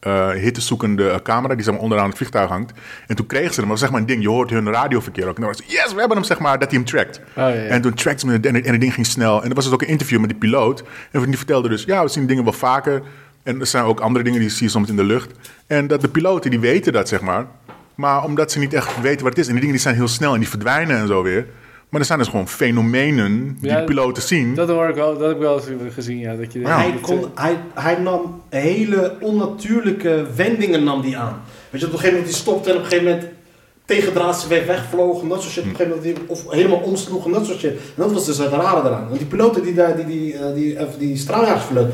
[SPEAKER 3] eh, hittezoekende eh, camera die zeg maar, onderaan het vliegtuig hangt. En toen kregen ze hem, maar zeg maar een ding, je hoort hun radioverkeer ook. En dan was het, yes, we hebben hem, zeg maar, dat hij hem trackt.
[SPEAKER 4] Oh, ja.
[SPEAKER 3] En toen trackte ze hem en, en het ding ging snel. En er was dus ook een interview met die piloot. En die vertelde dus, ja, we zien dingen wel vaker. En er zijn ook andere dingen die zie je soms in de lucht. En dat de piloten, die weten dat, zeg maar. Maar omdat ze niet echt weten wat het is. En die dingen die zijn heel snel en die verdwijnen en zo weer. Maar er zijn dus gewoon fenomenen die
[SPEAKER 4] Ja,
[SPEAKER 3] de piloten zien.
[SPEAKER 4] Dat hoor ik wel, dat heb ik wel eens gezien, ja. Dat je
[SPEAKER 3] Ja.
[SPEAKER 2] Hij,
[SPEAKER 4] dat,
[SPEAKER 2] kon, hij, hij nam hele onnatuurlijke wendingen nam die aan. Weet je, op een gegeven moment die stopte en op een gegeven moment tegendraadse weg wegvloog en dat soort shit. Op een gegeven moment die, of helemaal omsloeg en dat soort shit. En dat was dus het rare eraan. Want die piloten die daar, die, die, eh, die, eh, die straaljagers vlogen,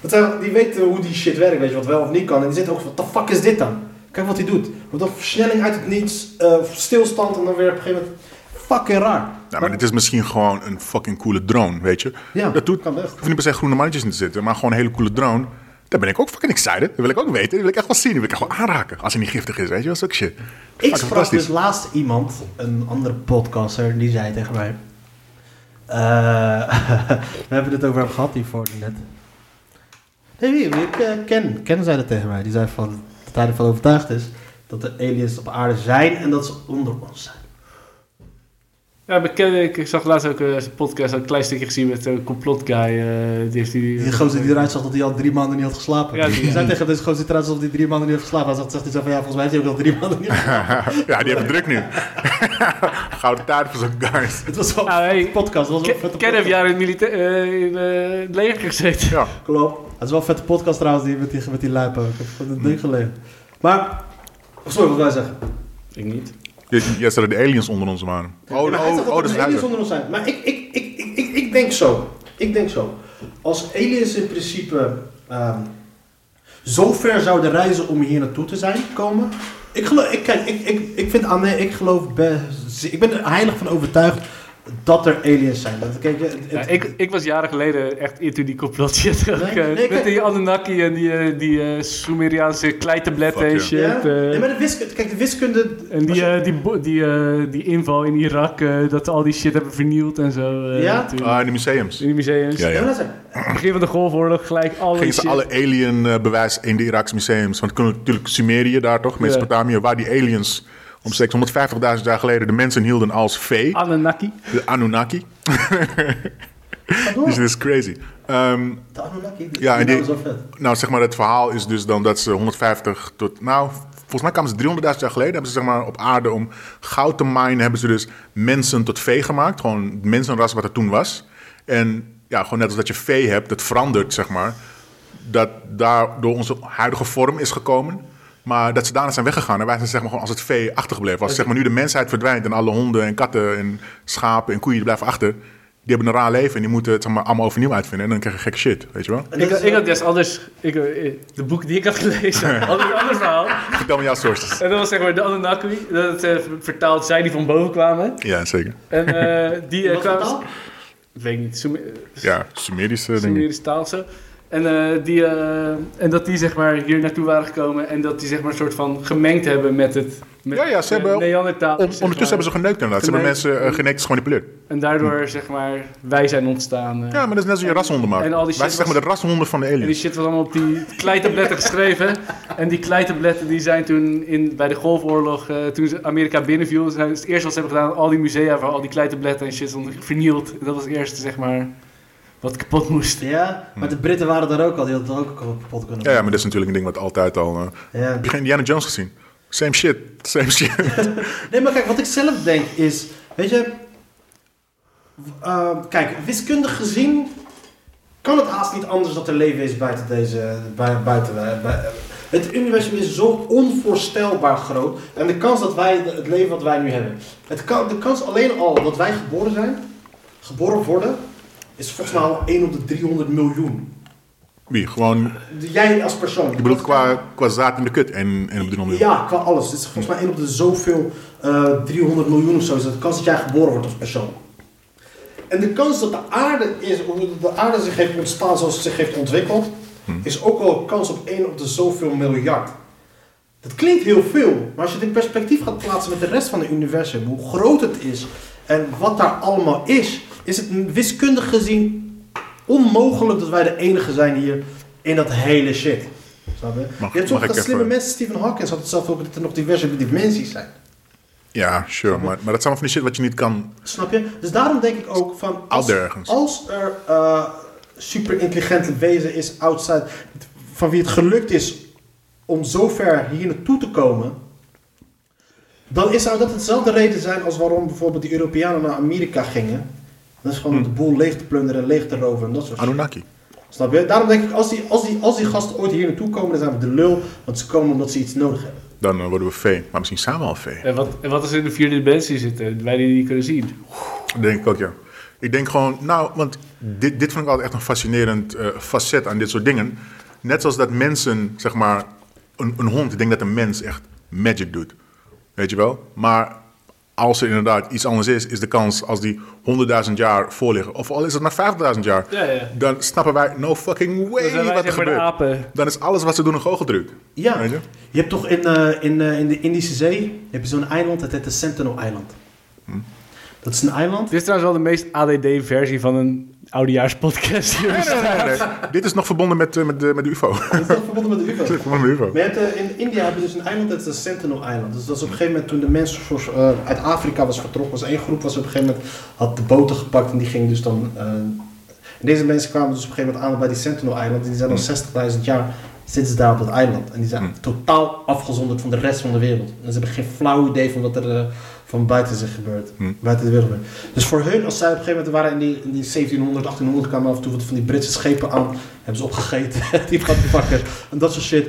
[SPEAKER 2] dat zijn- die weten hoe die shit werkt, weet je, wat wel of niet kan. En die zitten ook van, what the fuck is dit dan? Kijk wat hij doet. Wat een versnelling uit het niets, eh, stilstand en dan weer op een gegeven moment, fucking raar.
[SPEAKER 3] Nou, maar dit is misschien gewoon een fucking coole drone, weet je?
[SPEAKER 2] Ja,
[SPEAKER 3] dat doet,
[SPEAKER 2] kan echt.
[SPEAKER 3] hoeft niet per se groene mannetjes in te zitten, maar gewoon een hele coole drone. Daar ben ik ook fucking excited. Dat wil ik ook weten. Dat wil ik echt wel zien. Dat wil ik echt wel aanraken. Als hij niet giftig is, weet je? Dat is ook shit.
[SPEAKER 2] Ik
[SPEAKER 3] Fucking
[SPEAKER 2] sprak
[SPEAKER 3] fantastisch.
[SPEAKER 2] dus laatst iemand, een andere podcaster, die zei tegen mij... eh, we hebben het over hem gehad hiervoor net. Nee, wie? wie ik, eh, Ken. Ken zei dat tegen mij. Die zei van, dat hij ervan overtuigd is dat de aliens op aarde zijn en dat ze onder ons zijn.
[SPEAKER 4] Ja, bekende, ik, ik zag laatst ook eh, zijn podcast, had een klein stukje gezien met een complotguy. eh, die heeft die...
[SPEAKER 2] Die gozer die eruit zag dat hij al drie maanden niet had geslapen.
[SPEAKER 4] Ja, die-
[SPEAKER 2] die zei tegen deze gozer die eruit zag dat hij drie maanden niet had geslapen. Hij zegt, zegt hij zo van, ja, volgens mij heeft hij ook al drie maanden niet geslapen.
[SPEAKER 3] ja, die hebben het druk nu. Gouden taart voor zo'n guys.
[SPEAKER 2] Het was wel
[SPEAKER 4] Ah, hey.
[SPEAKER 2] een podcast. Het was wel een
[SPEAKER 4] Ken-
[SPEAKER 2] vette
[SPEAKER 4] Ken heeft
[SPEAKER 2] podcast.
[SPEAKER 4] jaren in, milita- eh, in eh, het leger gezeten.
[SPEAKER 3] Ja,
[SPEAKER 2] Klopt. Dat is wel een vette podcast trouwens, die met die, met die lijpen ook. Ik heb gewoon een
[SPEAKER 4] Mm.
[SPEAKER 2] ding geleerd. Maar, Oh, sorry, wat wij zeggen.
[SPEAKER 4] Ik niet.
[SPEAKER 3] J- Jij zei dat de aliens onder ons waren. Oh,
[SPEAKER 2] Ja, maar hij
[SPEAKER 3] oh,
[SPEAKER 2] zegt
[SPEAKER 3] oh, dat is
[SPEAKER 2] er
[SPEAKER 3] een
[SPEAKER 2] aliens
[SPEAKER 3] huizen.
[SPEAKER 2] onder ons zijn. Maar ik, ik, ik, ik, ik, ik denk zo. Ik denk zo. Als aliens in principe ehm, zo ver zouden reizen om hier naartoe te zijn komen. Ik geloof, ik, kijk, ik, ik, ik vind aan, ik geloof best, ik ben er heilig van overtuigd dat er aliens zijn. Dat, kijk, het-
[SPEAKER 4] Ja, ik, ik was jaren geleden echt into die complotshit.
[SPEAKER 2] Nee, nee,
[SPEAKER 4] Met
[SPEAKER 2] kijk.
[SPEAKER 4] die Anunnaki en die, eh, die eh, Sumeriaanse kleitabletten
[SPEAKER 3] Fuck,
[SPEAKER 4] en
[SPEAKER 3] ja.
[SPEAKER 4] shit.
[SPEAKER 2] ja?
[SPEAKER 4] eh.
[SPEAKER 2] Nee, maar de wiskunde, kijk, de wiskunde.
[SPEAKER 4] en die,
[SPEAKER 2] als je-
[SPEAKER 4] eh, die, bo- die, eh, die inval in Irak, eh, dat ze al die shit hebben vernield en zo. eh,
[SPEAKER 2] Ja?
[SPEAKER 4] toen.
[SPEAKER 3] Ah, in de museums.
[SPEAKER 4] In die museums.
[SPEAKER 3] Ja,
[SPEAKER 2] Ja, maar
[SPEAKER 3] ja.
[SPEAKER 2] dat zijn-
[SPEAKER 4] Begin van de Golfoorlog, gelijk alle
[SPEAKER 3] Gingen
[SPEAKER 4] shit.
[SPEAKER 3] ze alle alien eh, bewijs in de Iraakse museums? Want kunnen natuurlijk Sumerië daar toch, Mesopotamië, waar die aliens om 650.000 jaar geleden de mensen hielden als vee,
[SPEAKER 4] Anunnaki.
[SPEAKER 3] de Anunnaki.
[SPEAKER 2] Ga door.
[SPEAKER 3] Dus dit is crazy. Ehm,
[SPEAKER 2] De Anunnaki, die-
[SPEAKER 3] Ja, en
[SPEAKER 2] die
[SPEAKER 3] die,
[SPEAKER 2] naam is wel vet.
[SPEAKER 3] nou zeg maar, het verhaal is dus dan dat ze 150 tot, nou, volgens mij kwamen ze 300.000 jaar geleden, hebben ze zeg maar op aarde om goud te minen, hebben ze dus mensen tot vee gemaakt, gewoon het mensenras wat er toen was. En ja, gewoon net als dat je vee hebt, dat verandert zeg maar, dat daardoor onze huidige vorm is gekomen. Maar dat ze daarna zijn weggegaan en wij zijn zeg maar gewoon als het vee achtergebleven. Als zeg maar nu de mensheid verdwijnt en alle honden en katten en schapen en koeien die blijven achter. Die hebben een raar leven en die moeten het zeg maar, allemaal overnieuw uitvinden. En dan krijg je gekke shit, weet je wel?
[SPEAKER 2] En
[SPEAKER 4] Ik,
[SPEAKER 2] dat is, eh,
[SPEAKER 4] ik had des anders, ik, eh, de boek die ik had gelezen, had een ander verhaal.
[SPEAKER 3] Vertel me jouw sources.
[SPEAKER 4] En dat was zeg maar de Anunnaki, dat eh, vertaald zij die van boven kwamen.
[SPEAKER 3] Ja, zeker.
[SPEAKER 4] En eh, die eh,
[SPEAKER 2] Wat voor
[SPEAKER 4] kwamen...
[SPEAKER 2] taal?
[SPEAKER 4] Ik weet niet, Sumer-
[SPEAKER 3] Ja, Sumerische dingen.
[SPEAKER 4] Sumerische taal zo. En, eh, die, eh, en dat die zeg maar hier naartoe waren gekomen en dat die zeg maar een soort van gemengd hebben met het met
[SPEAKER 3] Ja, ja, ze hebben-
[SPEAKER 4] Neandertaal.
[SPEAKER 3] On- ondertussen hebben ze geneukt inderdaad. Ze hebben
[SPEAKER 4] Geneukt.
[SPEAKER 3] mensen eh, genetisch gemanipuleerd.
[SPEAKER 4] En daardoor zeg maar wij zijn ontstaan. eh.
[SPEAKER 3] Ja, maar dat is net als je rashonden maakt.
[SPEAKER 4] en al die
[SPEAKER 3] Wij
[SPEAKER 4] shit
[SPEAKER 3] zijn zeg maar de rashonden van de
[SPEAKER 4] En die
[SPEAKER 3] aliens.
[SPEAKER 4] shit was allemaal op die kleitabletten geschreven. En die kleitabletten die zijn toen in, bij de Golfoorlog, eh, toen ze Amerika binnenviel, zijn het eerste wat ze hebben gedaan, al die musea waar al die kleitabletten en shit stonden vernield. Dat was het eerste zeg maar wat kapot moest.
[SPEAKER 2] Ja, maar de Britten waren daar ook al, die hadden het ook kapot kunnen
[SPEAKER 3] Ja, ja, maar dat is natuurlijk een ding wat altijd al... eh,
[SPEAKER 2] Ja.
[SPEAKER 3] Heb je geen Indiana Jones gezien? Same shit, same shit.
[SPEAKER 2] Nee, maar kijk, wat ik zelf denk is, weet je, w- ehm, kijk, wiskundig gezien kan het haast niet anders dat er leven is buiten deze, bui- buiten, wij- bui- het universum is zo onvoorstelbaar groot en de kans dat wij het leven wat wij nu hebben, het kan, de kans alleen al dat wij geboren zijn, geboren worden, is volgens mij al 1 op de 300 miljoen.
[SPEAKER 3] Wie? Gewoon,
[SPEAKER 2] Jij als persoon.
[SPEAKER 3] je bedoelt qua, qua zaad in de kut en, en op de non
[SPEAKER 2] Ja, qua alles. Het is volgens mij één op de zoveel eh, 300 miljoen of zo. Is dat de kans dat jij geboren wordt als persoon. En de kans dat de aarde, is, hoe de aarde zich heeft ontstaan zoals het zich heeft ontwikkeld, is ook al een kans op één op de zoveel miljard. Dat klinkt heel veel, maar als je het in perspectief gaat plaatsen met de rest van het universum, hoe groot het is en wat daar allemaal is, is het wiskundig gezien onmogelijk dat wij de enige zijn hier in dat hele shit. Snap je?
[SPEAKER 3] Mag-
[SPEAKER 2] je hebt
[SPEAKER 3] mag ik
[SPEAKER 2] sommige
[SPEAKER 3] even-
[SPEAKER 2] slimme mensen, Stephen Hawking had het zelf ook, dat er nog diverse dimensies zijn.
[SPEAKER 3] Ja, sure. Maar, maar dat zijn allemaal van die shit wat je niet kan...
[SPEAKER 2] Snap je? Dus daarom denk ik ook van. Als,
[SPEAKER 3] Out there ergens.
[SPEAKER 2] als er eh super intelligente wezen is outside. van wie het gelukt is om zo ver hier naartoe te komen. dan is, zou dat hetzelfde reden zijn als waarom bijvoorbeeld die Europeanen naar Amerika gingen. Dat is gewoon om de boel leeg te plunderen, leeg te roven en dat soort shit.
[SPEAKER 3] Anunnaki.
[SPEAKER 2] Snap je? Daarom denk ik, als die, als, die, als die gasten ooit hier naartoe komen, dan zijn we de lul. Want ze komen omdat ze iets nodig hebben.
[SPEAKER 3] Dan eh, worden we vee. Maar misschien samen al vee.
[SPEAKER 4] En wat, en wat als er in de vierde dimensie zitten, wij die niet kunnen zien?
[SPEAKER 3] Dat denk ik ook, ja. Ik denk gewoon, nou, want dit, dit vond ik altijd echt een fascinerend eh, facet aan dit soort dingen. Net zoals dat mensen, zeg maar, een, een hond, ik denk dat een mens echt magic doet. Weet je wel? Maar als er inderdaad iets anders is, is de kans als die 100.000 jaar voor liggen, of al is het maar 50.000 jaar,
[SPEAKER 4] Ja, ja.
[SPEAKER 3] dan snappen wij no fucking way
[SPEAKER 4] Dan zijn wij
[SPEAKER 3] wat er
[SPEAKER 4] zeg maar de
[SPEAKER 3] gebeurt.
[SPEAKER 4] apen.
[SPEAKER 3] Dan is alles wat ze doen een goocheldruk.
[SPEAKER 2] Ja,
[SPEAKER 3] Weet je?
[SPEAKER 2] je? hebt toch in, eh, in, eh, in de Indische Zee heb je zo'n eiland, dat heet de Sentinel-eiland.
[SPEAKER 3] Hm.
[SPEAKER 2] Dat is een eiland.
[SPEAKER 4] Dit is trouwens wel de meest ADD-versie van een oudejaarspodcast. jongens.
[SPEAKER 3] Nee, nee, nee. Dit is nog verbonden met, eh, met, de, met de UFO.
[SPEAKER 2] Dat is toch verbonden met de UFO.
[SPEAKER 3] verbonden met de UFO.
[SPEAKER 2] Maar je hebt, eh, in India heb je dus een eiland, dat is de Sentinel-eiland. Dus dat is op een gegeven moment toen de mensen voor- eh, uit Afrika was vertrokken, was één groep was op een gegeven moment, had de boten gepakt en die ging dus dan... eh, en deze mensen kwamen dus op een gegeven moment aan bij die Sentinel-eiland en die zijn al 60.000 jaar zitten ze daar op dat eiland. En die zijn totaal afgezonderd van de rest van de wereld. En ze hebben geen flauw idee van wat er eh, van buiten zich gebeurt. Buiten de wereld gebeurt. Dus voor hun, als zij op een gegeven moment waren in die, in die 1700, 1800, kwamen af en toe wat van die Britse schepen aan. Hebben ze opgegeten, die pakken en dat soort shit.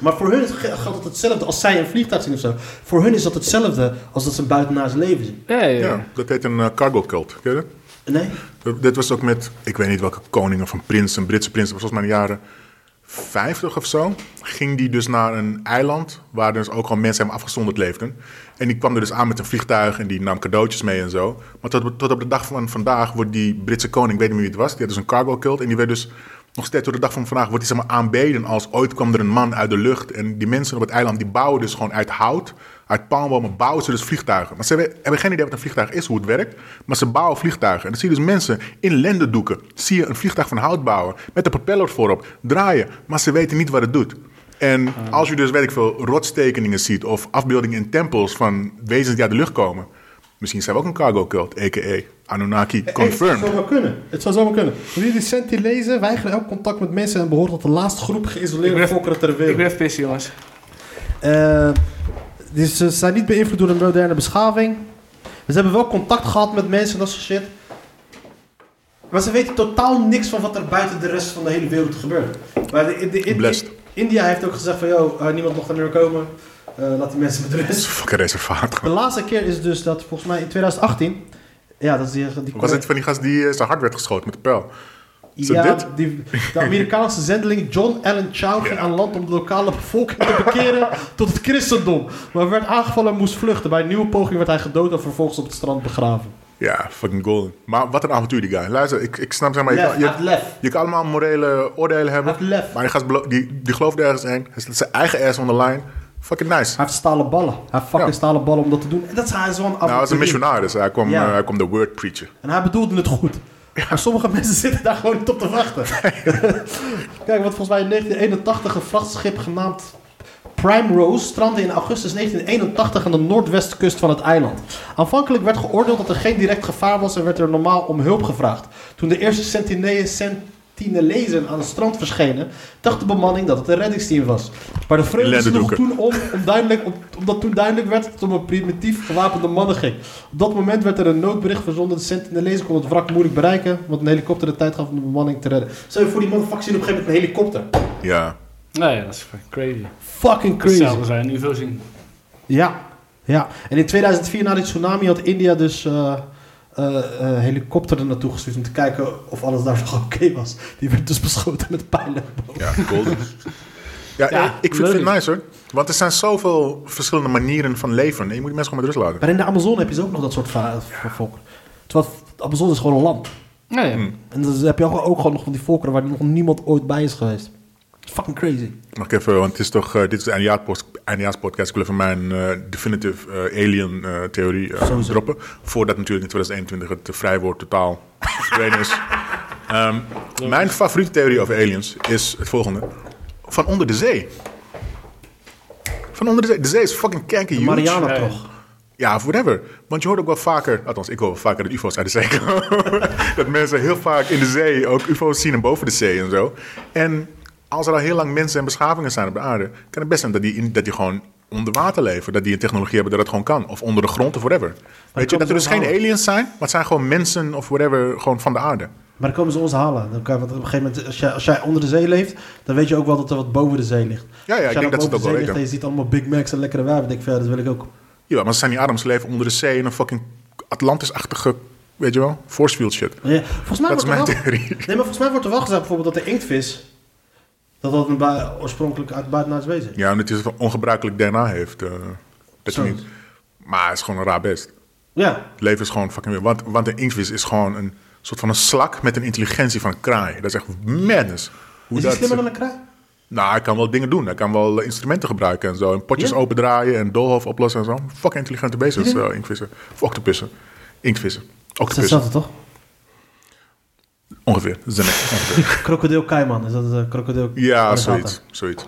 [SPEAKER 2] Maar voor hun is- geldt het hetzelfde als zij een vliegtuig zien of zo. Voor hun is dat hetzelfde als dat ze een buitenaards leven zien.
[SPEAKER 4] Ja, ja.
[SPEAKER 3] Ja, dat heet een eh, cargo cult. Ken je dat?
[SPEAKER 2] Nee?
[SPEAKER 3] Dat- Eh, Dit was ook met, ik weet niet welke koning of een prins, een Britse prins, dat was volgens mij in de jaren 50 of zo. Ging die dus naar een eiland waar dus ook gewoon mensen hem afgezonderd leefden. En die kwam er dus aan met een vliegtuig en die nam cadeautjes mee en zo. Maar tot, tot op de dag van vandaag wordt die Britse koning, ik weet niet meer wie het was, die had dus een cargo cult. En die werd dus nog steeds tot de dag van vandaag wordt hij zeg maar, aanbeden als ooit kwam er een man uit de lucht. En die mensen op het eiland die bouwen dus gewoon uit hout, uit palmbomen bouwen ze dus vliegtuigen. Maar ze hebben, hebben geen idee wat een vliegtuig is, hoe het werkt. Maar ze bouwen vliegtuigen. En dan zie je dus mensen in lendendoeken, zie je een vliegtuig van hout bouwen. Met de propeller voorop, draaien. Maar ze weten niet wat het doet. En als je dus, weet ik veel, rotstekeningen ziet of afbeeldingen in tempels van wezens die uit de lucht komen. Misschien zijn we ook een cargo cult, a.k.a. Anunnaki
[SPEAKER 2] Het zou
[SPEAKER 3] confirmed.
[SPEAKER 2] zomaar kunnen. Het zou zomaar kunnen. Wil jullie recent die lezen? Weigeren elk contact met mensen en behoort tot de laatste groep
[SPEAKER 4] Ik
[SPEAKER 2] geïsoleerde
[SPEAKER 4] ben-
[SPEAKER 2] volkeren ter
[SPEAKER 4] Ik
[SPEAKER 2] wereld.
[SPEAKER 4] ben even pissen, jongens.
[SPEAKER 2] Eh, dus ze zijn niet beïnvloed door de moderne beschaving. Ze hebben wel contact gehad met mensen en dat soort shit. Maar ze weten totaal niks van wat er buiten de rest van de hele wereld gebeurt. Maar de, de- de- in-
[SPEAKER 3] Blessed.
[SPEAKER 2] India heeft ook gezegd van, joh, eh, niemand mag er meer komen. Eh, laat die mensen met rust.
[SPEAKER 3] Fucking reservaat.
[SPEAKER 2] De laatste keer is dus dat volgens mij in 2018... Ja, dat is die... die
[SPEAKER 3] Was het van die gast die eh, zijn hart werd geschoten met de pijl? Is dat
[SPEAKER 2] ja,
[SPEAKER 3] dit?
[SPEAKER 2] Die, de Amerikaanse zendeling John Allen Chow ging
[SPEAKER 3] Ja.
[SPEAKER 2] aan land om de lokale bevolking te bekeren tot het christendom. Maar werd aangevallen en moest vluchten. Bij een nieuwe poging werd hij gedood en vervolgens op het strand begraven.
[SPEAKER 3] Ja, fucking golden. Maar wat een avontuur die guy. Luister, ik, ik snap zeg maar... Je,
[SPEAKER 2] Lef,
[SPEAKER 3] kan- je,
[SPEAKER 2] hij had lef.
[SPEAKER 3] je kan allemaal morele oordelen hebben.
[SPEAKER 2] Hij heeft lef.
[SPEAKER 3] Maar die gast belo- die, die gelooft ergens in. Hij zet zijn eigen ass on the line. Fucking nice.
[SPEAKER 2] Hij heeft stalen ballen. Hij heeft fucking
[SPEAKER 3] Ja.
[SPEAKER 2] stalen ballen om dat te doen. En dat is hij zo'n
[SPEAKER 3] Nou, hij was een missionaris. Hij kwam,
[SPEAKER 2] Ja.
[SPEAKER 3] eh, hij kwam de word preachen.
[SPEAKER 2] En hij bedoelde het goed. Maar sommige mensen zitten daar gewoon niet op te wachten. Kijk, wat volgens mij in 1981 een vrachtschip genaamd Prime Rose strandde in augustus 1981 aan de noordwestkust van het eiland. Aanvankelijk werd geoordeeld dat er geen direct gevaar was en werd er normaal om hulp gevraagd. Toen de eerste sentinele- sentinelezen aan het strand verschenen, dacht de bemanning dat het een reddingsteam was. Maar de vreugde sloeg
[SPEAKER 3] Lendendoeken.
[SPEAKER 2] toen om, om duidelijk, om- omdat toen duidelijk werd dat het om een primitief gewapende mannen ging. Op dat moment werd er een noodbericht verzonden. De Sentinelezen kon het wrak moeilijk bereiken, want een helikopter de tijd gaf om de bemanning te redden. Zou je voor die motherfuckers zien op een gegeven moment een helikopter?
[SPEAKER 3] Ja.
[SPEAKER 4] Nee, Nou dat is fucking crazy.
[SPEAKER 2] Fucking crazy.
[SPEAKER 4] Hetzelfde zijn, UFO zien.
[SPEAKER 2] Ja, ja. En in 2004 na die tsunami had India dus eh eh, eh, helikopter er naartoe gestuurd om te kijken of alles daar nog oké was. Die werd dus beschoten met pijlen.
[SPEAKER 3] Ja, golden. ja,
[SPEAKER 4] Ja,
[SPEAKER 3] ik- ik vind
[SPEAKER 4] leuk.
[SPEAKER 3] het nice hoor. Want er zijn zoveel verschillende manieren van leven. En je moet die mensen gewoon met rust laten.
[SPEAKER 2] Maar in de Amazone heb je dus ook nog dat soort va- va- volkeren. Terwijl de Amazone is gewoon een land.
[SPEAKER 4] Nee, Nou
[SPEAKER 3] Hm.
[SPEAKER 4] ja.
[SPEAKER 2] En dan heb je ook ook gewoon nog van die volkeren waar nog niemand ooit bij is geweest. Dat is fucking crazy.
[SPEAKER 3] Mag ik even, want het is toch, eh, dit is de eindejaarspod- eindejaarspodcast. Ik wil even mijn eh, definitive eh, alien eh, theorie eh,
[SPEAKER 2] Sowieso.
[SPEAKER 3] droppen. Voordat natuurlijk in 2021 het eh, vrijwoord totaal verdwenen is. Ehm, mijn favoriete theorie over aliens is het volgende. Van onder de zee. Van onder de zee. De zee is fucking kanker huge.
[SPEAKER 2] Mariana toch?
[SPEAKER 3] Ja, whatever. Want je hoort ook wel vaker, althans ik hoor wel vaker dat ufo's uit de zee komen. dat mensen heel vaak in de zee ook ufo's zien en boven de zee en zo. En als er al heel lang mensen en beschavingen zijn op de aarde... kan het best zijn dat die, in- dat die gewoon onder water leven. Dat die een technologie hebben dat het gewoon kan. Of onder de grond of whatever. Weet je,
[SPEAKER 2] kan
[SPEAKER 3] dat er
[SPEAKER 2] het
[SPEAKER 3] dus geen
[SPEAKER 2] onthouden.
[SPEAKER 3] aliens zijn, maar het zijn gewoon mensen of whatever gewoon van de aarde.
[SPEAKER 2] Maar dan komen ze ons halen. Dan kan, want op een gegeven moment, als jij, als jij onder de zee leeft, dan weet je ook wel dat er wat boven de zee ligt.
[SPEAKER 3] ja, ik
[SPEAKER 2] als jij dan
[SPEAKER 3] denk dat ze het
[SPEAKER 2] boven
[SPEAKER 3] ook
[SPEAKER 2] de zee
[SPEAKER 3] wel
[SPEAKER 2] ligt
[SPEAKER 3] weten.
[SPEAKER 2] en je ziet allemaal Big Macs en lekkere wijven, denk ik, ja, dat wil ik ook.
[SPEAKER 3] Ja, maar ze zijn die adams leven onder de zee... in een fucking Atlantis-achtige, weet je wel, force field shit.
[SPEAKER 2] Ja, volgens mij
[SPEAKER 3] Dat is
[SPEAKER 2] wordt er
[SPEAKER 3] mijn
[SPEAKER 2] wel,
[SPEAKER 3] theorie.
[SPEAKER 2] Nee, maar volgens mij wordt er wel gezegd bijvoorbeeld dat de inktvis, dat dat een bui- oorspronkelijk uit buitenaards wezen is.
[SPEAKER 3] Ja, en het is een ongebruikelijk DNA heeft. eh, dat je
[SPEAKER 2] Zo.
[SPEAKER 3] niet. Maar het is gewoon een raar best.
[SPEAKER 2] Ja,
[SPEAKER 3] Het leven is gewoon fucking weer. Want, want een inktvis is gewoon een soort van een slak met een intelligentie van een kraai. Dat is echt madness. Hoe
[SPEAKER 2] is die
[SPEAKER 3] dat-
[SPEAKER 2] slimmer dan een kraai?
[SPEAKER 3] Nou, hij kan wel dingen doen. Hij kan wel eh, instrumenten gebruiken en zo. En potjes
[SPEAKER 2] Ja.
[SPEAKER 3] opendraaien en doolhof oplossen en zo. Fucking intelligente beesten, eh inktvissen. Of octopussen. Inktvissen.
[SPEAKER 2] Dat is
[SPEAKER 3] Octopussen.
[SPEAKER 2] hetzelfde toch?
[SPEAKER 3] Ongeveer. Dat is een ongeveer.
[SPEAKER 2] Krokodil Kaiman, is dat een krokodil?
[SPEAKER 3] Ja,
[SPEAKER 2] alligator?
[SPEAKER 3] zoiets. zoiets.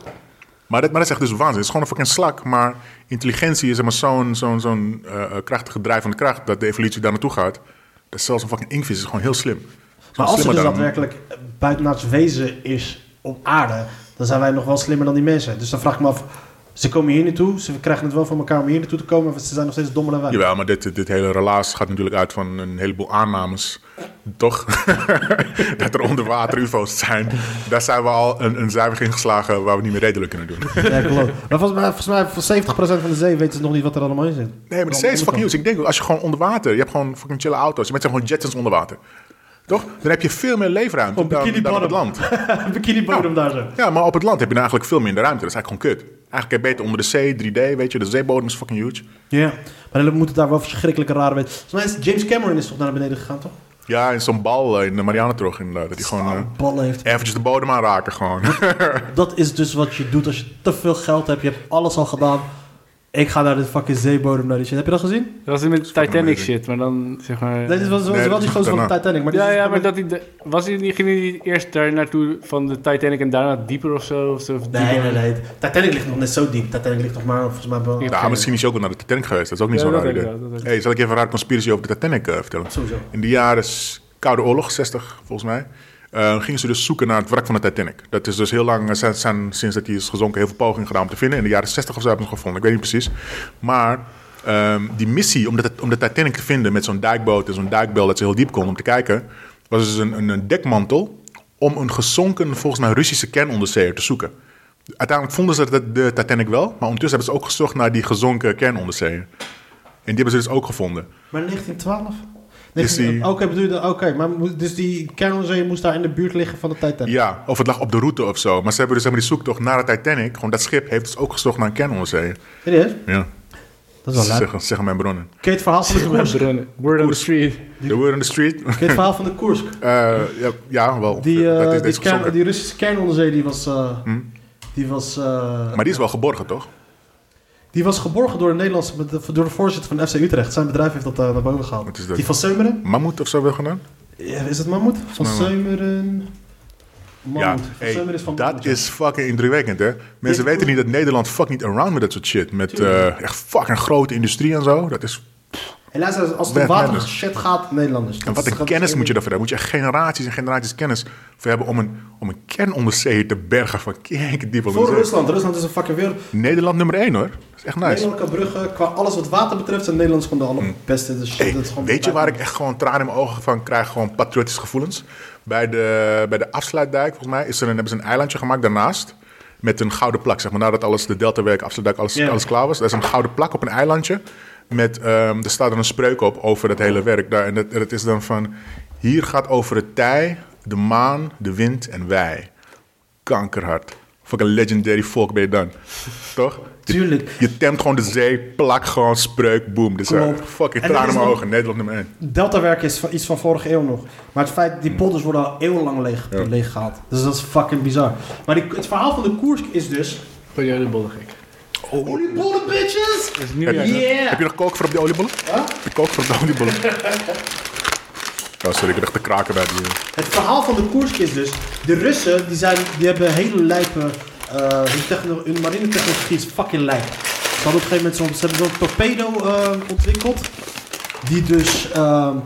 [SPEAKER 3] Maar, dat, maar dat is echt dus waanzin. Het is gewoon een fucking slak. Maar intelligentie is zeg maar zo'n zo'n zo'n eh, eh, krachtige drijf van de kracht dat de evolutie daar naartoe gaat. Dat zelfs een fucking inktvis is gewoon heel slim. Is
[SPEAKER 2] Maar
[SPEAKER 3] gewoon
[SPEAKER 2] als er
[SPEAKER 3] slimmer
[SPEAKER 2] dus
[SPEAKER 3] dan-
[SPEAKER 2] daadwerkelijk buitenaards wezen is op aarde, dan zijn wij nog wel slimmer dan die mensen. Dus dan vraag ik me af, ze komen hier naartoe, ze krijgen het wel voor elkaar om hier naartoe te komen, maar ze zijn nog steeds dommer dan wij.
[SPEAKER 3] Jawel, maar dit, dit hele relaas gaat natuurlijk uit van een heleboel aannames. Toch? dat er onderwater UFO's zijn. Daar zijn we al een, een zuivering in geslagen waar we niet meer redelijk kunnen doen.
[SPEAKER 2] Ja, klopt. Maar volgens mij, volgens mij voor 70% van de zee weten ze nog niet wat er allemaal in zit.
[SPEAKER 3] Nee, maar de zee is fucking nieuws. Ik denk, als je gewoon onder water, je hebt gewoon fucking chille auto's. Mensen hebben gewoon jetsons onder water. Toch? Dan heb je veel meer leefruimte
[SPEAKER 2] Op
[SPEAKER 3] dan,
[SPEAKER 2] Bikini
[SPEAKER 3] dan op het
[SPEAKER 2] Bottom.
[SPEAKER 3] land.
[SPEAKER 2] Bikini bodem daar zo.
[SPEAKER 3] Ja, maar op het land heb je nou eigenlijk veel minder ruimte. Dat is eigenlijk gewoon kut. Eigenlijk heb je beter onder de zee, 3D, weet je. De zeebodem is fucking huge.
[SPEAKER 2] Ja. Maar we moeten daar wel verschrikkelijke rare weten. Volgens mij is James Cameron is toch naar beneden gegaan, toch?
[SPEAKER 3] Ja, en zo'n bal eh, in de Marianentrog inderdaad. Dat hij gewoon eh,
[SPEAKER 2] Ballen heeft.
[SPEAKER 3] eventjes de bodem aanraken gewoon.
[SPEAKER 2] Dat is dus wat je doet als je te veel geld hebt. Je hebt alles al gedaan. Ik ga naar de fucking zeebodem naar die shit. Heb je dat gezien?
[SPEAKER 4] Dat was het met Titanic
[SPEAKER 3] amazing.
[SPEAKER 4] shit, maar dan zeg maar...
[SPEAKER 2] Nee, dit was, was
[SPEAKER 3] Nee,
[SPEAKER 2] wel die
[SPEAKER 3] dat-
[SPEAKER 2] gozer van de
[SPEAKER 3] daarna.
[SPEAKER 2] Titanic. Maar dit
[SPEAKER 4] ja,
[SPEAKER 2] Dus is-
[SPEAKER 4] ja, maar dat hij de- was hij niet, ging hij niet eerst daar naartoe van de Titanic en daarna dieper of zo? Of zo of
[SPEAKER 2] Nee,
[SPEAKER 4] dieper?
[SPEAKER 2] nee, nee. Titanic ligt nog net zo diep. Titanic ligt nog maar volgens mij wel...
[SPEAKER 3] Ja, misschien is je ook wel naar de Titanic geweest. Dat is ook niet
[SPEAKER 4] Ja,
[SPEAKER 3] zo'n
[SPEAKER 4] dat
[SPEAKER 3] raar
[SPEAKER 4] denk ik
[SPEAKER 3] idee.
[SPEAKER 4] wel, dat denk ik.
[SPEAKER 3] hey, zal ik je even een raar conspiratie over de Titanic eh, vertellen?
[SPEAKER 2] Sowieso.
[SPEAKER 3] In de jaren s- Koude Oorlog, 60 volgens mij, eh, gingen ze dus zoeken naar het wrak van de Titanic. Dat is dus heel lang, eh, zijn, zijn sinds dat die is gezonken, heel veel pogingen gedaan om te vinden. In de jaren 60 of zo hebben ze hem gevonden, ik weet niet precies. Maar ehm, die missie om de, om de Titanic te vinden met zo'n dijkboot en zo'n dijkbel dat ze heel diep konden om te kijken, was dus een, een, een dekmantel om een gezonken, volgens mij, Russische kernonderzeeër te zoeken. Uiteindelijk vonden ze de, de Titanic wel, maar ondertussen hebben ze ook gezocht naar die gezonken kernonderzeeër. En die hebben ze dus ook gevonden.
[SPEAKER 2] Maar 1912?
[SPEAKER 3] Is die-
[SPEAKER 2] 19- Oké, bedoel je dat? Oké, maar moet- dus die kernzee moest daar in de buurt liggen van de Titanic?
[SPEAKER 3] Ja, of het lag op de route of zo. Maar ze hebben dus helemaal die zoektocht naar de Titanic. Gewoon dat schip heeft dus ook gezocht naar een kernonderzee.
[SPEAKER 2] Serieus?
[SPEAKER 3] Ja,
[SPEAKER 2] Dat
[SPEAKER 3] ze
[SPEAKER 2] is wel leuk.
[SPEAKER 3] zeggen, zeggen mijn bronnen.
[SPEAKER 2] Ken je het verhaal van de
[SPEAKER 4] Word
[SPEAKER 2] koers? Ken
[SPEAKER 4] on- Word on the street.
[SPEAKER 3] The word on the street.
[SPEAKER 2] je het verhaal van de koers?
[SPEAKER 3] Eh, ja, ja, wel.
[SPEAKER 2] Die, eh,
[SPEAKER 3] dat is
[SPEAKER 2] die,
[SPEAKER 3] deze Hm?
[SPEAKER 2] kern-
[SPEAKER 3] gezonken.
[SPEAKER 2] die Russische kernonderzee, die was... eh, Die was, eh,
[SPEAKER 3] Maar die is wel geborgen, toch?
[SPEAKER 2] die was geborgen door, een Nederlandse, met de- door de voorzitter van FC Utrecht. Zijn bedrijf heeft dat eh, naar boven gehaald.
[SPEAKER 3] Wat is dat?
[SPEAKER 2] Die van Seumeren?
[SPEAKER 3] Mammoet of zo wel gedaan?
[SPEAKER 2] Ja, is het Mammoet? Van
[SPEAKER 3] Mammoet.
[SPEAKER 2] Seumeren... Mammoet.
[SPEAKER 3] ja,
[SPEAKER 2] van
[SPEAKER 3] hey,
[SPEAKER 2] Seumeren is van
[SPEAKER 3] dat
[SPEAKER 2] Mammoet, ja.
[SPEAKER 3] is fucking indrukwekkend, hè? Mensen
[SPEAKER 2] Dit-
[SPEAKER 3] weten niet dat Nederland fuck niet around met dat soort shit. Met eh, echt fucking grote industrie en zo. Dat is,
[SPEAKER 2] En luister, als het om
[SPEAKER 3] Weg,
[SPEAKER 2] water
[SPEAKER 3] Nederlanders.
[SPEAKER 2] shit gaat, Nederlanders.
[SPEAKER 3] en wat een kennis moet je daarvoor hebben. Moet je echt generaties en generaties kennis voor hebben om een, om een kernonderzee te bergen van kerkendiep.
[SPEAKER 2] Voor Rusland. Rusland is een fucking wereld.
[SPEAKER 3] Nederland nummer 1 hoor. Dat is echt nice.
[SPEAKER 2] Nederland kan bruggen, qua alles wat water betreft, zijn Nederlands gewoon de allerbeste. Dus
[SPEAKER 3] Mm. Hey,
[SPEAKER 2] dat is gewoon
[SPEAKER 3] weet je waar ik echt gewoon tranen in mijn ogen van krijg? Gewoon patriotische gevoelens. Bij de, bij de afsluitdijk, volgens mij, is er een, hebben ze een eilandje gemaakt daarnaast. Met een gouden plak, zeg maar. Nadat alles, de deltawerk, afsluitdijk, alles,
[SPEAKER 2] Ja.
[SPEAKER 3] alles klaar was. Er is een gouden plak op een eilandje. Met, ehm er staat er een spreuk op over het hele werk. Daar, en dat, dat is dan van... Hier gaat over het tij, de maan, de wind en wij. Kankerhard. Fucking legendary folk ben je dan. Toch? Je-
[SPEAKER 2] Tuurlijk.
[SPEAKER 3] Je temt gewoon de zee, plak gewoon spreuk, boom. Dus
[SPEAKER 2] Kom
[SPEAKER 3] eh,
[SPEAKER 2] op.
[SPEAKER 3] fucking
[SPEAKER 2] En dat
[SPEAKER 3] tranen in
[SPEAKER 2] is
[SPEAKER 3] mijn
[SPEAKER 2] nog-
[SPEAKER 3] ogen. Nederland nummer 1.
[SPEAKER 2] Deltawerk is van, iets van vorige eeuw nog. Maar het feit,
[SPEAKER 3] Mm.
[SPEAKER 2] die polders worden al eeuwenlang leeg, leeggehaald. Dus dat is fucking bizar. Maar die- het verhaal van de koers is dus...
[SPEAKER 4] Periodebollen gek.
[SPEAKER 2] Oliebollen, bitches!
[SPEAKER 4] Dat is
[SPEAKER 3] Heb,
[SPEAKER 4] nieuwjaar.
[SPEAKER 3] je,
[SPEAKER 2] Yeah.
[SPEAKER 3] heb je nog kook voor op de oliebollen? Heb je kook voor op de oliebollen? oh, sorry, ik heb echt te kraken bij die. eh,
[SPEAKER 2] Het verhaal van de Koersk is dus... De Russen, die, zijn, die hebben hele lijpe... eh hun, techno- hun marinetechnologie is fucking lijp. Ze hadden op een gegeven moment zo'n... Ze hebben zo'n torpedo eh, ontwikkeld. Die dus... ehm,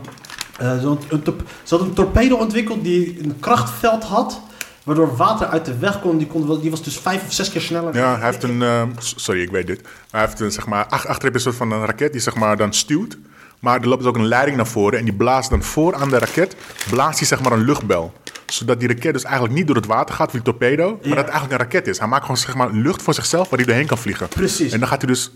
[SPEAKER 2] eh, zo'n, een torp- ze hadden een torpedo ontwikkeld die een krachtveld had... Waardoor water uit de weg kon. Die, kon, wel- die was dus vijf of zes keer sneller.
[SPEAKER 3] Ja, hij heeft een. ehm, s- sorry, ik weet dit. Hij heeft een, zeg maar, ach- achter heb je een soort van een raket die zeg maar dan stuwt. Maar er loopt dus ook een leiding naar voren. En die blaast dan voor aan de raket. Blaast hij zeg maar een luchtbel. Zodat die raket dus eigenlijk niet door het water gaat, die torpedo. Maar dat het eigenlijk een raket is. Hij maakt gewoon zeg maar lucht voor zichzelf waar hij doorheen kan vliegen.
[SPEAKER 2] Precies.
[SPEAKER 3] En dan gaat hij dus.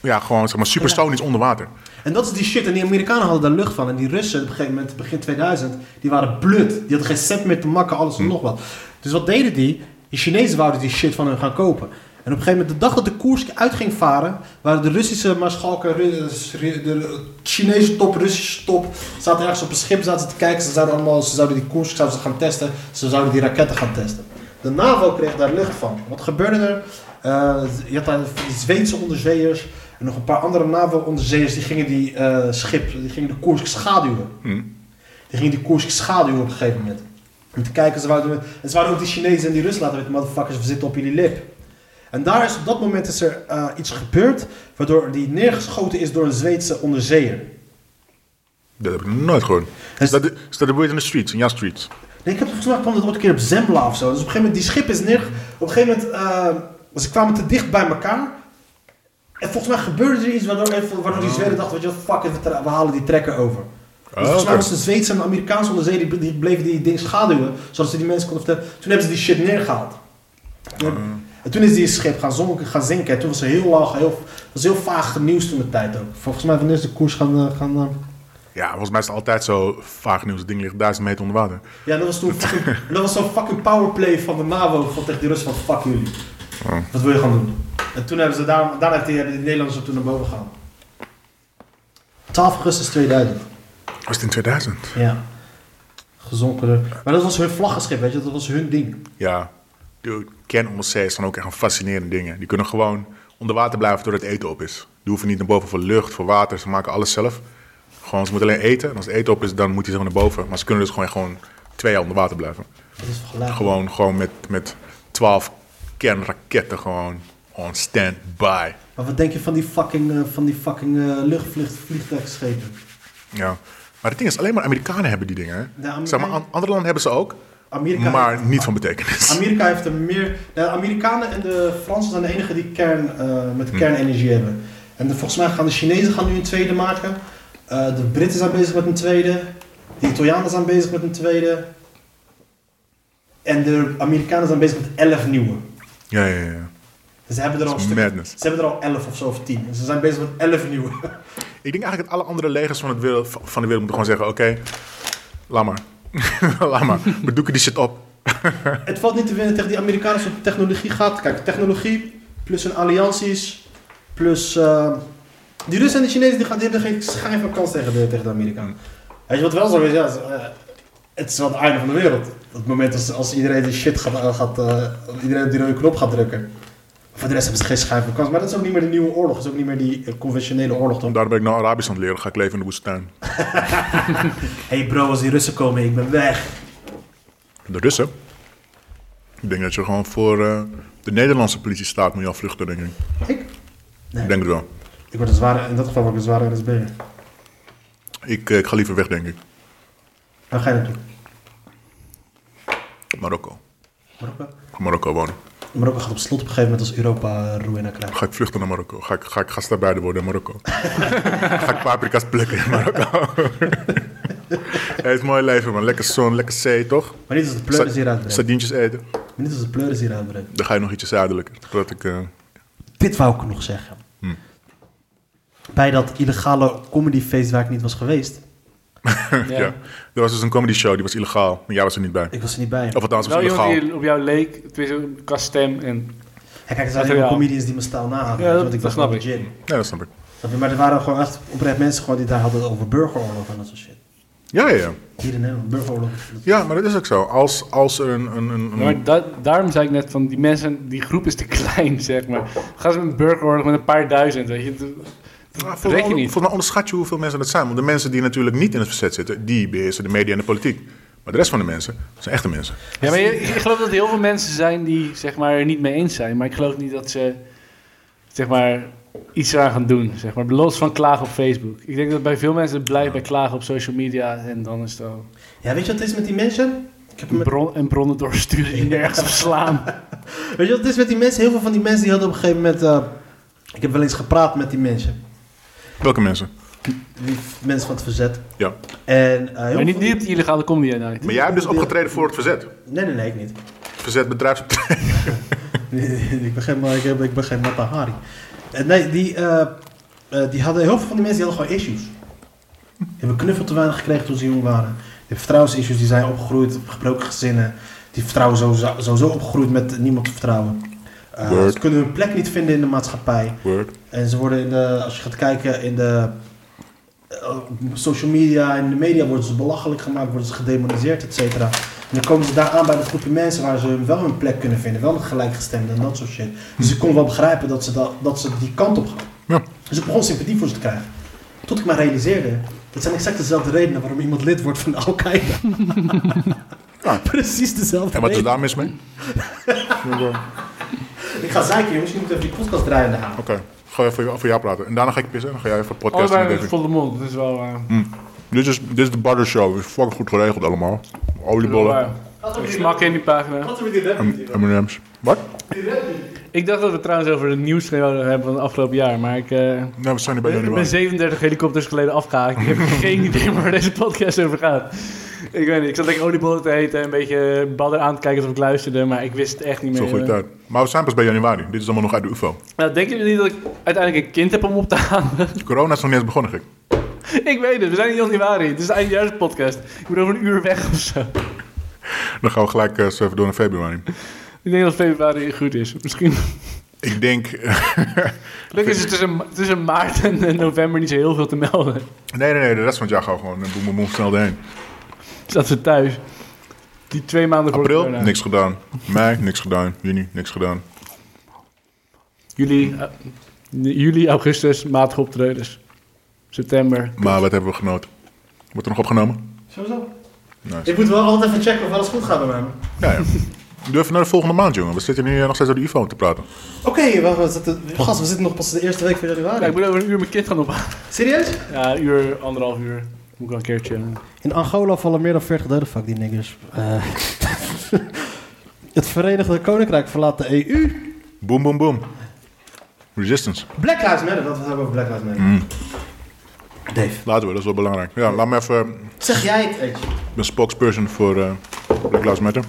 [SPEAKER 3] Ja, gewoon zeg maar supersonisch onder water.
[SPEAKER 2] En dat is die shit. En die Amerikanen hadden daar lucht van. En die Russen, op een gegeven moment, begin 2000, die waren blut. Die hadden geen cent meer te makken, alles en nog wat. Dus wat deden die? Die Chinezen wouden die shit van hun gaan kopen. En op een gegeven moment, de dag dat de Koersk uit ging varen, waren de Russische maarschalken, Ru- Ru- de Chinese top, Russische top, zaten ergens op een schip, zaten ze te kijken. Ze zouden, allemaal, ze zouden die Koersk zouden ze gaan testen, ze zouden die raketten gaan testen. De NAVO kreeg daar lucht van. Wat gebeurde er? Eh, je had daar die Zweedse onderzeeërs en nog een paar andere NAVO-onderzeeërs die gingen die eh, schip, die gingen de Koersk schaduwen. Die gingen die Koersk schaduwen op een gegeven moment. Om te kijken, ze wouden, en ze wouden ook die Chinezen en die Russen laten weten, motherfuckers, we zitten op jullie lip. En daar is op dat moment is er eh, iets gebeurd, waardoor die neergeschoten is door een Zweedse onderzeeër.
[SPEAKER 3] Dat heb ik nog nooit gehoord. Is
[SPEAKER 2] Dus-
[SPEAKER 3] dat, de- is dat de word in the streets, in jouw streets?
[SPEAKER 2] Nee, ik heb volgens mij kwam dat ooit een keer op Zembla of zo. Dus op een gegeven moment, die schip is neer. Op een gegeven moment, eh, ze kwamen te dicht bij elkaar. En volgens mij gebeurde er iets waardoor, even- waardoor die Zweden dachten, weet je wat, fuck it, we tra- we halen die trekker over. Dus volgens mij
[SPEAKER 3] oké.
[SPEAKER 2] was de Zweedse en de Amerikaanse onderzee, die, die bleven die ding schaduwen, zodat ze die mensen konden vertellen. Toen hebben ze die shit neergehaald. Ja. En toen is die schip gaan, zonken, gaan zinken. En toen was er heel laag, heel, was heel vaag nieuws toen de tijd ook. Volgens mij wanneer is de koers gaan... eh, gaan eh,
[SPEAKER 3] Ja, volgens mij is het altijd zo vaag nieuws. Het ding ligt duizend meter onder water.
[SPEAKER 2] Ja, dat was toen fucking, dat was zo'n fucking powerplay van de NAVO van tegen die Russen van fuck jullie.
[SPEAKER 3] Oh.
[SPEAKER 2] Wat wil je gaan doen? En toen hebben ze daar, daarna hebben die- hebben die Nederlanders er toen naar boven gegaan. 12 augustus 2000.
[SPEAKER 3] Was het in 2000?
[SPEAKER 2] Ja. Gezonken. door- Maar dat was hun vlaggenschip, weet je, dat was hun ding.
[SPEAKER 3] Ja. Dude, kernonderzeeërs zijn ook echt een fascinerende dingen. Die kunnen gewoon onder water blijven doordat het eten op is. Die hoeven niet naar boven voor lucht, voor water. Ze maken alles zelf. Gewoon, ze moeten alleen eten. En als het eten op is, dan moet hij zo naar boven. Maar ze kunnen dus gewoon, gewoon twee jaar onder water blijven.
[SPEAKER 2] Dat is vergelijkbaar.
[SPEAKER 3] Gewoon, gewoon met, met 12 kernraketten gewoon on standby.
[SPEAKER 2] Maar wat denk je van die fucking, eh, van die fucking eh, luchtvlucht- vliegtuigschepen?
[SPEAKER 3] Ja. Maar het ding is, alleen maar Amerikanen hebben die dingen. Hè?
[SPEAKER 2] Amerikanen-
[SPEAKER 3] Zeg maar, an- andere landen hebben ze ook,
[SPEAKER 2] Amerika,
[SPEAKER 3] maar niet van betekenis.
[SPEAKER 2] Amerika heeft er meer. De Amerikanen en de Fransen zijn de enigen die kern, eh, met kernenergie hebben. En de- volgens mij gaan de Chinezen gaan nu een tweede maken. Eh, de Britten zijn bezig met een tweede. De Italianen zijn bezig met een tweede. En de Amerikanen zijn bezig met 11 nieuwe.
[SPEAKER 3] Ja, ja, ja.
[SPEAKER 2] Dus ze hebben er al een
[SPEAKER 3] is
[SPEAKER 2] stuk,
[SPEAKER 3] madness.
[SPEAKER 2] Ze hebben er al 11 of zo of 10. En ze zijn bezig met 11 nieuwe.
[SPEAKER 3] Ik denk eigenlijk dat alle andere legers van, het wereld, van de wereld moeten gewoon zeggen: oké, laat maar. laat maar. We doeken die shit op.
[SPEAKER 2] Het valt niet te winnen tegen die Amerikanen als het om technologie gaat. Kijk, technologie plus hun allianties, plus... eh, die Russen en de Chinezen die gaan, die hebben geen schijn van kans tegen de, tegen de Amerikanen. Weet je wat wel zo is? Ja, het is, eh, het is wel het einde van de wereld. Op het moment als, als iedereen die shit gaat... eh, gaat eh, iedereen op die rode knop gaat drukken. Voor de rest hebben ze geen schijn van kans. Maar dat is ook niet meer de nieuwe oorlog. Dat is ook niet meer die eh, conventionele oorlog. Dan.
[SPEAKER 3] Daarom ben ik nou Arabisch aan het leren. Ga ik leven in de woestijn.
[SPEAKER 2] Hé hey bro, als die Russen komen, ik ben weg.
[SPEAKER 3] De Russen. Ik denk dat je gewoon voor eh, de Nederlandse politie staat. Moet je afvluchten, denk ik.
[SPEAKER 2] Ik?
[SPEAKER 3] Ik denk het wel.
[SPEAKER 2] Ik word een zware... In dat geval word ik een zware NSB'er.
[SPEAKER 3] Ik, eh, ik ga liever weg, denk ik.
[SPEAKER 2] Waar ga je naartoe?
[SPEAKER 3] Marokko.
[SPEAKER 2] Marokko?
[SPEAKER 3] Ik ga Marokko wonen.
[SPEAKER 2] Marokko gaat op slot op een gegeven moment als Europa ruïne krijgt.
[SPEAKER 3] Ga ik vluchten naar Marokko? Ga ik, ga ik gastarbeider worden in Marokko? ga ik paprika's plukken in Marokko? Het is mooi leven, man. Lekker zon, lekker zee, toch?
[SPEAKER 2] Maar niet als de pleuris hier
[SPEAKER 3] Sa-
[SPEAKER 2] uitbrengt.
[SPEAKER 3] Sardientjes eten.
[SPEAKER 2] Maar niet als de pleuris hier uitbrengt.
[SPEAKER 3] Dan ga je nog ietsje zuidelijker. Totdat ik, eh,
[SPEAKER 2] Dit wou ik nog zeggen. Bij dat illegale comedyfeest waar ik niet was geweest.
[SPEAKER 3] ja. Er was dus een comedy show, die was illegaal. Maar jij was er niet bij.
[SPEAKER 2] Ik was er niet bij.
[SPEAKER 3] Of althans, het was Mm.
[SPEAKER 4] Wel iemand
[SPEAKER 3] illegaal.
[SPEAKER 4] die op jou leek, tenminste qua stem en...
[SPEAKER 2] Ja, kijk, er zijn helemaal
[SPEAKER 4] Materiaal.
[SPEAKER 2] comedians die mijn stijl nahouden. weet je,
[SPEAKER 4] Ja, dat-
[SPEAKER 2] want ik
[SPEAKER 4] dat
[SPEAKER 2] was
[SPEAKER 4] snap
[SPEAKER 2] gewoon
[SPEAKER 4] ik.
[SPEAKER 2] legit.
[SPEAKER 3] Ja, dat snap ik.
[SPEAKER 2] Snap je? Maar er waren gewoon echt oprecht mensen gewoon die daar hadden over burgeroorlog en dat soort shit.
[SPEAKER 3] Ja, ja, ja.
[SPEAKER 2] Hier in Nederland, burgeroorlog.
[SPEAKER 3] Ja, maar dat is ook zo. Als, als er een... een, een, een-
[SPEAKER 4] Maar da- daarom zei ik net van, die mensen, die groep is te klein, zeg maar. Gaan ze met een burgeroorlog met een paar duizend, weet je. Dat-
[SPEAKER 3] Ah,
[SPEAKER 4] Dat
[SPEAKER 3] volgens mij
[SPEAKER 4] reken je
[SPEAKER 3] onder-
[SPEAKER 4] niet.
[SPEAKER 3] Volgens mij onderschat je hoeveel mensen dat zijn. Want de mensen die natuurlijk niet in het verzet zitten, die beheersen de media en de politiek. Maar de rest van de mensen zijn echte mensen.
[SPEAKER 4] Ja, maar je- ik geloof dat er heel veel mensen zijn die zeg maar, er niet mee eens zijn. Maar ik geloof niet dat ze zeg maar, iets eraan gaan doen. Zeg maar, los van klagen op Facebook. Ik denk dat bij veel mensen het blijft bij klagen op social media. En dan is het al
[SPEAKER 2] Ja, weet je wat het is met die mensen? Ik heb hem
[SPEAKER 4] een
[SPEAKER 2] met-
[SPEAKER 4] bron, en bronnen doorsturen die nergens op slaan.
[SPEAKER 2] Weet je wat het is met die mensen? Heel veel van die mensen die hadden op een gegeven moment... eh, ik heb wel eens gepraat met die mensen.
[SPEAKER 3] Welke mensen?
[SPEAKER 2] Die mensen van het verzet.
[SPEAKER 3] Ja.
[SPEAKER 2] En, eh, heel
[SPEAKER 4] Maar niet,
[SPEAKER 2] veel-
[SPEAKER 4] niet op die illegale comedy nou. night.
[SPEAKER 3] Maar jij hebt dus opgetreden voor het verzet.
[SPEAKER 2] Nee, nee, nee, ik niet.
[SPEAKER 3] Verzet bedrijfsoptreden.
[SPEAKER 2] ik ben geen, ik, heb- ik ben geen Mata Hari. Eh, nee, die, eh, eh, die hadden, heel veel van die mensen die hadden gewoon issues. Die hebben knuffel te weinig gekregen toen ze jong waren. Die hebben vertrouwensissues, die zijn opgegroeid op gebroken gezinnen. Die vertrouwen sowieso, sowieso opgegroeid met niemand te vertrouwen. Eh,
[SPEAKER 3] Word.
[SPEAKER 2] ze kunnen hun plek niet vinden in de maatschappij.
[SPEAKER 3] Word.
[SPEAKER 2] En ze worden in de, als je gaat kijken in de eh, social media en de media worden ze belachelijk gemaakt, worden ze gedemoniseerd, et cetera. En dan komen ze daar aan bij een groepje mensen waar ze wel hun plek kunnen vinden, wel gelijkgestemden en dat soort shit. Dus ik kon wel begrijpen dat ze, dat, dat ze die kant op gaan.
[SPEAKER 3] Ja.
[SPEAKER 2] Dus ik begon sympathie voor ze te krijgen. Tot ik me realiseerde, dat zijn exact dezelfde redenen waarom iemand lid wordt van Al-Qaeda. Precies dezelfde
[SPEAKER 3] En wat is
[SPEAKER 2] redenen.
[SPEAKER 3] daar mis mee?
[SPEAKER 2] Ik ga zeiken jongens, je moet even die podcast draaiende halen.
[SPEAKER 3] Oké, ga even voor, voor jou praten. En daarna ga ik pissen en dan ga jij even
[SPEAKER 4] Oh,
[SPEAKER 3] podcasten.
[SPEAKER 4] bij
[SPEAKER 3] met
[SPEAKER 4] een
[SPEAKER 3] David.
[SPEAKER 4] volle mond. Dat is wel... eh,
[SPEAKER 3] Dit is, dit is de Barter Show. Is fucking goed geregeld allemaal. oliebollen,
[SPEAKER 4] Smak in die pagina.
[SPEAKER 2] Wat er met die rap
[SPEAKER 3] M- M&M's. Wat?
[SPEAKER 4] Ik dacht dat we het trouwens over het nieuws zouden hebben van het afgelopen jaar, maar ik, eh,
[SPEAKER 3] Nou, we zijn er bij
[SPEAKER 4] ik ben
[SPEAKER 3] januari.
[SPEAKER 4] 37 helikopters geleden afgehaakt. Ik heb geen idee waar deze podcast over gaat. Ik weet niet, ik zat lekker oliebollen te eten en een beetje badder aan te kijken alsof ik luisterde, maar ik wist het echt niet meer. eh.
[SPEAKER 3] Zo'n goede tijd. Maar we zijn pas bij januari. Dit is allemaal nog uit de UFO.
[SPEAKER 4] Nou, denken jullie dat ik uiteindelijk een kind heb om op te halen?
[SPEAKER 3] Corona is nog niet eens begonnen, gek.
[SPEAKER 4] ik weet het, we zijn in januari, het is de eindejaarspodcast. Ik moet over een uur weg of zo.
[SPEAKER 3] Dan gaan we gelijk eh, eens even door naar februari.
[SPEAKER 4] Ik denk dat februari goed is, misschien.
[SPEAKER 3] Ik denk...
[SPEAKER 4] Gelukkig is het tussen, tussen maart en eh, november niet zo heel veel te melden.
[SPEAKER 3] nee, nee, nee. De rest van het jaar gaan we gewoon eh, boem, boem, boem, snel erheen.
[SPEAKER 4] Zat ze thuis. Die twee maanden voor
[SPEAKER 3] April,
[SPEAKER 4] corona.
[SPEAKER 3] niks gedaan. Mei, niks gedaan. Juni, niks gedaan.
[SPEAKER 4] Juli, eh, juli, augustus, matig optredens. September.
[SPEAKER 3] Maar wat hebben we genoten? Wordt er nog opgenomen?
[SPEAKER 2] Sowieso.
[SPEAKER 3] Nice.
[SPEAKER 2] Ik moet wel altijd even checken of alles goed gaat bij mij.
[SPEAKER 3] Ja, ja. Durf naar de volgende maand, jongen. We zitten nu eh, nog steeds over de UFO te praten.
[SPEAKER 2] Oké, wacht, we zitten- gast, we zitten nog pas de eerste week van
[SPEAKER 4] Ja, ik
[SPEAKER 2] januari.
[SPEAKER 4] moet over een uur mijn kind gaan ophalen.
[SPEAKER 2] Serieus?
[SPEAKER 4] Ja, een uur, anderhalf uur. Moet ik wel een keertje. eh.
[SPEAKER 2] In Angola vallen meer dan 40 doden. Fuck die niggers. Eh, het Verenigd Koninkrijk verlaat de E EU.
[SPEAKER 3] Boom, boom, boom. Resistance.
[SPEAKER 2] Black Lives Matter, dat we het hebben over Black Lives Matter.
[SPEAKER 3] Mm.
[SPEAKER 2] Dave.
[SPEAKER 3] Laten we, dat is wel belangrijk. Ja, laat me even... eh,
[SPEAKER 2] Zeg jij het, Edge?
[SPEAKER 3] Ik ben spokesperson voor eh Black Lives Matter.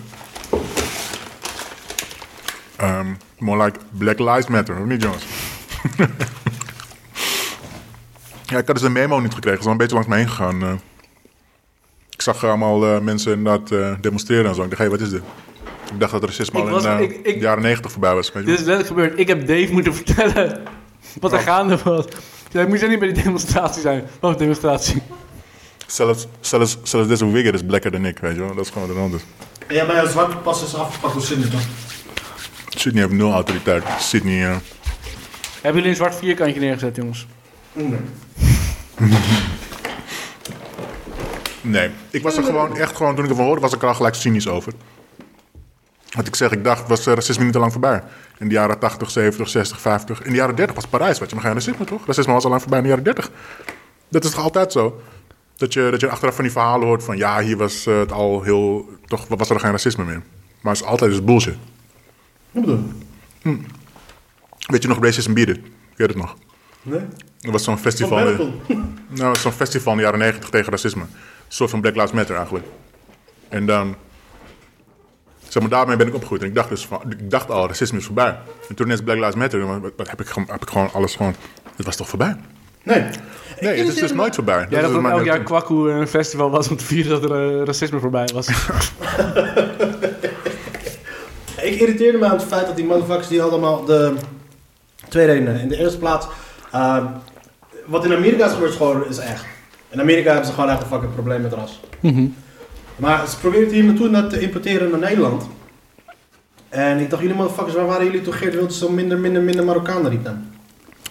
[SPEAKER 3] Ehm, more like Black Lives Matter, of niet, jongens? ja, ik had dus een memo niet gekregen. Het is al een beetje langs me heen gegaan. eh. ik zag allemaal eh, mensen inderdaad eh, demonstreren en zo. Ik dacht, hé, wat is dit? Ik dacht dat racisme
[SPEAKER 4] Ik
[SPEAKER 3] al
[SPEAKER 4] was-
[SPEAKER 3] in eh,
[SPEAKER 4] ik- ik-
[SPEAKER 3] de jaren negentig voorbij was. Weet
[SPEAKER 4] Dit
[SPEAKER 3] je wel.
[SPEAKER 4] is letterlijk gebeurd. Ik heb Dave moeten vertellen wat er gaande was. Ik zei, moet je niet bij die demonstratie zijn? Wat demonstratie? Dus-
[SPEAKER 3] Zelfs, zelfs, zelfs deze wigger is blacker dan ik, weet je wel. Dat is gewoon wat er aan de hand is.
[SPEAKER 2] Ja, maar ja, zwarte pas is afgepakt door Sydney. toch?
[SPEAKER 3] Sydney heeft nul autoriteit. Sydney... eh,
[SPEAKER 4] Hebben jullie een zwart vierkantje neergezet, jongens?
[SPEAKER 3] Nee, ik was er gewoon echt gewoon, toen ik ervan hoorde, was ik er al gelijk cynisch over. Wat ik zeg, ik dacht, was eh, racisme niet te lang voorbij. In de jaren 80, 70, 60, 50. In de jaren 30 was Parijs, weet je, maar geen racisme toch? Racisme was al lang voorbij in de jaren 30. Dat is toch altijd zo? Dat je, dat je achteraf van die verhalen hoort van, ja, hier was eh, het al heel, toch was er geen racisme meer. Maar het is altijd dus bullshit.
[SPEAKER 2] Wat bedoel je?
[SPEAKER 3] Weet je nog Racism Beat It? Ik weet het nog.
[SPEAKER 2] Nee?
[SPEAKER 3] Er was zo'n
[SPEAKER 2] Van
[SPEAKER 3] festival.
[SPEAKER 2] Berkel.
[SPEAKER 3] Nou, het is zo'n festival in de jaren 90 tegen racisme. Een soort van Black Lives Matter eigenlijk. En dan... Zeg maar, daarmee ben ik opgegroeid. En ik dacht dus van... Ik dacht al, racisme is voorbij. En toen is Black Lives Matter... maar wat- wat heb, ik, gewoon- heb ik gewoon alles gewoon... Het was toch voorbij?
[SPEAKER 2] Nee.
[SPEAKER 3] Nee, het is dus nooit voorbij.
[SPEAKER 4] Jij
[SPEAKER 3] is
[SPEAKER 4] dacht
[SPEAKER 3] dus
[SPEAKER 4] dat
[SPEAKER 3] mijn-
[SPEAKER 4] elk jaar Kwaku een festival was om te vieren dat er eh, racisme voorbij was.
[SPEAKER 2] Ik irriteerde me aan het feit dat die motherfuckers die hadden allemaal de twee redenen. In de eerste plaats, eh, wat in Amerika is gebeurd is gewoon is echt. In Amerika hebben ze gewoon echt een fucking probleem met ras. Maar ze probeerden hier naartoe net te importeren naar Nederland. En ik dacht, jullie motherfuckers, waar waren jullie toen Geert Wilders zo minder, minder, minder Marokkanen riep dan?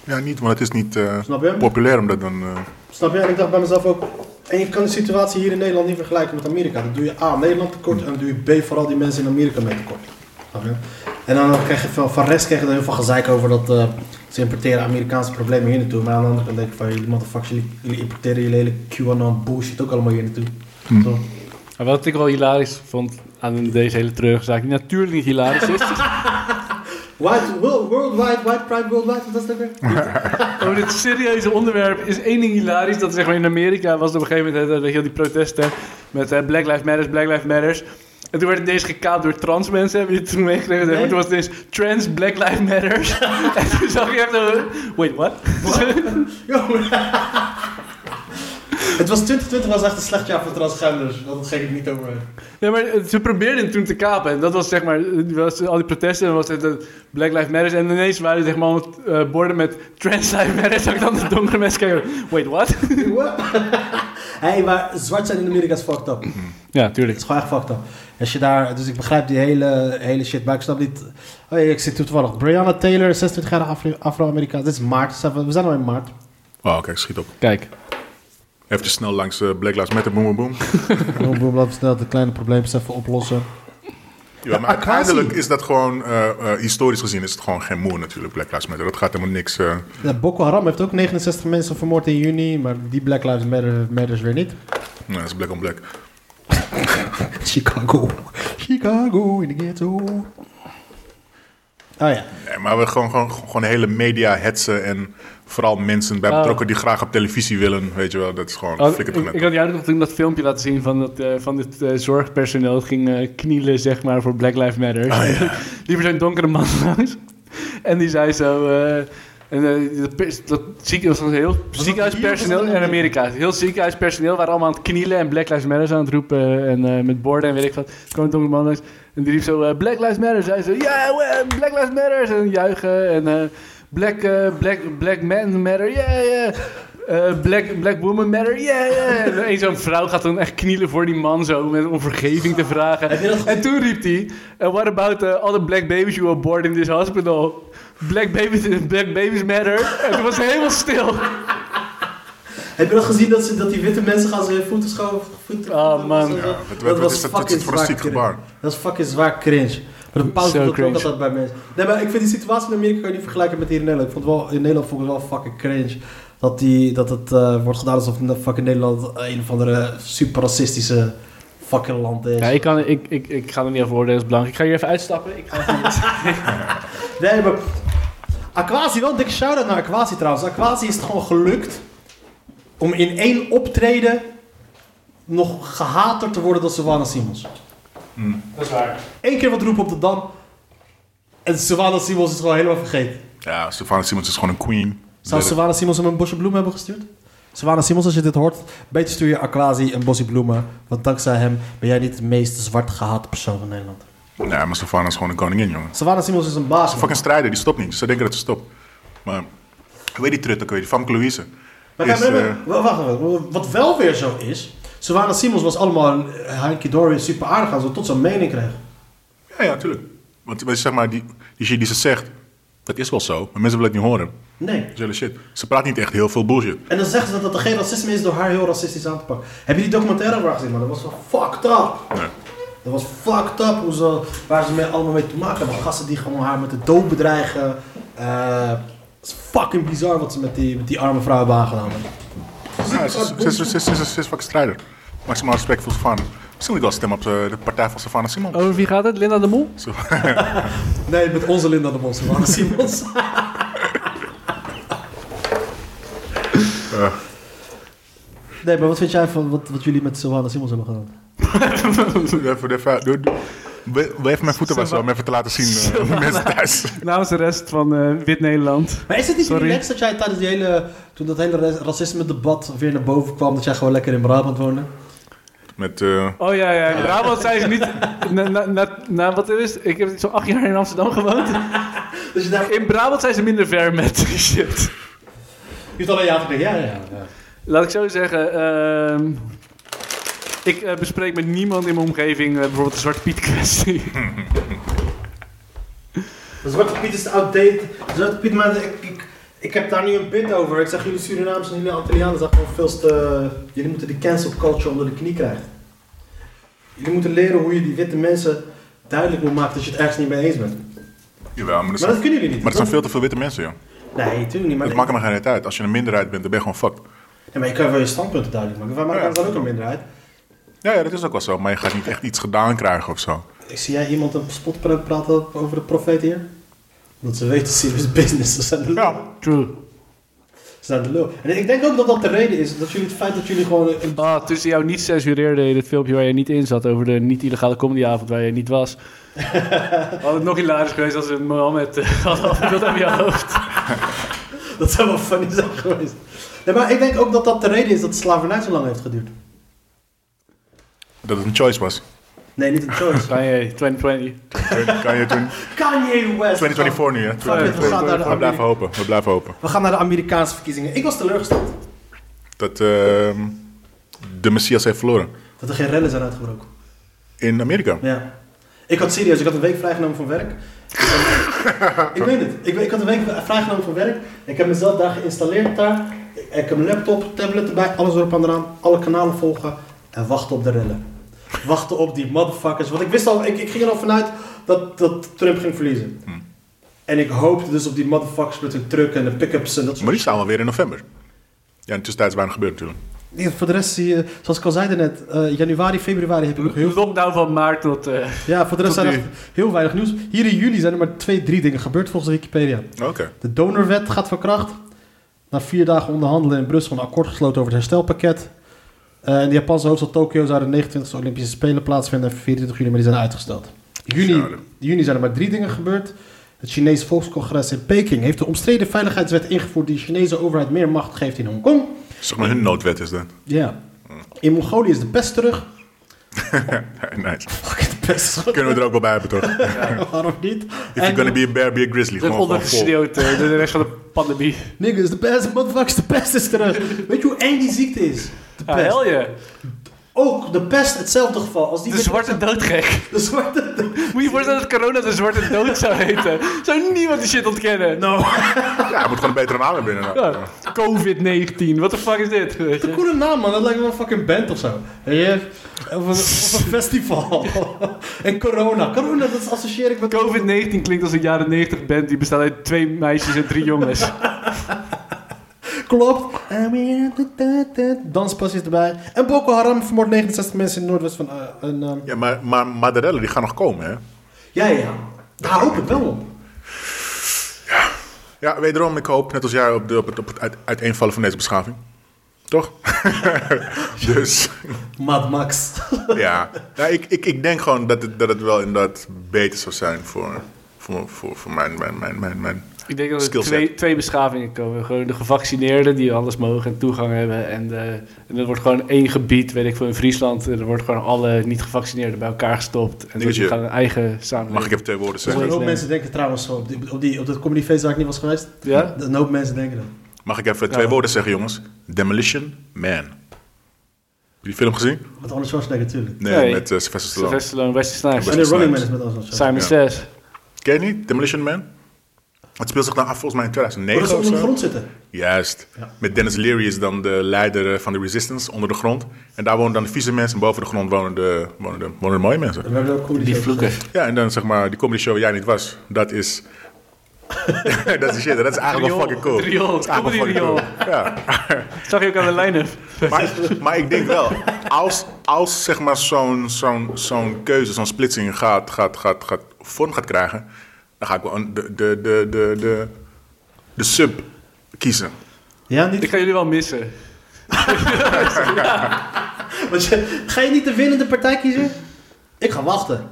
[SPEAKER 3] Ja, niet, want het is niet eh,
[SPEAKER 2] Snap je?
[SPEAKER 3] populair om dat dan... eh,
[SPEAKER 2] Snap je? En ik dacht bij mezelf ook. En je kan de situatie hier in Nederland niet vergelijken met Amerika. Dan doe je A, Nederland tekort. En dan doe je B, vooral die mensen in Amerika mee tekort. Snap je? En dan krijg je van, van rest krijg je dan heel veel gezeik over dat eh, ze importeren Amerikaanse problemen hier naartoe. Maar aan de andere kant denk ik van jullie motherfuckers, jullie, jullie importeren jullie hele QAnon bullshit ook allemaal hier naartoe. Toch?
[SPEAKER 4] Maar wat ik wel hilarisch vond aan deze hele treurige zaak, die natuurlijk niet hilarisch is.
[SPEAKER 2] White, wo- worldwide, white pride worldwide, wat is dat weer?
[SPEAKER 4] Over Oh, dit serieuze onderwerp is één ding hilarisch. Dat zeg maar in Amerika was het op een gegeven moment eh, weet je, wel, die protesten met eh, Black Lives Matters, Black Lives Matters. En toen werd het ineens gekaapt door trans mensen. Hebben jullie het toen meegekregen?
[SPEAKER 2] Nee.
[SPEAKER 4] Maar Toen was het ineens trans Black Lives Matters. en toen zag je echt zo... Wait, what?
[SPEAKER 2] Yo. Het was 2020 was echt een slecht jaar voor transgenders. Dat ging ik niet over.
[SPEAKER 4] ja, maar eh, ze probeerden het toen te kapen. En dat was zeg maar... eh, Was, al die protesten en was het eh, Black Lives Matters. En ineens waren er zeg maar allemaal, eh, borden met trans Lives Matters. Zag ik dan de donkere mensen kijken. Wait, what?
[SPEAKER 2] Hé, hey, maar zwart zijn in Amerika is fucked up.
[SPEAKER 4] ja,
[SPEAKER 2] Het
[SPEAKER 4] tuurlijk.
[SPEAKER 2] is gewoon echt fucked up. Als je daar, dus ik begrijp die hele, hele shit, maar ik snap niet. Oh, ja, ik zit toevallig. Brianna Taylor, 26 jaar Afri- Afro-Amerikaans. Dit is maart. Zijn We we zijn al in maart.
[SPEAKER 3] Oh, kijk, schiet op.
[SPEAKER 4] Kijk.
[SPEAKER 3] Even snel langs eh, Black Lives Matter, boom, boom, boom.
[SPEAKER 2] Boom, boom, laten we snel de kleine probleempjes even oplossen.
[SPEAKER 3] Ja, maar
[SPEAKER 2] Akazi.
[SPEAKER 3] uiteindelijk is dat gewoon... eh, eh, historisch gezien is het gewoon geen moer natuurlijk, Black Lives Matter. Dat gaat helemaal niks... eh,
[SPEAKER 2] Ja, Boko Haram heeft ook 69 mensen vermoord in
[SPEAKER 3] nou,
[SPEAKER 2] juni, maar die Black Lives Matter matters weer niet.
[SPEAKER 3] Nee, dat is black on black.
[SPEAKER 2] Chicago. Chicago in de ghetto. Ah ja.
[SPEAKER 3] Nee, maar we gewoon, gewoon, gewoon de hele media hetsen en vooral mensen bij
[SPEAKER 4] Oh.
[SPEAKER 3] betrokken die graag op televisie willen. Weet je wel, dat is gewoon
[SPEAKER 4] Oh, ik,
[SPEAKER 3] flikker toch net.
[SPEAKER 4] ik had jou ook nog toen dat filmpje laten zien van, dat, eh, van dit eh, zorgpersoneel. Dat ging eh, knielen, zeg maar, voor Black Lives Matter.
[SPEAKER 3] Oh,
[SPEAKER 4] Liever zo'n donkere man langs. En die zei zo... eh, en, eh, dat, pers- dat ziekenhuis was heel ziekenhuispersoneel
[SPEAKER 2] hier?
[SPEAKER 4] in Amerika. Heel ziekenhuispersoneel waren allemaal aan het knielen en Black Lives Matter aan het roepen. En eh, met borden en weet ik wat. Er kwam een donkere man langs. En die riep zo eh, Black Lives Matter. Zei zo, ja, we- Black Lives Matter. En juichen. En eh, black, eh, black, black men matter. Ja, ja. Eh, black, black woman matter, yeah, yeah. En een zo'n vrouw gaat dan echt knielen voor die man zo, met, om vergeving te vragen.
[SPEAKER 2] Heb je dat ge-
[SPEAKER 4] En toen riep hij, "And what about eh, all the black babies you abort in this hospital? Black babies, black babies matter. En toen was het helemaal stil.
[SPEAKER 2] Heb je dat gezien dat, ze, dat die witte mensen gaan ze hun voeten schoon? Voeten,
[SPEAKER 4] Oh, man.
[SPEAKER 2] Dat-
[SPEAKER 3] Ja, wat- wat-
[SPEAKER 2] dat
[SPEAKER 3] wat
[SPEAKER 2] was
[SPEAKER 3] is dat-
[SPEAKER 2] fucking
[SPEAKER 3] wat is dat voor een
[SPEAKER 2] zwaar
[SPEAKER 3] ziek
[SPEAKER 2] cringe.
[SPEAKER 3] gebaar?
[SPEAKER 2] Dat is fucking zwaar cringe. Maar de pauze
[SPEAKER 4] Zo
[SPEAKER 2] doet ook
[SPEAKER 4] cringe.
[SPEAKER 2] altijd bij mensen. Nee, maar ik vind die situatie in Amerika kan je niet vergelijken met hier in Nederland. Ik vond wel, in Nederland vond ik het wel fucking cringe. Dat, die, dat het eh, wordt gedaan alsof in fucking Nederland een of andere super racistische fucking land is.
[SPEAKER 4] Ja, ik, kan, ik, ik, ik ga er niet over oordelen, dat is belangrijk. Ik ga hier even uitstappen. Ik ga
[SPEAKER 2] Nee, maar... Aquasi, wel een dikke shout-out naar Aquasi trouwens. Aquasi is het gewoon gelukt om in één optreden nog gehater te worden dan Savannah Simons.
[SPEAKER 4] Dat is waar.
[SPEAKER 2] Eén keer wat roepen op de Dam en Savannah Simons is gewoon helemaal vergeten.
[SPEAKER 3] Ja, Stefan Simons is gewoon een queen.
[SPEAKER 2] Zou
[SPEAKER 3] Dat-
[SPEAKER 2] Savannah Simons hem een bosje bloemen hebben gestuurd? Savannah Simons, als je dit hoort, beter stuur je Aquasi een bosje bloemen. Want dankzij hem ben jij niet de meest zwart gehate persoon van Nederland.
[SPEAKER 3] Nee, maar Stefan is gewoon een koningin, jongen.
[SPEAKER 2] Savannah Simons is een baas. man.
[SPEAKER 3] Fucking strijder, die stopt niet. Ze denken dat ze stopt. Maar, weet die trut ook weer, die Famke Louise.
[SPEAKER 2] Maar
[SPEAKER 3] Is,
[SPEAKER 2] kijk, maar-
[SPEAKER 3] eh,
[SPEAKER 2] maar- wacht even. Wat wel weer zo is. Savannah Simons was allemaal een Heinke Dory super aardig aan, zo tot ze een mening kreeg.
[SPEAKER 3] Ja, ja, tuurlijk. Want weet je, zeg maar, die, die shit die ze zegt, dat is wel zo. Maar mensen willen het niet horen.
[SPEAKER 2] Nee.
[SPEAKER 3] Dat is hele shit. Ze praat niet echt heel veel bullshit.
[SPEAKER 2] En dan zeggen ze dat het geen racisme is door haar heel racistisch aan te pakken. Heb je die documentaire over haar gezien, man? Dat was wel fucked up.
[SPEAKER 3] Nee.
[SPEAKER 2] Dat was fucked up hoe ze, waar ze mee, allemaal mee te maken hebben. Gasten die gewoon haar met de dood bedreigen. Eh, Het is fucking bizar wat ze met die, met die arme vrouw hebben aangedaan. man.
[SPEAKER 3] Ja, ze, ze, ze, ze, ze- ze- ze is fucking strijder. Maximaal respect voor Savannah. Misschien moet ik wel stemmen op eh, de partij van Savannah Simon.
[SPEAKER 4] Over wie gaat het? Linda de Mol?
[SPEAKER 3] Zo.
[SPEAKER 2] Nee, met onze Linda de Mol, Savannah Simons. Nee, maar wat vind jij van wat, wat jullie met Savannah Simons hebben gedaan?
[SPEAKER 3] Even, even, doe- doe- Wil wil even mijn voeten wassen om even te laten zien eh, aan de mensen thuis.
[SPEAKER 4] Namens de rest van eh, Wit Nederland.
[SPEAKER 2] Maar is het niet
[SPEAKER 4] Sorry.
[SPEAKER 2] relaxed dat jij tijdens die hele, toen dat hele ra- racisme-debat weer naar boven kwam, dat jij gewoon lekker in Brabant woonde?
[SPEAKER 3] Met, eh,
[SPEAKER 4] Oh ja, ja. In Brabant zijn ze niet... Na, na, na, na- wat is het? Ik heb zo'n acht jaar in Amsterdam gewoond.
[SPEAKER 2] Dus je dacht, je
[SPEAKER 4] In Brabant zijn ze minder ver met die shit.
[SPEAKER 2] hebt alleen ja te denken, ja, ja, ja.
[SPEAKER 4] Laat ik zo zeggen. ehm, ik eh, bespreek met niemand in mijn omgeving eh, bijvoorbeeld de Zwarte Piet kwestie.
[SPEAKER 2] De Zwarte Piet is outdated. De Zwarte Piet, maar ik, ik, ik heb daar nu een bit over. Ik zeg jullie Surinamers en jullie Antillianen zijn gewoon veel te... Jullie moeten de cancel culture onder de knie krijgen. Jullie moeten leren hoe je die witte mensen duidelijk moet maken dat je het ergens niet mee eens bent.
[SPEAKER 3] jawel, maar dat
[SPEAKER 2] Maar dat
[SPEAKER 3] zijn,
[SPEAKER 2] kunnen jullie niet.
[SPEAKER 3] maar dat zijn veel te veel witte mensen, joh.
[SPEAKER 2] Nee, natuurlijk niet. Maar,
[SPEAKER 3] Dat maakt me geen reet uit. Als je een minderheid bent, dan ben je gewoon fucked.
[SPEAKER 2] nee, maar je kan wel je standpunten duidelijk maken. Wij maken
[SPEAKER 3] Ja.
[SPEAKER 2] ons dan ook een minderheid.
[SPEAKER 3] Ja, ja, dat is ook wel zo. Maar je gaat niet echt iets gedaan krijgen of zo.
[SPEAKER 2] Ik zie jij iemand een spot praten over de profeet hier? Want ze weten serious business. Ze zijn de lul.
[SPEAKER 3] Ja.
[SPEAKER 4] True.
[SPEAKER 2] Ze zijn de lul. En ik denk ook dat dat de reden is. Dat jullie het feit dat jullie gewoon een
[SPEAKER 4] Ah, toen ze jou niet censureerden in het filmpje waar je niet in zat over de niet-illegale comedyavond waar je niet was. Had het nog hilarisch geweest als ze Mohammed eh, hadden afgebeeld aan je hoofd.
[SPEAKER 2] Dat zou wel funny zijn geweest. Nee, maar ik denk ook dat dat de reden is dat de slavernij zo lang heeft geduurd.
[SPEAKER 3] Dat het een choice was.
[SPEAKER 2] Nee, niet een choice.
[SPEAKER 4] Kan je 2020.
[SPEAKER 3] Kan kan je toen...
[SPEAKER 2] Kanye West.
[SPEAKER 3] 2024 nu, hè?
[SPEAKER 2] Fuck it, we gaan naar de
[SPEAKER 3] We blijven
[SPEAKER 2] Amerika-
[SPEAKER 3] hopen, we blijven hopen.
[SPEAKER 2] We gaan naar de Amerikaanse verkiezingen. Ik was teleurgesteld
[SPEAKER 3] Dat ehm, de Messias heeft verloren.
[SPEAKER 2] dat er geen rellen zijn uitgebroken.
[SPEAKER 3] In Amerika.
[SPEAKER 2] Ja. Ik had serieus, ik had een week vrijgenomen van werk. ik weet het. Ik, ik had een week vrijgenomen van werk. Ik heb mezelf daar geïnstalleerd daar. Ik, ik heb mijn laptop, tablet erbij, alles erop en eraan. Alle kanalen volgen en wachten op de rellen. Wachten op die motherfuckers. Want ik wist al, ik, ik ging er al vanuit dat, dat Trump ging verliezen. En ik hoopte dus op die motherfuckers met hun truck en de pick-ups en dat soort
[SPEAKER 3] Maar die staan alweer in november. Ja, in de tussentijd is weinig gebeurd natuurlijk.
[SPEAKER 2] Nee, voor de rest zie je, zoals ik al zei net, eh, januari, februari heb ik nog heel veel.
[SPEAKER 4] Lockdown van maart tot... eh,
[SPEAKER 2] Ja, voor de rest
[SPEAKER 4] Tot
[SPEAKER 2] zijn er
[SPEAKER 4] nu.
[SPEAKER 2] heel weinig nieuws. Hier in juli zijn er maar twee, drie dingen gebeurd volgens Wikipedia.
[SPEAKER 3] Oké.
[SPEAKER 2] De donorwet gaat van kracht. Na vier dagen onderhandelen in Brussel een akkoord gesloten over het herstelpakket. Eh, in de Japanse hoofdstad Tokio zouden de 29e Olympische Spelen plaatsvinden en 24 juni, maar die zijn uitgesteld. Juni,
[SPEAKER 3] Schade.
[SPEAKER 2] juni zijn er maar drie dingen gebeurd. Het Chinese Volkscongres in Peking heeft de omstreden veiligheidswet ingevoerd die de Chinese overheid meer macht geeft in Hongkong.
[SPEAKER 3] Zeg maar hun noodwet is dat.
[SPEAKER 2] Ja. In Mongolië is de pest terug.
[SPEAKER 3] nice.
[SPEAKER 2] Fucking de pest.
[SPEAKER 3] Kunnen we er ook wel bij hebben, toch?
[SPEAKER 2] Waarom niet?
[SPEAKER 3] If you're gonna be a bear, be a grizzly.
[SPEAKER 4] Het
[SPEAKER 3] Gewoon, gewoon vol.
[SPEAKER 4] ondergesneeuwd eh, door de rest van de pandemie.
[SPEAKER 2] Niggas, de pest, motherfuckers, de pest is terug. Weet je hoe eng die ziekte is? De
[SPEAKER 4] Ah,
[SPEAKER 2] pest.
[SPEAKER 4] hel je.
[SPEAKER 2] Ook de pest, hetzelfde geval. Als die
[SPEAKER 4] De zwarte doodgek.
[SPEAKER 2] De zwarte.
[SPEAKER 4] Moet je voorstellen dat corona de zwarte dood zou heten? Zou niemand die shit ontkennen?
[SPEAKER 2] Nou,
[SPEAKER 3] Ja, je moet gewoon een betere naam hebben inderdaad.
[SPEAKER 4] Ja, COVID-19, wat de fuck is dit? Weet
[SPEAKER 2] een
[SPEAKER 4] je?
[SPEAKER 2] coole naam, man. Dat lijkt wel een fucking band of zo. Weet je? Of een, of een festival. en corona. Corona, dat associeer ik met.
[SPEAKER 4] COVID-19 klinkt als een jaren 90 band die bestaat uit twee meisjes en drie jongens.
[SPEAKER 2] Klopt. Danspasjes erbij. En Boko Haram vermoord 69 mensen in het noordwesten van. eh, een, ehm,
[SPEAKER 3] Ja, maar, maar, maar de rellen die gaan nog komen, hè?
[SPEAKER 2] Ja, ja. Daar hoop ik wel op.
[SPEAKER 3] Ja, wederom, ik hoop net als jij op, de, op het, op het uit- uiteenvallen van deze beschaving. Toch? dus
[SPEAKER 2] Mad Max.
[SPEAKER 3] ja, ja ik, ik, ik denk gewoon dat het, dat het wel inderdaad beter zou zijn voor, voor, voor, voor mijn, mijn, mijn, mijn, mijn.
[SPEAKER 4] Ik denk dat er
[SPEAKER 3] Skillset.
[SPEAKER 4] twee, twee beschavingen komen. Gewoon de gevaccineerden die alles mogen en toegang hebben. En, eh en er wordt gewoon één gebied, weet ik veel, in Friesland. En er wordt gewoon alle niet-gevaccineerden bij elkaar gestopt. En
[SPEAKER 3] Dingetje.
[SPEAKER 4] die gaan een eigen
[SPEAKER 3] Mag
[SPEAKER 4] samenleving.
[SPEAKER 3] ik even twee woorden
[SPEAKER 2] Een
[SPEAKER 3] zeggen?
[SPEAKER 2] hoop mensen denken trouwens zo op, die, op, die, op dat comedyfeest waar ik niet was geweest.
[SPEAKER 4] Ja?
[SPEAKER 2] Een hoop mensen denken dat.
[SPEAKER 3] Mag ik even twee
[SPEAKER 4] Ja.
[SPEAKER 3] woorden zeggen, jongens? Demolition Man. Heb je die film gezien?
[SPEAKER 2] Met Arnold Schwarzenegger natuurlijk.
[SPEAKER 3] Nee,
[SPEAKER 4] Nee.
[SPEAKER 3] met eh, Sylvester Stallone.
[SPEAKER 4] Sylvester Stallone, Wesley Snipes,
[SPEAKER 2] En de Running Man is met Arnold Schwarzenegger.
[SPEAKER 4] Simon
[SPEAKER 3] Ja.
[SPEAKER 4] Says.
[SPEAKER 3] Ken je niet? Demolition Man? Het speelt zich dan af volgens mij in
[SPEAKER 2] Maar dat
[SPEAKER 3] 2009
[SPEAKER 2] ze
[SPEAKER 3] of
[SPEAKER 2] onder de
[SPEAKER 3] zo.
[SPEAKER 2] grond zitten.
[SPEAKER 3] Juist. Met Dennis Leary is dan de leider eh, van de resistance onder de grond. En daar wonen dan de vieze mensen en boven de grond wonen de, wonen de, wonen de mooie mensen.
[SPEAKER 2] We hebben ook comedy
[SPEAKER 4] Die
[SPEAKER 2] shows
[SPEAKER 4] vloeken.
[SPEAKER 2] gezien.
[SPEAKER 3] Ja, en dan zeg maar, die comedy show waar jij niet was, dat is... dat is shit, dat is eigenlijk wel
[SPEAKER 4] Riool,
[SPEAKER 3] fucking cool.
[SPEAKER 4] het riool,
[SPEAKER 3] Dat is eigenlijk wel
[SPEAKER 4] comedy
[SPEAKER 3] fucking cool. Ja.
[SPEAKER 4] Zag je ook aan de line-up.
[SPEAKER 3] Maar, maar ik denk wel, als, als zeg maar zo'n zo'n zo'n keuze, zo'n splitsing gaat, gaat, gaat, gaat, vorm gaat krijgen, dan ga ik wel een- de, de, de, de, de, de sub kiezen.
[SPEAKER 2] Ja, niet
[SPEAKER 4] Ik ga jullie wel missen.
[SPEAKER 2] Want je- ga je niet de winnende partij kiezen? Ik ga wachten.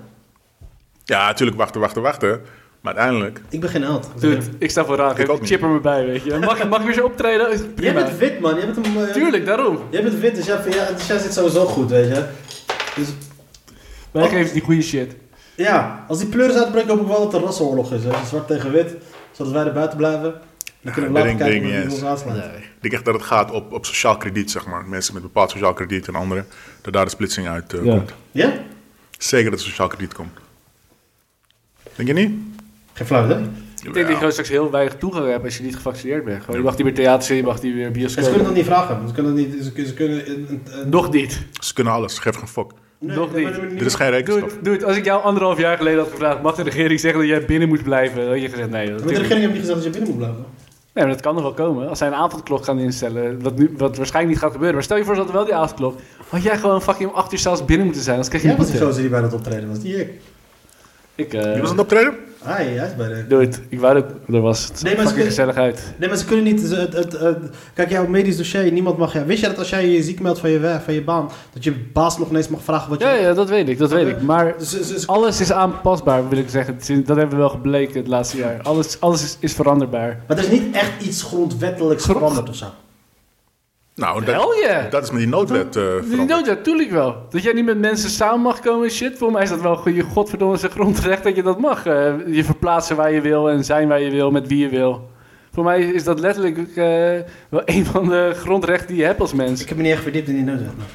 [SPEAKER 3] Ja, natuurlijk wachten, wachten, wachten. Maar uiteindelijk,
[SPEAKER 2] Ik ben geen held.
[SPEAKER 4] Dude, ik sta voor raak.
[SPEAKER 3] Ik ook
[SPEAKER 4] Ik chip er maar bij, weet je. Mag, mag ik weer zo optreden?
[SPEAKER 2] Jij
[SPEAKER 4] Prima.
[SPEAKER 2] bent wit, man. Jij bent een... eh,
[SPEAKER 4] Tuurlijk, daarom.
[SPEAKER 2] Jij bent wit, dus jij, ja, dus jij zit sowieso goed, weet je. Dus
[SPEAKER 4] Wij geven die goede shit.
[SPEAKER 2] ja, als die pleuris uitbreken, hoop ik wel dat het een rassenoorlog is. Hè. Dus zwart tegen wit, zodat wij er buiten blijven. Dan kunnen we
[SPEAKER 3] dat
[SPEAKER 2] later
[SPEAKER 3] denk-
[SPEAKER 2] kijken hoe
[SPEAKER 3] denk
[SPEAKER 2] die
[SPEAKER 3] ik niet
[SPEAKER 2] ons aanslaat. Nee.
[SPEAKER 3] ik denk echt dat het gaat op, op sociaal krediet, zeg maar. Mensen met bepaald sociaal krediet en anderen, dat daar de splitsing uit eh,
[SPEAKER 4] Ja.
[SPEAKER 3] komt.
[SPEAKER 2] Ja?
[SPEAKER 3] Zeker dat het sociaal krediet komt. Denk je niet?
[SPEAKER 2] Geen flauw, hè?
[SPEAKER 4] Ik denk dat je gewoon straks heel weinig toegang hebt als je niet gevaccineerd bent. Gewoon, je mag niet meer theater zien, je mag niet meer
[SPEAKER 2] En ze kunnen
[SPEAKER 4] bioscoop.
[SPEAKER 2] dat niet vragen. Ze kunnen dat niet... Ze, ze kunnen... een- een- een-
[SPEAKER 4] Nog niet.
[SPEAKER 3] Ze kunnen alles, geef geen fuck.
[SPEAKER 2] Nee,
[SPEAKER 4] nog
[SPEAKER 2] nee,
[SPEAKER 4] niet.
[SPEAKER 2] nee, nee, nee.
[SPEAKER 3] Er is geen rekenschap.
[SPEAKER 4] Dude, dude, als ik jou anderhalf jaar geleden had gevraagd, mag de regering zeggen dat jij binnen moet blijven? Dan had je gezegd, nee, dat
[SPEAKER 2] Maar de
[SPEAKER 4] natuurlijk-
[SPEAKER 2] regering heeft niet gezegd dat je binnen moet blijven.
[SPEAKER 4] nee, maar dat kan nog wel komen. Als zij een avondklok gaan instellen, wat, nu, wat waarschijnlijk niet gaat gebeuren. Maar stel je voor, ze hadden wel die avondklok. Had jij gewoon fucking om acht uur zelfs binnen moeten zijn, anders krijg je
[SPEAKER 2] Jij
[SPEAKER 4] een
[SPEAKER 2] was die
[SPEAKER 4] boete.
[SPEAKER 2] gozer die bij dat optreden was. Die ik.
[SPEAKER 4] Ik,
[SPEAKER 3] Je was
[SPEAKER 4] eh
[SPEAKER 3] aan het optreden?
[SPEAKER 2] Hij, hij is bij de...
[SPEAKER 4] dude, ik wou dat ik er was. Het zag
[SPEAKER 2] Nee, maar
[SPEAKER 4] fucking
[SPEAKER 2] ze-
[SPEAKER 4] gezellig uit.
[SPEAKER 2] Nee, maar ze kunnen niet. ze- Het, het, het- kijk, jouw medisch dossier, niemand mag. Ja, wist je dat als jij je ziek meldt van je, werk, van je baan, dat je baas nog ineens mag vragen wat je.
[SPEAKER 4] Ja, ja, dat weet ik, dat weet ik. Maar
[SPEAKER 2] Dus- dus- dus-
[SPEAKER 4] alles is aanpasbaar, wil ik zeggen. Sinds- Dat hebben we wel gebleken het laatste jaar. Alles, alles is, is veranderbaar.
[SPEAKER 2] maar er is niet echt iets grondwettelijks
[SPEAKER 4] Grond-
[SPEAKER 2] veranderd of zo.
[SPEAKER 3] Nou,
[SPEAKER 4] Hell
[SPEAKER 3] dat,
[SPEAKER 4] yeah!
[SPEAKER 3] dat is met die noodwet eh
[SPEAKER 4] Die
[SPEAKER 3] veranderd.
[SPEAKER 4] nood, natuurlijk wel. Dat jij niet met mensen samen mag komen en shit. Voor mij is dat wel goed. Je godverdomme zijn grondrecht dat je dat mag. Eh, je verplaatsen waar je wil en zijn waar je wil, met wie je wil. Voor mij is dat letterlijk eh, wel een van de grondrechten die je hebt als mens.
[SPEAKER 2] Ik heb me niet echt verdiept in die noodwet. maar-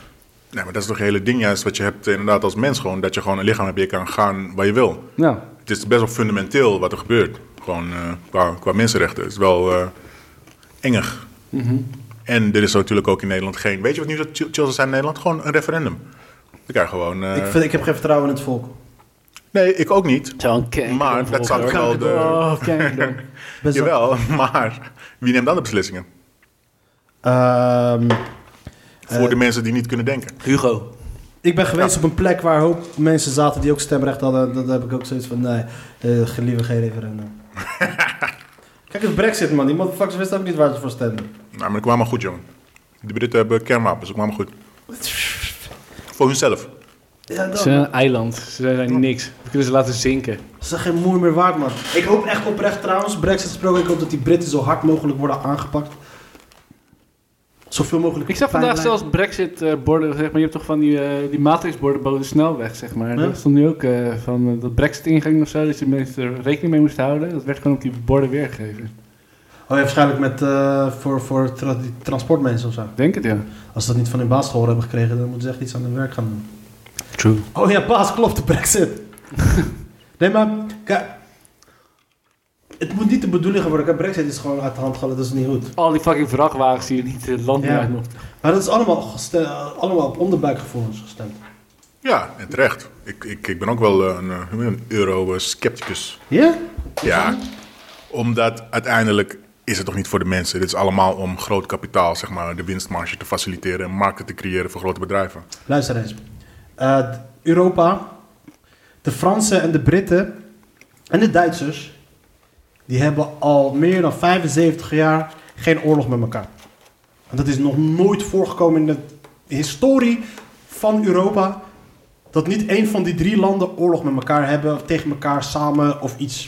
[SPEAKER 3] Nee, maar dat is toch het hele ding juist wat je hebt eh, inderdaad als mens gewoon. Dat je gewoon een lichaam hebt, je kan gaan waar je wil.
[SPEAKER 4] Nou,
[SPEAKER 3] Het is best wel fundamenteel wat er gebeurt. Gewoon eh, qua, qua mensenrechten. Het is wel eh engig.
[SPEAKER 2] Mhm.
[SPEAKER 3] En er is natuurlijk ook in Nederland geen... Weet je wat nu zo chill chill zou zijn in Nederland? Gewoon een referendum. Ik krijg gewoon... eh,
[SPEAKER 2] Ik, vind, ik heb geen vertrouwen in het volk.
[SPEAKER 3] Nee, ik ook niet.
[SPEAKER 4] zo'n kanker.
[SPEAKER 3] Maar dat zou ik wel... De...
[SPEAKER 4] Oh, kanker.
[SPEAKER 2] Best wel-
[SPEAKER 3] Jawel, maar wie neemt dan de beslissingen?
[SPEAKER 2] Ehm,
[SPEAKER 3] Voor de mensen die niet kunnen denken.
[SPEAKER 1] Hugo.
[SPEAKER 2] Ik ben geweest op een plek waar een hoop mensen zaten die ook stemrecht hadden. Dat heb ik ook zoiets van, nee, eh liever geen referendum. Kijk, het brexit, man. Die motherfuckers wisten ook niet waar ze voor stemden.
[SPEAKER 3] Nou, maar dat kwam maar goed, jongen. De Britten hebben kernwapens, dat kwam maar goed. Voor hunzelf.
[SPEAKER 2] Ja,
[SPEAKER 4] Ze
[SPEAKER 2] dat.
[SPEAKER 4] zijn een eiland. Ze zijn niks. We kunnen ze laten zinken.
[SPEAKER 2] Ze zijn geen moer meer waard, man. Ik hoop echt oprecht trouwens, brexit gesproken, ik hoop dat die Britten zo hard mogelijk worden aangepakt. Zoveel mogelijk.
[SPEAKER 4] Ik zag vandaag
[SPEAKER 2] pijnlijn-
[SPEAKER 4] zelfs Brexit-borden, zeg maar. Je hebt toch van die, eh, die matrixborden boven de snelweg, zeg maar.
[SPEAKER 2] Ja.
[SPEAKER 4] Dat stond nu ook eh, van eh, dat Brexit-ingang of zo, dat je mensen er rekening mee moest houden. Dat werd gewoon op die borden weergegeven.
[SPEAKER 2] Oh ja, waarschijnlijk met, eh, voor, voor tra- die transportmensen of zo.
[SPEAKER 4] Ik denk het, ja.
[SPEAKER 2] Als ze dat niet van hun baas gehoord hebben gekregen, dan moeten ze echt iets aan hun werk gaan doen.
[SPEAKER 4] True.
[SPEAKER 2] Oh ja, baas, klopt, de brexit. nee, maar... kijk, Het moet niet de bedoeling worden. Kijk, brexit is gewoon uit de hand gevallen, dat is niet goed.
[SPEAKER 4] Al die fucking vrachtwagens die je niet het land
[SPEAKER 2] Ja.
[SPEAKER 4] meer uit mochten.
[SPEAKER 2] Maar dat is allemaal, geste- allemaal op onderbuikgevoelens gestemd.
[SPEAKER 3] Ja, en terecht. Ik, ik, ik ben ook wel eh, een, eh, een euro-scepticus.
[SPEAKER 2] Ja?
[SPEAKER 3] Ja, omdat uiteindelijk is het toch niet voor de mensen. Dit is allemaal om groot kapitaal, zeg maar, de winstmarge te faciliteren en markten te creëren voor grote bedrijven.
[SPEAKER 2] Luister eens. Eh, Europa, de Fransen en de Britten en de Duitsers, die hebben al meer dan 75 jaar geen oorlog met elkaar. En dat is nog nooit voorgekomen in de historie van Europa. Dat niet één van die drie landen oorlog met elkaar hebben, of tegen elkaar samen of iets.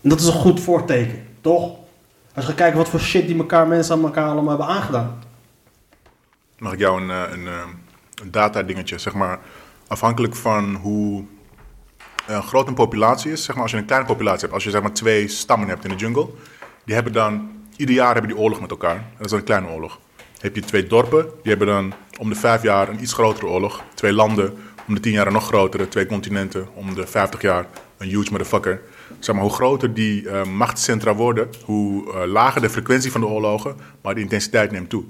[SPEAKER 2] En dat is een goed voorteken, toch? Als je gaat kijken wat voor shit die elkaar mensen aan elkaar allemaal hebben aangedaan.
[SPEAKER 3] Mag ik jou een, eh, een, eh, een data-dingetje, zeg maar, afhankelijk van hoe eh, groot een populatie is, zeg maar, als je een kleine populatie hebt, als je zeg maar twee stammen hebt in de jungle, die hebben dan, ieder jaar hebben die oorlog met elkaar. En dat is dan een kleine oorlog. Heb je twee dorpen, die hebben dan om de vijf jaar een iets grotere oorlog. Twee landen, om de tien jaar een nog grotere. Twee continenten, om de vijftig jaar een huge motherfucker. Zeg maar, hoe groter die eh, machtscentra worden, hoe eh, lager de frequentie van de oorlogen, maar de intensiteit neemt toe.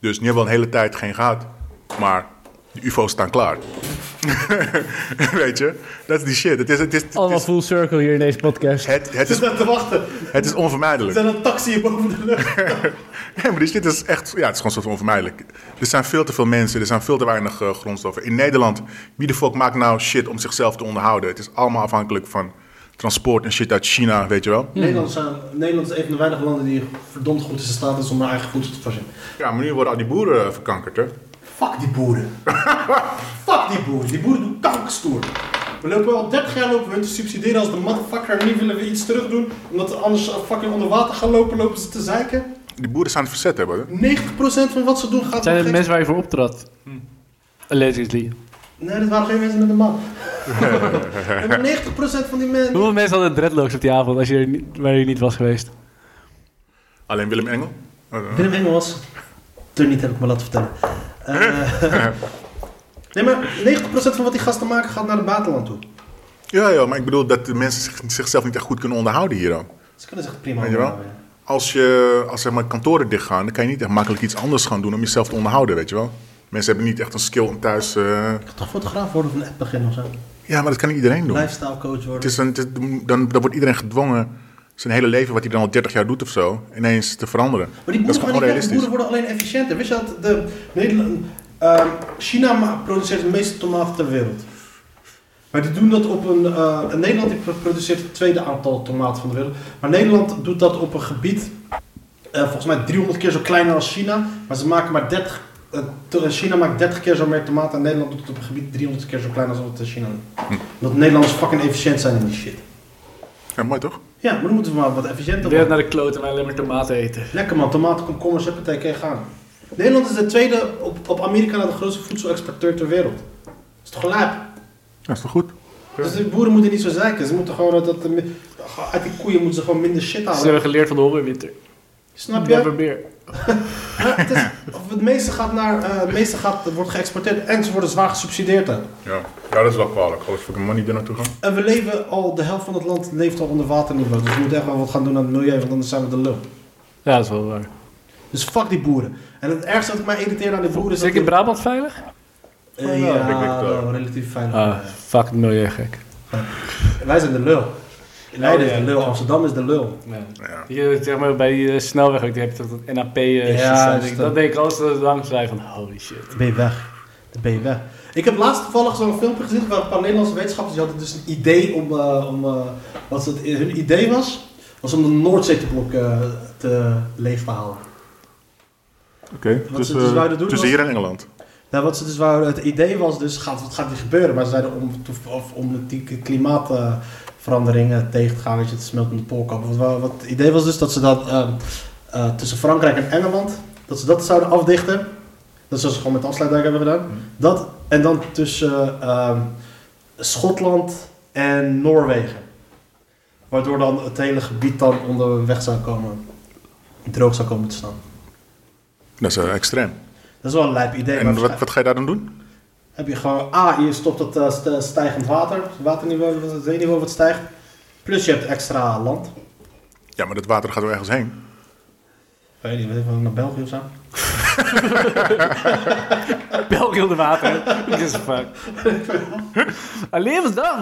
[SPEAKER 3] Dus nu hebben we al een hele tijd geen gehad, maar de UFO's staan klaar. Weet je, dat is die shit. Het is, het is, het is-
[SPEAKER 4] Allemaal full circle hier in deze podcast.
[SPEAKER 3] het, het,
[SPEAKER 2] Ik
[SPEAKER 3] is,
[SPEAKER 2] zit daar te wachten.
[SPEAKER 3] het is onvermijdelijk.
[SPEAKER 2] Er zit een taxi boven de lucht.
[SPEAKER 3] Nee, maar dit is echt, ja, het is gewoon soort van onvermijdelijk. Er zijn veel te veel mensen, er zijn veel te weinig eh, grondstoffen. In Nederland, wie de fuck maakt nou shit om zichzelf te onderhouden? Het is allemaal afhankelijk van transport en shit uit China, weet je wel.
[SPEAKER 2] Nederland, zijn, Nederland is eh, een van de weinige landen die verdomd goed in staat is om haar eigen voedsel te voorzien.
[SPEAKER 3] Ja, maar nu worden al die boeren eh, verkankerd, hè?
[SPEAKER 2] Fuck die boeren. Fuck die boeren. Die boeren doen kankerstoer. We lopen al 30 jaar lopen we hun te subsidiëren als de motherfucker niet willen we iets terug doen. Omdat we anders eh, fucking onder water gaan lopen, lopen ze te zeiken.
[SPEAKER 3] Die boeren zijn het verzet hebben, hè?
[SPEAKER 2] 90% van wat ze doen gaat
[SPEAKER 4] Zijn
[SPEAKER 2] om
[SPEAKER 4] het
[SPEAKER 2] gek-
[SPEAKER 4] mensen waar je voor optrad? Hm. Allegedly.
[SPEAKER 2] Nee, dat waren geen mensen met een man. Nee, maar 90% van die mensen...
[SPEAKER 4] Hoeveel mensen hadden dreadlocks op die avond als je er niet, waar je niet was geweest?
[SPEAKER 3] Alleen Willem Engel. Eh, eh.
[SPEAKER 2] Willem Engel was. Toen niet heb ik me laten vertellen. Eh, nee, maar 90% van wat die gasten maken gaat naar het buitenland toe.
[SPEAKER 3] Ja, ja, maar ik bedoel dat de mensen zich- zichzelf niet echt goed kunnen onderhouden hier dan.
[SPEAKER 2] Ze kunnen zich prima
[SPEAKER 3] Weet je wel?
[SPEAKER 2] onderhouden, ja.
[SPEAKER 3] Als, je, als zeg maar, kantoren dichtgaan, dan kan je niet echt makkelijk iets anders gaan doen om jezelf te onderhouden, weet je wel. Mensen hebben niet echt een skill om thuis... eh,
[SPEAKER 2] Ik ga toch fotograaf worden of een app beginnen of zo.
[SPEAKER 3] Ja, maar dat kan niet iedereen doen.
[SPEAKER 2] Lifestyle coach
[SPEAKER 3] Het
[SPEAKER 2] worden.
[SPEAKER 3] is een, het is- dan, dan wordt iedereen gedwongen zijn hele leven, wat hij dan al 30 jaar doet of zo, ineens te veranderen.
[SPEAKER 2] Maar die
[SPEAKER 3] dat is
[SPEAKER 2] boeren,
[SPEAKER 3] gewoon
[SPEAKER 2] gaan niet weg, die
[SPEAKER 3] onrealistisch.
[SPEAKER 2] boeren worden alleen efficiënter. Wist je dat de Nederland, ehm, China ma- produceert de meeste tomaten ter wereld. Maar die doen dat op een. eh, Nederland die produceert het tweede aantal tomaten van de wereld. Maar Nederland doet dat op een gebied. eh, volgens mij 300 keer zo kleiner als China. Maar ze maken maar 30. eh, to- China maakt 30 keer zo meer tomaten. En Nederland doet het op een gebied 300 keer zo klein als wat eh, China doet.
[SPEAKER 3] Hm.
[SPEAKER 2] Omdat Nederlanders fucking efficiënt zijn in die shit.
[SPEAKER 3] Ja, mooi toch?
[SPEAKER 2] Ja, maar dan moeten we maar wat efficiënter
[SPEAKER 4] Weer
[SPEAKER 2] worden.
[SPEAKER 4] naar de kloot en wij alleen maar tomaten eten.
[SPEAKER 2] Lekker man, tomaten, komkommers, huppatee, kan je gaan. Nederland is de tweede, op, op Amerika na de grootste voedselexporteur ter wereld. Dat is toch gelijk?
[SPEAKER 3] Dat is toch goed?
[SPEAKER 2] Dus de boeren moeten niet zo zeiken. Ze moeten gewoon, dat, dat- uit die koeien moeten ze gewoon minder shit
[SPEAKER 4] Ze
[SPEAKER 2] halen.
[SPEAKER 4] hebben geleerd van de hongerwinter.
[SPEAKER 2] Snap je?
[SPEAKER 4] Never meer.
[SPEAKER 2] Ja, het, is, of het meeste gaat naar, eh, het meeste gaat, wordt geëxporteerd en ze worden zwaar gesubsidieerd. aan.
[SPEAKER 3] Ja, ja dat is wel kwalijk. Als fucking money daar naartoe gaan.
[SPEAKER 2] En we leven al, de helft van het land leeft al onder waterniveau. Dus we moeten echt wel wat gaan doen aan het milieu, want anders zijn we de lul.
[SPEAKER 4] Ja, dat is wel waar.
[SPEAKER 2] Dus fuck die boeren. En het ergste wat ik mij irriteerde aan die boeren is
[SPEAKER 4] Is ik in
[SPEAKER 2] dat...
[SPEAKER 4] Brabant veilig?
[SPEAKER 2] die-
[SPEAKER 3] Brabant?
[SPEAKER 2] Eh,
[SPEAKER 3] Ja, ik
[SPEAKER 2] ja,
[SPEAKER 3] weet het wel. Ah.
[SPEAKER 2] wel relatief veilig.
[SPEAKER 4] Ah, fuck het milieu gek.
[SPEAKER 2] Wij zijn de lul. Leiden is de lul, Amsterdam is de lul.
[SPEAKER 3] Ja.
[SPEAKER 4] Je, zeg maar, bij die eh, snelweg ook, die heb je toch dat NAP eh, shit
[SPEAKER 2] Ja,
[SPEAKER 4] staan.
[SPEAKER 2] dat is
[SPEAKER 4] Ik-
[SPEAKER 2] dat-
[SPEAKER 4] Dat denk ik altijd als ik langs rijd van holy shit.
[SPEAKER 2] Dan ben je weg. Dan ben je weg. Ik heb laatst toevallig zo'n filmpje gezien waar een paar Nederlandse wetenschappers die hadden dus een idee om, eh, om eh, wat het, hun idee was, was om de Noordzee te blokken eh, te leeg te halen.
[SPEAKER 3] Oké,
[SPEAKER 2] Wat
[SPEAKER 3] dus,
[SPEAKER 2] ze dus
[SPEAKER 3] eh,
[SPEAKER 2] zouden doen
[SPEAKER 3] tussen
[SPEAKER 2] was-
[SPEAKER 3] hier en Engeland.
[SPEAKER 2] Nou, wat ze dus wouden, het idee was dus, gaat, wat gaat er gebeuren? Maar ze zeiden om, te- of om die klimaatveranderingen tegen te gaan, weet je, het smelt in de poolkap. Wat, wat, wat het idee was dus dat ze dat ehm, eh, tussen Frankrijk en Engeland, dat ze dat zouden afdichten. Dat is zoals ze gewoon met de afsluitdijk hebben gedaan.
[SPEAKER 3] Mhm.
[SPEAKER 2] Dat, en dan tussen ehm, Schotland en Noorwegen. Waardoor dan het hele gebied dan onder weg zou komen, droog zou komen te staan.
[SPEAKER 3] Dat is eh, extreem.
[SPEAKER 2] Dat is wel een lijp idee. maar
[SPEAKER 3] En wat,
[SPEAKER 2] waarschijnlijk-
[SPEAKER 3] wat ga je daar dan doen?
[SPEAKER 2] heb je gewoon, ah, je stopt het eh, st- stijgend water, het waterniveau, het zeeniveau wat stijgt. Plus je hebt extra land.
[SPEAKER 3] Ja, maar dat water gaat er ergens heen.
[SPEAKER 2] Weet je, weet ik wel, naar België of zo.
[SPEAKER 4] België onder water. Dit is fuck. Alleen was dan.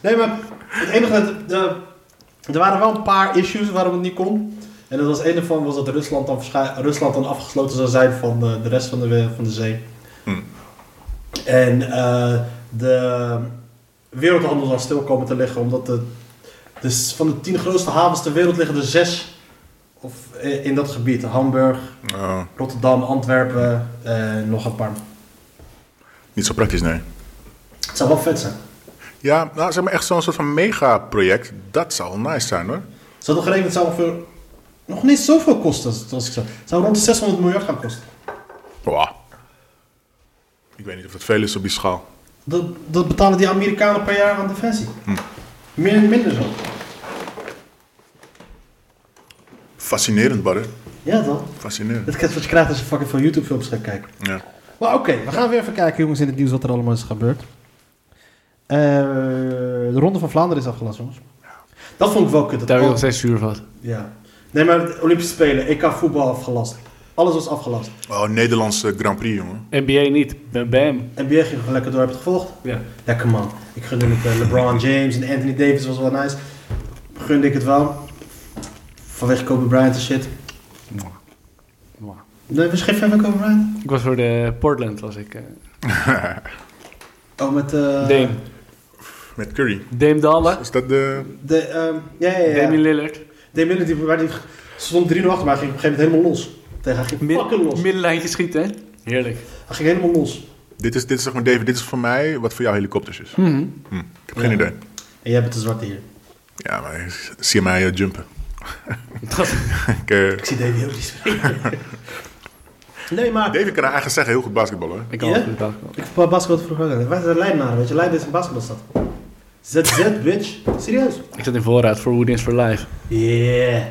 [SPEAKER 2] nee, maar het enige, dat- de, er waren wel een paar issues waarom het niet kon. En dat was een ervan was dat Rusland dan, verschij- Rusland dan afgesloten zou zijn van de, de rest van de, we- van de zee.
[SPEAKER 3] Hmm.
[SPEAKER 2] En eh, de wereldhandel zou stil komen te liggen, omdat de, dus van de tien grootste havens ter wereld liggen er zes of, eh, in dat gebied. Hamburg,
[SPEAKER 3] Oh,
[SPEAKER 2] Rotterdam, Antwerpen en nog een paar.
[SPEAKER 3] niet zo praktisch, nee.
[SPEAKER 2] Het zou wel vet zijn.
[SPEAKER 3] Ja, nou zeg maar echt zo'n soort van megaproject. Dat zou wel nice zijn hoor.
[SPEAKER 2] Het zou toch rekenen, het zou ongeveer nog niet zoveel kosten, zoals ik zei. Het zou rond de 600 miljard gaan kosten.
[SPEAKER 3] Wow. Ik weet niet of dat veel is op die schaal.
[SPEAKER 2] Dat, dat betalen die Amerikanen per jaar aan defensie. Meer, minder zo.
[SPEAKER 3] Fascinerend, Barre.
[SPEAKER 2] Ja, toch?
[SPEAKER 3] Fascinerend.
[SPEAKER 2] Dat is wat je krijgt als je fucking veel YouTube-films gaat kijken.
[SPEAKER 3] Ja.
[SPEAKER 2] Maar oké, we gaan weer even kijken, jongens, in het nieuws wat er allemaal is gebeurd. Eh, de Ronde van Vlaanderen is afgelast, jongens. Dat vond ik wel kut. dat
[SPEAKER 4] Daar ben ik
[SPEAKER 2] al-
[SPEAKER 4] nog steeds zuur van.
[SPEAKER 2] ja. Nee, maar de Olympische Spelen, EK voetbal afgelast. Alles was afgelast.
[SPEAKER 3] Oh, Nederlandse Grand Prix, jongen.
[SPEAKER 4] NBA niet. Bam, bam.
[SPEAKER 2] NBA ging gewoon lekker door, heb je het gevolgd?
[SPEAKER 4] Ja.
[SPEAKER 2] Lekker man. Ik gunde het eh, LeBron James en Anthony Davis was wel nice. Gunde ik het wel. Vanwege Kobe Bryant en shit.
[SPEAKER 4] Mwah.
[SPEAKER 2] Nee, was je geen fan van Kobe Bryant?
[SPEAKER 4] Ik was voor de Portland, was ik. eh.
[SPEAKER 2] Oh, met... eh
[SPEAKER 4] Dame.
[SPEAKER 3] Met Curry.
[SPEAKER 4] Dame Dalle.
[SPEAKER 3] Is dat de...
[SPEAKER 2] De, ehm, ja, ja, ja.
[SPEAKER 4] Damian Lillard.
[SPEAKER 2] Damian Lillard, die, waar die stond 3-0 achter, maar hij ging op een gegeven moment helemaal los. Tegen, hij ging fucking los.
[SPEAKER 4] Middenlijntje schieten, hè? Heerlijk.
[SPEAKER 2] Hij ging helemaal los.
[SPEAKER 3] Dit is, dit is zeg maar, David, dit is voor mij wat voor jou helikopters is. Hm, Ik heb geen
[SPEAKER 2] Mhm. Ja.
[SPEAKER 3] idee.
[SPEAKER 2] En jij bent de zwarte hier.
[SPEAKER 3] Ja, maar ik zie mij eh, jumpen. ik, eh,
[SPEAKER 2] Ik zie Davy ook niet spelen. nee, maar...
[SPEAKER 3] David kan haar eigen zeggen heel goed basketballen. hoor.
[SPEAKER 4] Ik kan
[SPEAKER 2] Ja?
[SPEAKER 4] ook goed basketbal.
[SPEAKER 2] Ik voetbal basketbal vroeger ook. altijd. Wij zijn Leidenaren, weet je. Leiden is een basketbalstad. ZZ, bitch. Serieus.
[SPEAKER 4] Ik zat in voorraad voor Woodins for Life.
[SPEAKER 2] Yeah.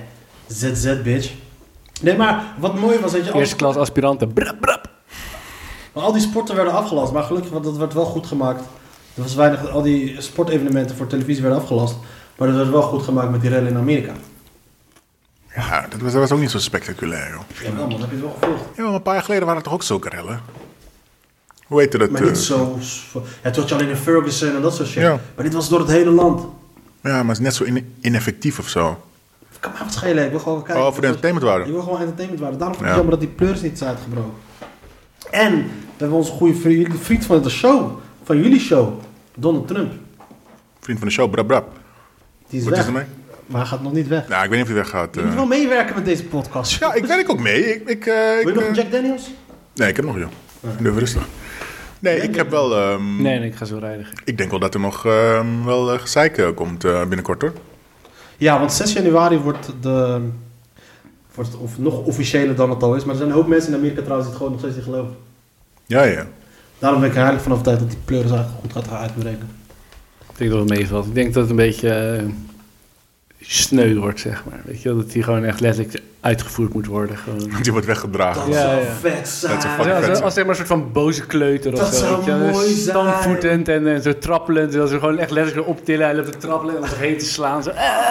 [SPEAKER 2] ZZ, bitch. Nee, maar wat mooi was, weet je, al,
[SPEAKER 4] Eerste klas aspiranten. Brap, brap.
[SPEAKER 2] maar al die sporten werden afgelast. Maar gelukkig, want dat werd wel goed gemaakt. Er was weinig, al die sportevenementen voor televisie werden afgelast. Maar dat werd wel goed gemaakt met die rellen in Amerika.
[SPEAKER 3] Ja, dat was, dat was ook niet zo spectaculair, joh.
[SPEAKER 2] Ja, man, dat heb je het wel gevolgd.
[SPEAKER 3] Ja, maar een paar jaar geleden waren er toch ook zulke rellen? Hoe heette dat?
[SPEAKER 2] Maar
[SPEAKER 3] eh,
[SPEAKER 2] niet zo... Ja, toen had je alleen in Ferguson en dat soort shit.
[SPEAKER 3] Ja.
[SPEAKER 2] Maar dit was door het hele land.
[SPEAKER 3] Ja, maar het is net zo ine- ineffectief of zo.
[SPEAKER 2] Kan mij wat schelen, ik wil gewoon kijken.
[SPEAKER 3] Oh, voor de entertainmentwaarde.
[SPEAKER 2] Ik wil gewoon entertainment waren. Daarom vind ik
[SPEAKER 3] Ja.
[SPEAKER 2] het jammer dat die pleurs niet is uitgebroken. En we hebben onze goede vri- vriend van de show, van jullie show, Donald Trump.
[SPEAKER 3] Vriend van de show, brab brab.
[SPEAKER 2] Die is
[SPEAKER 3] Wat
[SPEAKER 2] weg,
[SPEAKER 3] is er mee?
[SPEAKER 2] maar hij gaat nog niet weg.
[SPEAKER 3] Nou, ik weet niet of hij weggaat.
[SPEAKER 2] Je moet
[SPEAKER 3] eh.
[SPEAKER 2] wel meewerken met deze podcast.
[SPEAKER 3] Ja, ik werk ook mee. Ik, ik, eh, ik,
[SPEAKER 2] Wil je nog
[SPEAKER 3] eh,
[SPEAKER 2] een Ah. Jack Daniels?
[SPEAKER 3] Nee, ik heb nog, joh. Doe even rustig. Nee, ik heb wel... ehm,
[SPEAKER 4] Nee, nee, ik ga zo rijden.
[SPEAKER 3] Ik denk wel dat er nog ehm, wel eh, gezeik eh, komt eh, binnenkort, hoor.
[SPEAKER 2] Ja, want 6 januari wordt de... Wordt het of, nog officiëler dan het al is. Maar er zijn een hoop mensen in Amerika trouwens die het gewoon nog steeds niet geloven.
[SPEAKER 3] Ja, ja.
[SPEAKER 2] Daarom ben ik er eigenlijk van overtuigd dat die pleuris eigenlijk goed gaat uitbreken.
[SPEAKER 4] Ik denk dat het meevalt. Ik denk dat het een beetje eh, sneu wordt, zeg maar. Weet je, wel, dat die gewoon echt letterlijk uitgevoerd moet worden. Gewoon.
[SPEAKER 3] Die wordt weggedragen.
[SPEAKER 2] Dat
[SPEAKER 4] Ja,
[SPEAKER 2] zou
[SPEAKER 4] ja.
[SPEAKER 2] vet
[SPEAKER 3] Dat zou
[SPEAKER 2] zijn.
[SPEAKER 3] fucking
[SPEAKER 4] Ja,
[SPEAKER 3] vet
[SPEAKER 4] als,
[SPEAKER 3] zijn.
[SPEAKER 4] als zeg maar een soort van boze kleuter of
[SPEAKER 2] Dat
[SPEAKER 4] zo.
[SPEAKER 2] zou
[SPEAKER 4] weet je wel.
[SPEAKER 2] mooi zijn.
[SPEAKER 4] Stampvoetend en, eh, zo trappelend. Dat ze gewoon echt letterlijk optillen en op de trappelen en om zich heen te slaan. Zo. eh.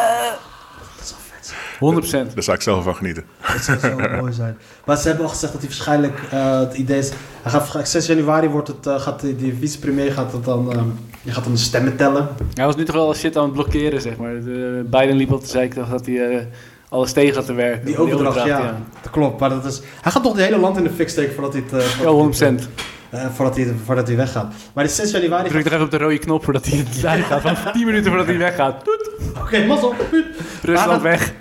[SPEAKER 4] 100%.
[SPEAKER 3] Daar zou ik zelf van genieten.
[SPEAKER 2] Dat zou zo mooi zijn. Maar ze hebben al gezegd dat hij waarschijnlijk eh, het idee is. Hij gaat, waarschijnlijk- 6 januari wordt het, eh, gaat die, die vicepremier gaat dat dan, ehm, die gaat dan de stemmen tellen.
[SPEAKER 4] Hij was nu toch wel shit aan het blokkeren, zeg maar. De, eh, Biden liep op de zijkant dat hij eh, alles tegen had te werken.
[SPEAKER 2] Die overdracht, ja, Dat klopt. Maar dat is, hij gaat toch het hele land in de fik steken voordat hij, het, eh,
[SPEAKER 4] Ja,
[SPEAKER 2] voordat,
[SPEAKER 4] 100%.
[SPEAKER 2] hij- eh, voordat, hij, voordat hij weggaat. Maar die 6 januari.
[SPEAKER 4] Druk er even op de rode knop voordat hij het zijn gaat. Van 10 minuten voordat hij weggaat. Toet,
[SPEAKER 2] Oké, mazzel. Puut.
[SPEAKER 3] Ah,
[SPEAKER 4] Rusland
[SPEAKER 2] Maar
[SPEAKER 4] weg.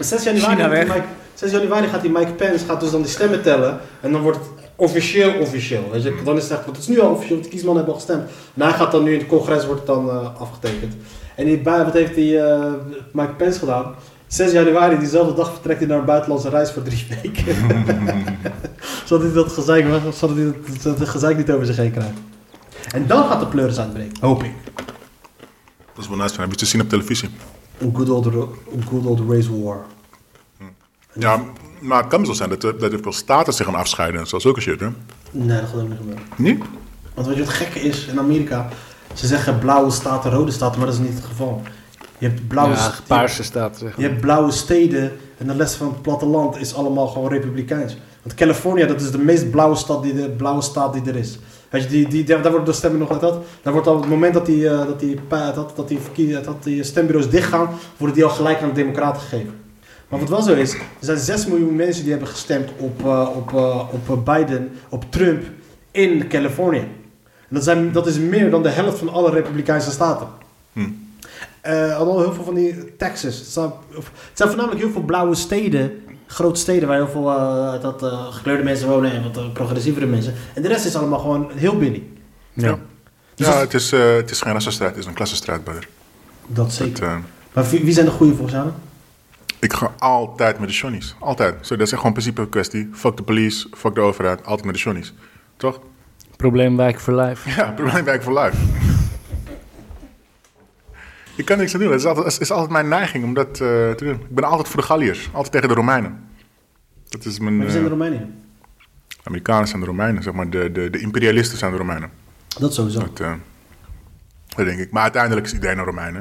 [SPEAKER 2] 6 januari,
[SPEAKER 4] China
[SPEAKER 2] gaat die
[SPEAKER 4] weg.
[SPEAKER 2] Mike, 6 januari gaat die Mike Pence gaat dus dan die stemmen tellen. En dan wordt het officieel officieel. Weet je? Dan is het echt, want het is nu al officieel, want de kiesman hebben al gestemd. En hij gaat dan nu in het congres wordt het dan eh, afgetekend. En die, bui- wat heeft die eh, Mike Pence gedaan? 6 januari, diezelfde dag, vertrekt hij naar een buitenlandse reis voor drie weken. zodat hij dat gezeik, zodat hij dat, dat het gezeik niet over zich heen krijgt. En dan gaat de pleuris uitbreken, hoop ik.
[SPEAKER 3] Dat is wel nice, man. heb je het te zien op televisie.
[SPEAKER 2] Een good old, ro- een good old race war.
[SPEAKER 3] Ja, maar het kan zo zijn dat, dat heel veel staten zich gaan afscheiden en zo. Zulke shit, hè?
[SPEAKER 2] Nee, dat gaat ook niet gebeuren.
[SPEAKER 3] Niet?
[SPEAKER 2] Want weet je wat het gekke is in Amerika? Ze zeggen blauwe staten, rode staten, maar dat is niet het geval. Je hebt blauwe,
[SPEAKER 4] Ja,
[SPEAKER 2] st-
[SPEAKER 4] paarse staat, zeg
[SPEAKER 2] je hebt blauwe steden en de rest van het platteland is allemaal gewoon republikeins. Want California, dat is de meest blauwe, stad die, de, blauwe staat die er is. Weet je, die, die, daar daar wordt de stemming nog uit dat. Daar wordt al het moment dat die, eh, dat die, pa- dat, dat die, verkie- dat die stembureaus dichtgaan, worden die al gelijk aan de democraten gegeven. Maar wat wel zo is, er zijn 6 miljoen mensen die hebben gestemd op, eh, op, eh, op Biden, op Trump in Californië. En dat, zijn, dat is meer dan de helft van alle Republikeinse staten. Eh, Alhoewel heel veel van die Texas. Het zijn, of- het zijn voornamelijk heel veel blauwe steden. Grote steden waar heel veel eh, dat, eh, gekleurde mensen wonen en wat eh, progressievere mensen. En de rest is allemaal gewoon heel billy.
[SPEAKER 4] Ja.
[SPEAKER 2] Dus
[SPEAKER 3] ja,
[SPEAKER 2] dat-
[SPEAKER 3] het is, eh, het is geen rassenstrijd, het is een klassenstrijd, brother.
[SPEAKER 2] Dat
[SPEAKER 3] Het,
[SPEAKER 2] zeker.
[SPEAKER 3] eh,
[SPEAKER 2] Maar wie, wie zijn de goede volgens jou?
[SPEAKER 3] ik ga altijd met de Johnnies. Altijd. Zo, dat is echt gewoon principe kwestie. Fuck de police, fuck de overheid. Altijd met de Johnnies. Toch?
[SPEAKER 4] Probleemwijk voor life.
[SPEAKER 3] Ja, probleemwijk voor life. ik kan niks aan doen. Het is altijd, het is altijd mijn neiging om dat eh, te doen. Ik ben altijd voor de Galliërs. Altijd tegen de Romeinen. Dat is mijn...
[SPEAKER 2] Maar wie zijn de
[SPEAKER 3] eh,
[SPEAKER 2] Romeinië?
[SPEAKER 3] Amerikanen zijn de Romeinen, zeg maar. De, de, de imperialisten zijn de Romeinen.
[SPEAKER 2] Dat sowieso.
[SPEAKER 3] Dat, eh, dat denk ik. Maar uiteindelijk is iedereen een Romein. hè.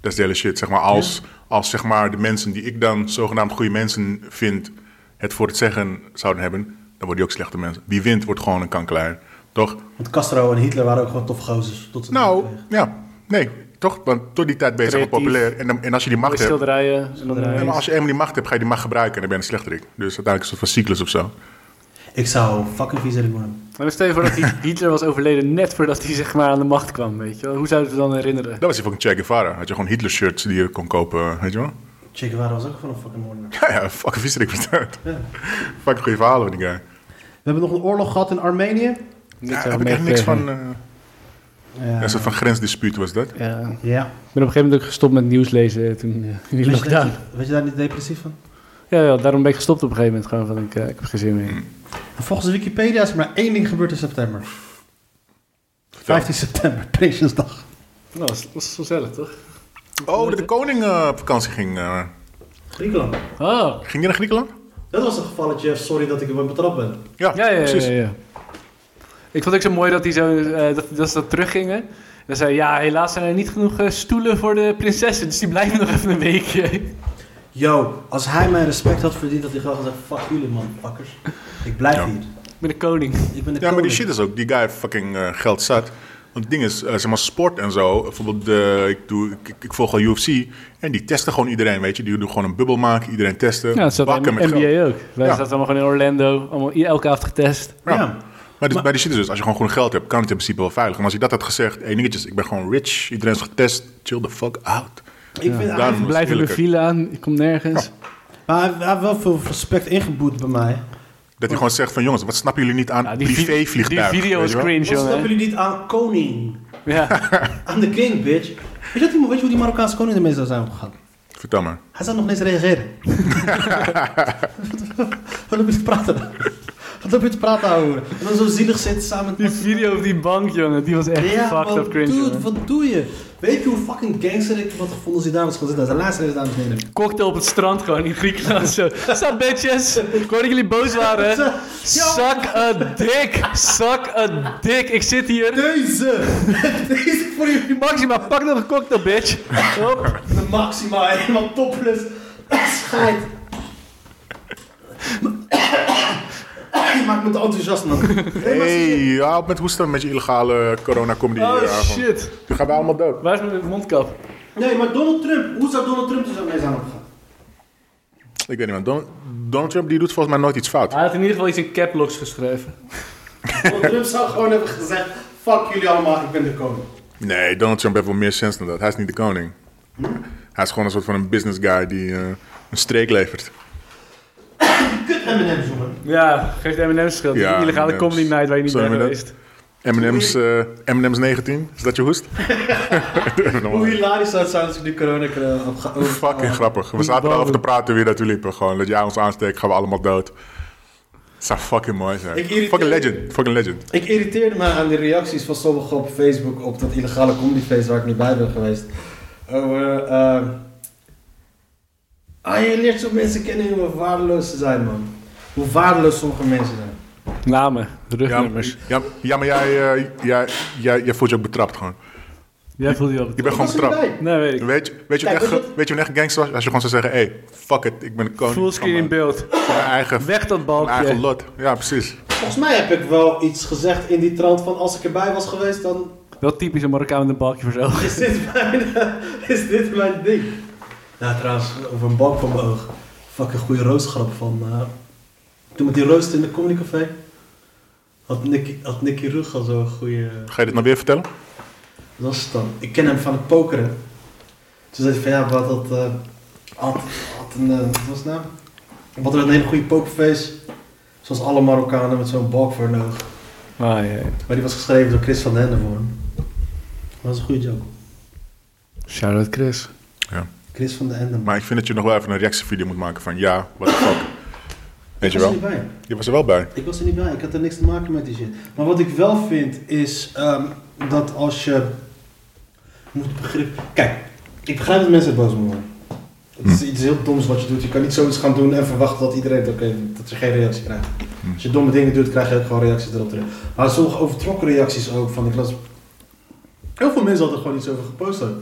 [SPEAKER 3] Dat is de hele shit. Zeg maar, als, als zeg maar, de mensen die ik dan zogenaamd goede mensen vind... het voor het zeggen zouden hebben... dan worden die ook slechte mensen. Wie wint, wordt gewoon een kankerlijn. Toch?
[SPEAKER 2] Want Castro en Hitler waren ook gewoon toffe gozers. Tot ze
[SPEAKER 3] Nou, ja. Nee, toch? Want tot die tijd ben je zeg maar,
[SPEAKER 4] Creatief.
[SPEAKER 3] populair. En, dan- en als je die macht hebt...
[SPEAKER 4] Schilderijen. En dan, eh,
[SPEAKER 3] Ja, maar als je eenmaal die macht hebt, ga je die macht gebruiken... en dan ben je een slechterik. Dus uiteindelijk is het een soort van cyclus of zo.
[SPEAKER 2] Ik zou fucking vies erin worden.
[SPEAKER 4] maar dan stel je voor dat die- Hitler was overleden net voordat hij zeg maar, aan de macht kwam, weet je wel. Hoe zouden we het dan herinneren?
[SPEAKER 3] Dat was je fucking Che Guevara. Had je gewoon Hitler-shirts die je kon kopen, weet je wel?
[SPEAKER 2] Che Guevara was ook gewoon een fucking moordenaar.
[SPEAKER 3] Ja, ja, fucking viezerik bestaat. Fucking goede verhalen van die guy.
[SPEAKER 2] We hebben nog een oorlog gehad in Armenië.
[SPEAKER 3] Ja,
[SPEAKER 4] zou
[SPEAKER 3] heb
[SPEAKER 4] ik
[SPEAKER 3] ik echt niks
[SPEAKER 4] meegekregen.
[SPEAKER 3] van... eh,
[SPEAKER 2] Ja.
[SPEAKER 3] ja, een soort van grensdispuut was dat.
[SPEAKER 4] Ja. Ik
[SPEAKER 2] Ja.
[SPEAKER 4] ben op een gegeven moment ook gestopt met nieuws lezen eh, toen eh, in
[SPEAKER 2] Weet
[SPEAKER 4] die
[SPEAKER 2] je, daar,
[SPEAKER 4] lockdown.
[SPEAKER 2] weet je daar niet depressief van?
[SPEAKER 4] Ja, ja, daarom ben ik gestopt op een gegeven moment. Gewoon van, ik, eh, ik heb geen zin meer.
[SPEAKER 3] Mm.
[SPEAKER 2] En volgens Wikipedia is er maar één ding gebeurd in september. 15 september, Prinsjesdag.
[SPEAKER 4] Nou, dat is- dat is gezellig, toch?
[SPEAKER 3] Oh, dat de koning eh, op vakantie ging. eh.
[SPEAKER 2] Griekenland.
[SPEAKER 4] Oh,
[SPEAKER 3] ging je naar Griekenland?
[SPEAKER 2] Dat was een gevalletje, sorry dat ik er betrapt ben.
[SPEAKER 3] Ja,
[SPEAKER 4] ja, ja, ja,
[SPEAKER 3] precies.
[SPEAKER 4] ja, ja. Ik vond het ook zo mooi dat, die zo, eh, dat, dat ze dat teruggingen. Dan zei hij, ja, helaas zijn er niet genoeg eh, stoelen voor de prinsessen. Dus die blijven nog even een weekje.
[SPEAKER 2] Yo, als hij mijn respect had verdiend, had hij gewoon gezegd: fuck jullie man, pakkers. Ik blijf
[SPEAKER 3] Ja.
[SPEAKER 2] hier.
[SPEAKER 4] Met de koning.
[SPEAKER 2] Ik ben de
[SPEAKER 3] Ja, maar die
[SPEAKER 2] koning.
[SPEAKER 3] shit is ook. Die guy heeft fucking eh, geld zat. Want het ding is, eh, zeg maar, sport en zo. Bijvoorbeeld, eh, ik, doe, ik, ik- ik volg al UFC. En die testen gewoon iedereen, weet je. Die doen gewoon een bubbel maken. Iedereen testen.
[SPEAKER 4] Ja, dat zat
[SPEAKER 3] bakken
[SPEAKER 4] in
[SPEAKER 3] met
[SPEAKER 4] NBA
[SPEAKER 3] geld.
[SPEAKER 4] ook. Wij
[SPEAKER 3] Ja.
[SPEAKER 4] zaten allemaal gewoon in Orlando. Allemaal i- elke avond getest.
[SPEAKER 3] Ja.
[SPEAKER 2] Ja.
[SPEAKER 3] Maar, dus,
[SPEAKER 2] Maar-
[SPEAKER 3] bij die shit is dus, als je gewoon genoeg geld hebt, kan het in principe wel veilig. En als je dat had gezegd, hé dingetjes, ik ben gewoon rich, iedereen is getest, chill the fuck out.
[SPEAKER 2] Ik vind
[SPEAKER 3] Daarom
[SPEAKER 2] eigenlijk-
[SPEAKER 3] was
[SPEAKER 4] Blijf
[SPEAKER 3] het
[SPEAKER 4] in de
[SPEAKER 3] eerlijker.
[SPEAKER 4] file aan. Ik kom nergens.
[SPEAKER 2] maar hij, hij heeft wel veel respect ingeboet bij mij.
[SPEAKER 3] Dat hij gewoon zegt van jongens, wat snappen jullie niet aan
[SPEAKER 4] Ja, vi-
[SPEAKER 3] privévliegtuigen?
[SPEAKER 4] Die video
[SPEAKER 3] weet
[SPEAKER 4] was
[SPEAKER 3] je wel?
[SPEAKER 4] cringe,
[SPEAKER 2] Wat snappen
[SPEAKER 4] jongen.
[SPEAKER 2] jullie niet aan koning?
[SPEAKER 4] Ja.
[SPEAKER 2] Aan de king, bitch. Weet je, dat die, weet je hoe die Marokkaanse koning ermee zou zijn omgegaan?
[SPEAKER 3] Vertel maar.
[SPEAKER 2] Hij zou nog niet eens reageren. Wat heb je te praten? Wat heb je te praten, ouwe? En dan zo zielig zitten samen
[SPEAKER 4] Die
[SPEAKER 2] met...
[SPEAKER 4] video op die bank, jongen. Die was echt fucked
[SPEAKER 2] man,
[SPEAKER 4] up cringe,
[SPEAKER 2] dude,
[SPEAKER 4] jongen.
[SPEAKER 2] wat doe je? Weet je hoe fucking gangster ik wat gevoel als die dames gaan zitten? De laatste is dames en heren.
[SPEAKER 4] Cocktail op het strand gewoon in Griekenland. Zo. Sup bitches. Ik hoorde dat jullie boos waren. Suck a dick. Suck a dick. Ik zit hier.
[SPEAKER 2] Deze! Deze voor jullie
[SPEAKER 4] Maxima, pak nog een cocktail, bitch. Hop.
[SPEAKER 2] De Maxima, helemaal topless. Scheid. Je maakt me te enthousiast, man. Nee, maar
[SPEAKER 3] Hey,
[SPEAKER 2] serieus.
[SPEAKER 3] ja, op met hoesten met je illegale corona-comedy.
[SPEAKER 4] Oh
[SPEAKER 3] eh, avond.
[SPEAKER 4] shit.
[SPEAKER 3] Nu gaan we allemaal dood.
[SPEAKER 4] Waar is mijn mondkap?
[SPEAKER 2] Nee, maar Donald Trump. Hoe zou Donald Trump er zo mee zijn omgegaan?
[SPEAKER 3] Ik weet niet, man. Don- Donald Trump die doet volgens mij nooit iets fout.
[SPEAKER 4] Hij had in ieder geval iets in cap locks geschreven.
[SPEAKER 2] Donald Trump zou gewoon hebben gezegd... Fuck jullie allemaal, ik ben de koning.
[SPEAKER 3] Nee, Donald Trump heeft wel meer sens dan dat. Hij is niet de koning. Hij is gewoon een soort van een business guy die eh, een streek levert.
[SPEAKER 2] Kut M&M's, jongen.
[SPEAKER 4] Ja, geeft M&M's schuld.
[SPEAKER 3] Ja,
[SPEAKER 4] Die illegale
[SPEAKER 3] M&M's.
[SPEAKER 4] comedy night waar je niet
[SPEAKER 3] Sorry,
[SPEAKER 4] bij
[SPEAKER 3] maar dat-
[SPEAKER 4] geweest.
[SPEAKER 3] M&M's, eh, M&M's 19, is dat je hoest?
[SPEAKER 2] Hoe hilarisch zou het zijn als ik die corona kunnen opgaan.
[SPEAKER 3] Fucking grappig. We zaten erover te praten weer dat we liepen. Gewoon dat jij ons aansteekt, gaan we allemaal dood. Het zou fucking mooi zijn.
[SPEAKER 2] Ik irriteer-
[SPEAKER 3] Fucking legend. Fucking legend.
[SPEAKER 2] Ik irriteerde me aan de reacties van sommigen op Facebook op dat illegale comedyfeest waar ik niet bij ben geweest. Over, eh, ah, je leert zo mensen kennen hoe waardeloos ze zijn, man. Hoe waardeloos sommige mensen zijn.
[SPEAKER 4] Namen,
[SPEAKER 3] Ja,
[SPEAKER 4] rugnummers.
[SPEAKER 3] ja, ja, maar jij, eh, jij, jij, jij voelt je ook betrapt gewoon.
[SPEAKER 4] Jij voelde je al
[SPEAKER 3] Je bent gewoon
[SPEAKER 2] was er niet
[SPEAKER 3] betrapt.
[SPEAKER 2] bij.
[SPEAKER 4] Nee, weet ik.
[SPEAKER 3] Weet je, weet, je
[SPEAKER 2] Kijk,
[SPEAKER 3] wat echt,
[SPEAKER 2] weet
[SPEAKER 3] ge-
[SPEAKER 2] je-
[SPEAKER 3] weet je wat echt gangster was? Als je gewoon zou zeggen, hey, fuck it, ik ben de koning.
[SPEAKER 4] Fullscreen in
[SPEAKER 3] van mijn-
[SPEAKER 4] beeld.
[SPEAKER 3] van Mijn eigen,
[SPEAKER 4] Weg dat
[SPEAKER 3] mijn eigen
[SPEAKER 4] balkje.
[SPEAKER 3] lot. Ja, precies.
[SPEAKER 2] Volgens mij heb ik wel iets gezegd in die trant van als ik erbij was geweest, dan
[SPEAKER 4] Wel typisch een Marokkaan met een balkje voor zijn ogen.
[SPEAKER 2] is dit mijn, is dit mijn ding. Nou, trouwens, over een balk van mijn oog. Fucking goede roosgrap van... eh, toen met die rooster in de comedycafé, had Nicky, had Nicky Rugal zo'n goede...
[SPEAKER 3] Ga je dit nou weer vertellen?
[SPEAKER 2] Dat was het dan. Ik ken hem van het pokeren. Toen zei hij van ja, wat dat. eh, had, had een. eh, wat was het nou? Wat een hele goede pokerface. Zoals alle Marokkanen met zo'n balk voor hun oog.
[SPEAKER 4] Ah, ja.
[SPEAKER 2] Maar die was geschreven door Chris van den Hende voor hem. Dat was een goede joke.
[SPEAKER 4] Shout out Chris.
[SPEAKER 2] Chris van den Hende.
[SPEAKER 3] Maar ik vind dat je nog wel even een reactievideo moet maken van ja, what the fuck. Weet je
[SPEAKER 2] Ik was er
[SPEAKER 3] wel?
[SPEAKER 2] niet bij.
[SPEAKER 3] Je was er wel bij.
[SPEAKER 2] Ik was er niet bij. Ik had er niks te maken met die shit. Maar wat ik wel vind is ehm, dat als je moet begrip. Kijk, ik begrijp dat mensen boos moeten worden. Het
[SPEAKER 3] Hm.
[SPEAKER 2] is iets heel doms wat je doet. Je kan niet zoiets gaan doen en verwachten dat iedereen het oké vindt, dat je geen reactie krijgt.
[SPEAKER 3] Hm.
[SPEAKER 2] Als je domme dingen doet, krijg je ook gewoon reacties erop terug. Maar sommige overtrokken reacties ook van de klas. Heel veel mensen hadden er gewoon iets over gepost ook.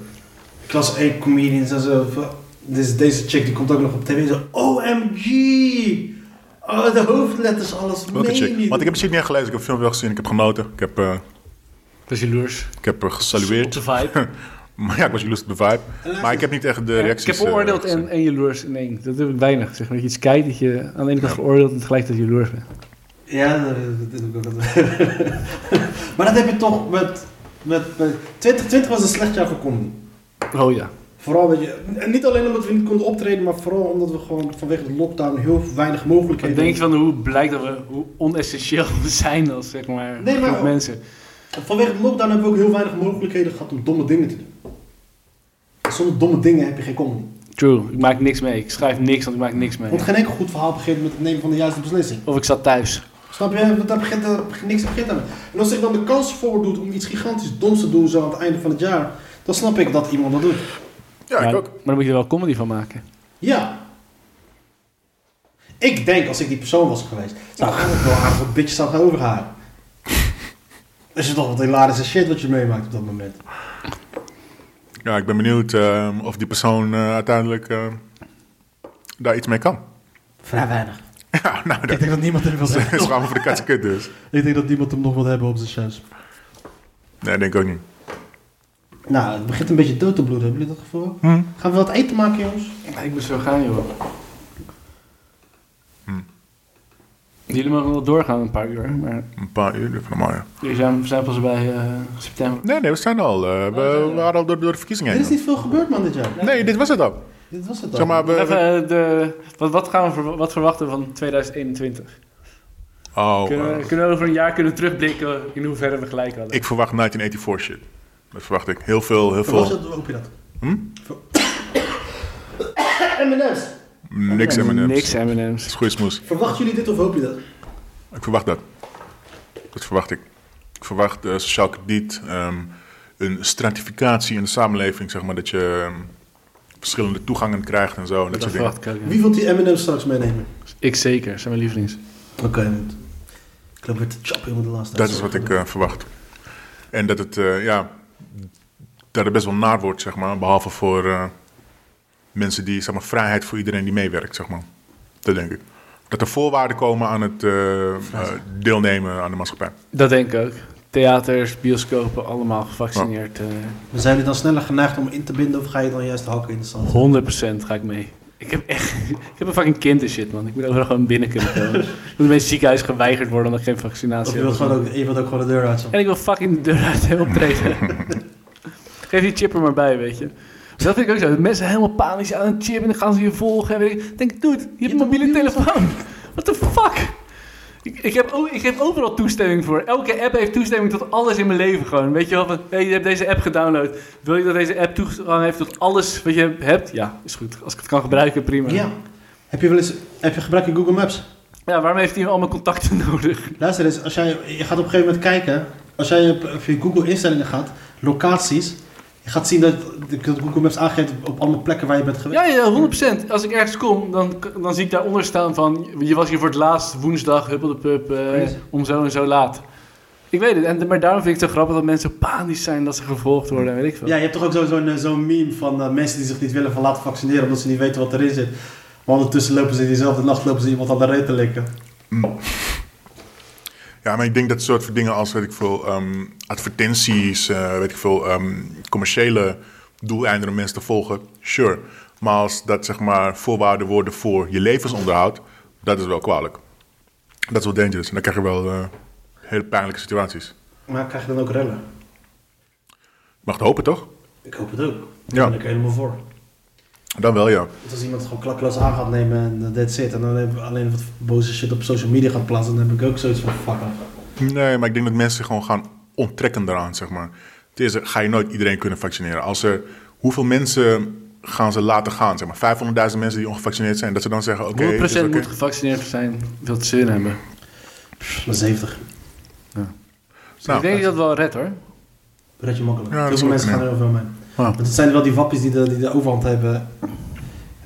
[SPEAKER 2] Klas 1 comedians en zo. van, Dit is deze chick die komt ook nog op tv en zo. OMG! Oh, de hoofdletters, alles.
[SPEAKER 3] Welke
[SPEAKER 2] meen je
[SPEAKER 3] chick?
[SPEAKER 2] niet.
[SPEAKER 3] Want ik heb shit niet echt gelezen. Ik heb film wel gezien. Ik heb genoten. Ik heb, eh,
[SPEAKER 4] Dat is jaloers.
[SPEAKER 3] ik heb eh,
[SPEAKER 4] Op
[SPEAKER 3] gesalueerd.
[SPEAKER 4] de vibe.
[SPEAKER 3] maar ja, ik was jaloers op de vibe.
[SPEAKER 2] luister.
[SPEAKER 3] Maar ik heb niet echt de
[SPEAKER 4] ik
[SPEAKER 3] reacties...
[SPEAKER 4] heb veroordeeld
[SPEAKER 3] eh,
[SPEAKER 4] en, en jaloers in één. Dat heb ik weinig. Zeg maar, dat je iets kijkt dat je aan de ene kant veroordeelt en tegelijkertijd jaloers bent.
[SPEAKER 2] Ja, dat dat doe ik ook altijd. maar dat heb je toch met, met, met... 2020 was een slecht jaar voor comedy.
[SPEAKER 4] Oh ja.
[SPEAKER 2] Vooral dat je... En niet alleen omdat we niet konden optreden, maar vooral omdat we gewoon vanwege de lockdown heel weinig
[SPEAKER 4] Wat
[SPEAKER 2] mogelijkheden
[SPEAKER 4] denk je van hoe blijkt dat we hoe onessentieel we zijn als zeg maar,
[SPEAKER 2] Nee, maar-
[SPEAKER 4] groep mensen?
[SPEAKER 2] Vanwege de lockdown hebben we ook heel weinig mogelijkheden gehad om domme dingen te doen. Zonder domme dingen heb je geen comedy.
[SPEAKER 4] True, ik maak niks mee. Ik schrijf niks, want ik maak niks mee.
[SPEAKER 2] Want geen enkel goed verhaal begint met het nemen van de juiste beslissing.
[SPEAKER 4] Of ik zat thuis.
[SPEAKER 2] Snap je? Want Daar begint, daar begint niks begint aan. En als ik dan de kans voor doet om iets gigantisch doms te doen zo aan het einde van het jaar, dan snap ik dat iemand dat doet.
[SPEAKER 3] Ja,
[SPEAKER 4] maar,
[SPEAKER 3] ik ook.
[SPEAKER 4] maar dan moet je er wel comedy van maken.
[SPEAKER 2] Ja. Ik denk als ik die persoon was geweest, zou ik ook wel aardig wat bitches aan gaan overhalen. Dat is toch wat hilarische shit wat je meemaakt op dat moment.
[SPEAKER 3] Ja, ik ben benieuwd ehm, of die persoon eh, uiteindelijk eh, daar iets mee kan.
[SPEAKER 2] Vrij weinig.
[SPEAKER 3] ja, nou,
[SPEAKER 2] Ik
[SPEAKER 3] dat
[SPEAKER 2] denk dat niemand er wil
[SPEAKER 3] is
[SPEAKER 2] zijn.
[SPEAKER 3] gewoon voor de katse kut dus.
[SPEAKER 2] Ik denk dat niemand hem nog wil hebben op zijn shows.
[SPEAKER 3] Nee, denk ik ook niet.
[SPEAKER 2] Nou, het begint een beetje dood te bloeden, hebben jullie dat gevoel? Gaan we wat eten maken, jongens?
[SPEAKER 4] ik moet zo gaan, joh.
[SPEAKER 3] Hm.
[SPEAKER 4] Jullie mogen wel doorgaan een paar uur, maar
[SPEAKER 3] Een paar uur van de mooie.
[SPEAKER 4] jullie zijn, we zijn pas bij eh, september.
[SPEAKER 3] Nee, nee, we zijn al. eh, we, we waren al door, door de verkiezingen
[SPEAKER 2] Er
[SPEAKER 3] heen.
[SPEAKER 2] is niet veel gebeurd, man, dit jaar.
[SPEAKER 3] Nee, dit was het al.
[SPEAKER 2] Dit was het dan.
[SPEAKER 3] Zeg maar, we,
[SPEAKER 4] Even, eh, de, wat, wat gaan we verwa- wat verwachten van 2021?
[SPEAKER 3] oh,
[SPEAKER 4] Kunnen
[SPEAKER 3] eh,
[SPEAKER 4] we, kunnen we over een jaar kunnen terugblikken in hoeverre we gelijk hadden?
[SPEAKER 3] ik verwacht 1984 shit. Dat verwacht ik. Heel veel, heel
[SPEAKER 2] Hoe was
[SPEAKER 3] veel.
[SPEAKER 2] dat? Hoe hoop je dat?
[SPEAKER 3] Hm?
[SPEAKER 2] Voor- M&M's.
[SPEAKER 3] Niks M&M's.
[SPEAKER 4] Niks
[SPEAKER 3] Niks.
[SPEAKER 4] M&M's.
[SPEAKER 3] Goeie smoes.
[SPEAKER 2] Verwachten jullie dit of hoop je dat?
[SPEAKER 3] Ik verwacht dat. Dat verwacht ik. Ik verwacht eh, sociaal krediet, ehm, een stratificatie in de samenleving, zeg maar, dat je ehm, verschillende toegangen krijgt en zo. En
[SPEAKER 4] Dat
[SPEAKER 3] dat soort dingen.
[SPEAKER 4] verwacht ik ook, ja.
[SPEAKER 2] Wie wil die M&M's straks meenemen?
[SPEAKER 4] Ik zeker, zijn mijn lievelings.
[SPEAKER 2] Oké, goed. Ik loop weer te chappen met de laatste
[SPEAKER 3] Dat is wat ik eh, verwacht. En dat het, eh, ja, dat het best wel naar wordt, zeg maar, behalve voor eh, mensen die, zeg maar, vrijheid voor iedereen die meewerkt, zeg maar. Dat denk ik. Dat er voorwaarden komen aan het eh, eh, deelnemen aan de maatschappij.
[SPEAKER 4] Dat denk ik ook. Theaters, bioscopen, allemaal gevaccineerd. eh.
[SPEAKER 2] Maar zijn jullie dan sneller geneigd om in te binden of ga je dan juist de hakken in de zand?
[SPEAKER 4] 100% ga ik mee. Ik heb echt. Ik heb een fucking kind en shit, man. Ik moet overal gewoon binnen kunnen komen. Ik moet in het ziekenhuis geweigerd worden omdat ik geen vaccinatie
[SPEAKER 2] Of je
[SPEAKER 4] heb.
[SPEAKER 2] wilt, gewoon ook, je wilt ook gewoon de deur uit? zo?
[SPEAKER 4] En ik wil fucking de deur uit en optreden. Geef die chip er maar bij, weet je. Dus dat vind ik ook zo. Mensen helemaal panisch aan een chip en dan gaan ze je volgen. En weet ik. ik denk, dude, je hebt een mobiele telefoon. What the fuck? Ik, ik, heb, o- ik heb overal toestemming voor. Elke app heeft toestemming tot alles in mijn leven gewoon. Weet je wel, van, hey, je hebt deze app gedownload. Wil je dat deze app toegang heeft tot alles wat je hebt? Ja, is goed. Als ik het kan gebruiken, prima.
[SPEAKER 2] Ja. Heb je wel eens, heb je gebruik je Google Maps?
[SPEAKER 4] Ja, waarom heeft hij al mijn contacten nodig?
[SPEAKER 2] Luister eens, als jij, je gaat op een gegeven moment kijken. Als jij op, op je Google instellingen gaat, locaties. Je gaat zien dat, dat Google Maps aangeeft op allemaal plekken waar je bent geweest.
[SPEAKER 4] Ja, ja, 100%. Als ik ergens kom, dan, dan zie ik daaronder staan van... Je was hier voor het laatst woensdag, huppelde pup, eh, om zo en zo laat. Ik weet het, en, maar daarom vind ik het zo grappig dat mensen panisch zijn dat ze gevolgd worden en weet ik veel.
[SPEAKER 2] Ja, je hebt toch ook zo- zo'n eh, zo'n meme van eh, mensen die zich niet willen van laten vaccineren omdat ze niet weten wat erin zit. Maar ondertussen lopen ze in diezelfde nacht lopen ze iemand aan de reet te likken.
[SPEAKER 3] Ja, maar ik denk dat soort van dingen als, weet ik veel, ehm, advertenties, eh, weet ik veel, ehm, commerciële doeleinden om mensen te volgen, sure. Maar als dat, zeg maar, voorwaarden worden voor je levensonderhoud, dat is wel kwalijk. Dat is wel dangerous. En dan krijg je wel eh, hele pijnlijke situaties.
[SPEAKER 2] Maar krijg je dan ook rellen?
[SPEAKER 3] Je mag het hopen, toch?
[SPEAKER 2] Ik hoop het ook. Daar
[SPEAKER 3] Ja.
[SPEAKER 2] ben ik helemaal voor.
[SPEAKER 3] Dan wel, ja.
[SPEAKER 2] Want als iemand gewoon klakkeloos aan gaat nemen en dat that's it. En dan heb- alleen wat boze shit op social media gaat plaatsen, dan heb ik ook zoiets van fuck off.
[SPEAKER 3] Nee, maar ik denk dat mensen zich gewoon gaan onttrekken daaraan, zeg maar. Ten eerste ga je nooit iedereen kunnen vaccineren. Als er, hoeveel mensen gaan ze laten gaan, zeg maar? 500.000 mensen die ongevaccineerd zijn, dat ze dan zeggen, oké...
[SPEAKER 4] 100%
[SPEAKER 3] het is dus oké.
[SPEAKER 4] moet gevaccineerd zijn, wil het zin hebben.
[SPEAKER 2] Maar 70.
[SPEAKER 3] Nou,
[SPEAKER 4] Dus ik denk dat je dat wel redt hoor.
[SPEAKER 2] Dat red je makkelijk.
[SPEAKER 3] Ja, dat
[SPEAKER 2] Heel
[SPEAKER 3] is
[SPEAKER 2] veel
[SPEAKER 3] ook
[SPEAKER 2] mensen gaan
[SPEAKER 3] knap.
[SPEAKER 2] er over mee.
[SPEAKER 3] Ja.
[SPEAKER 2] Want het zijn wel die wappies die de, die de overhand hebben.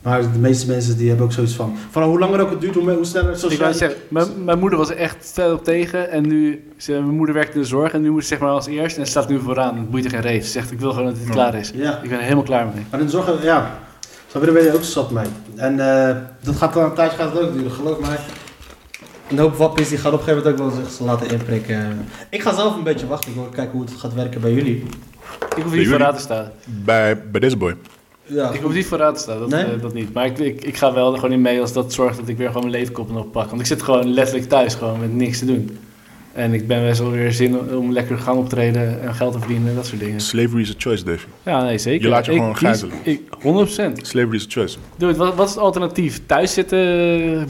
[SPEAKER 2] Maar de meeste mensen die hebben ook zoiets van... Vooral hoe langer ook het duurt, hoe, me- hoe sneller... Zoals
[SPEAKER 4] Ik wou
[SPEAKER 2] jij-
[SPEAKER 4] zeggen, mijn, mijn moeder was er echt fel op tegen en nu, ze- mijn moeder werkt in de zorg en nu moet ze zeg maar als eerst en staat nu vooraan. Het boeit er geen reet. Ze zegt, ik wil gewoon dat dit
[SPEAKER 3] Oh.
[SPEAKER 4] klaar is.
[SPEAKER 2] Ja.
[SPEAKER 4] Ik ben er helemaal klaar mee.
[SPEAKER 2] Maar in de zorg, ja. Zo ben je er ook zat mee. En eh, dat gaat dan thuis gaat het ook duren, geloof mij. Een hoop wappies die gaan op een gegeven moment ook wel zich laten inprikken. Ik ga zelf een beetje wachten. Ik wil kijken hoe het gaat werken bij jullie.
[SPEAKER 4] Ik hoef
[SPEAKER 3] jullie?
[SPEAKER 4] niet vooraan te staan.
[SPEAKER 3] Bij, bij deze boy.
[SPEAKER 2] Ja.
[SPEAKER 4] Ik hoef niet vooruit te staan, dat,
[SPEAKER 2] Nee?
[SPEAKER 4] eh, dat niet. Maar ik, ik, ik ga wel er gewoon in mee als dat zorgt dat ik weer gewoon mijn leefkoppen oppak. Want ik zit gewoon letterlijk thuis gewoon met niks te doen. En ik ben best wel weer zin om, om lekker te gaan optreden en geld te verdienen en dat soort dingen.
[SPEAKER 3] Slavery is a choice, Dave.
[SPEAKER 4] Ja, nee, zeker.
[SPEAKER 3] Je laat je
[SPEAKER 4] Ik
[SPEAKER 3] gewoon
[SPEAKER 4] kies-
[SPEAKER 3] gijzelen.
[SPEAKER 4] Ik, 100%.
[SPEAKER 3] Slavery is a choice.
[SPEAKER 4] Dude, wat, wat is het alternatief? Thuis zitten,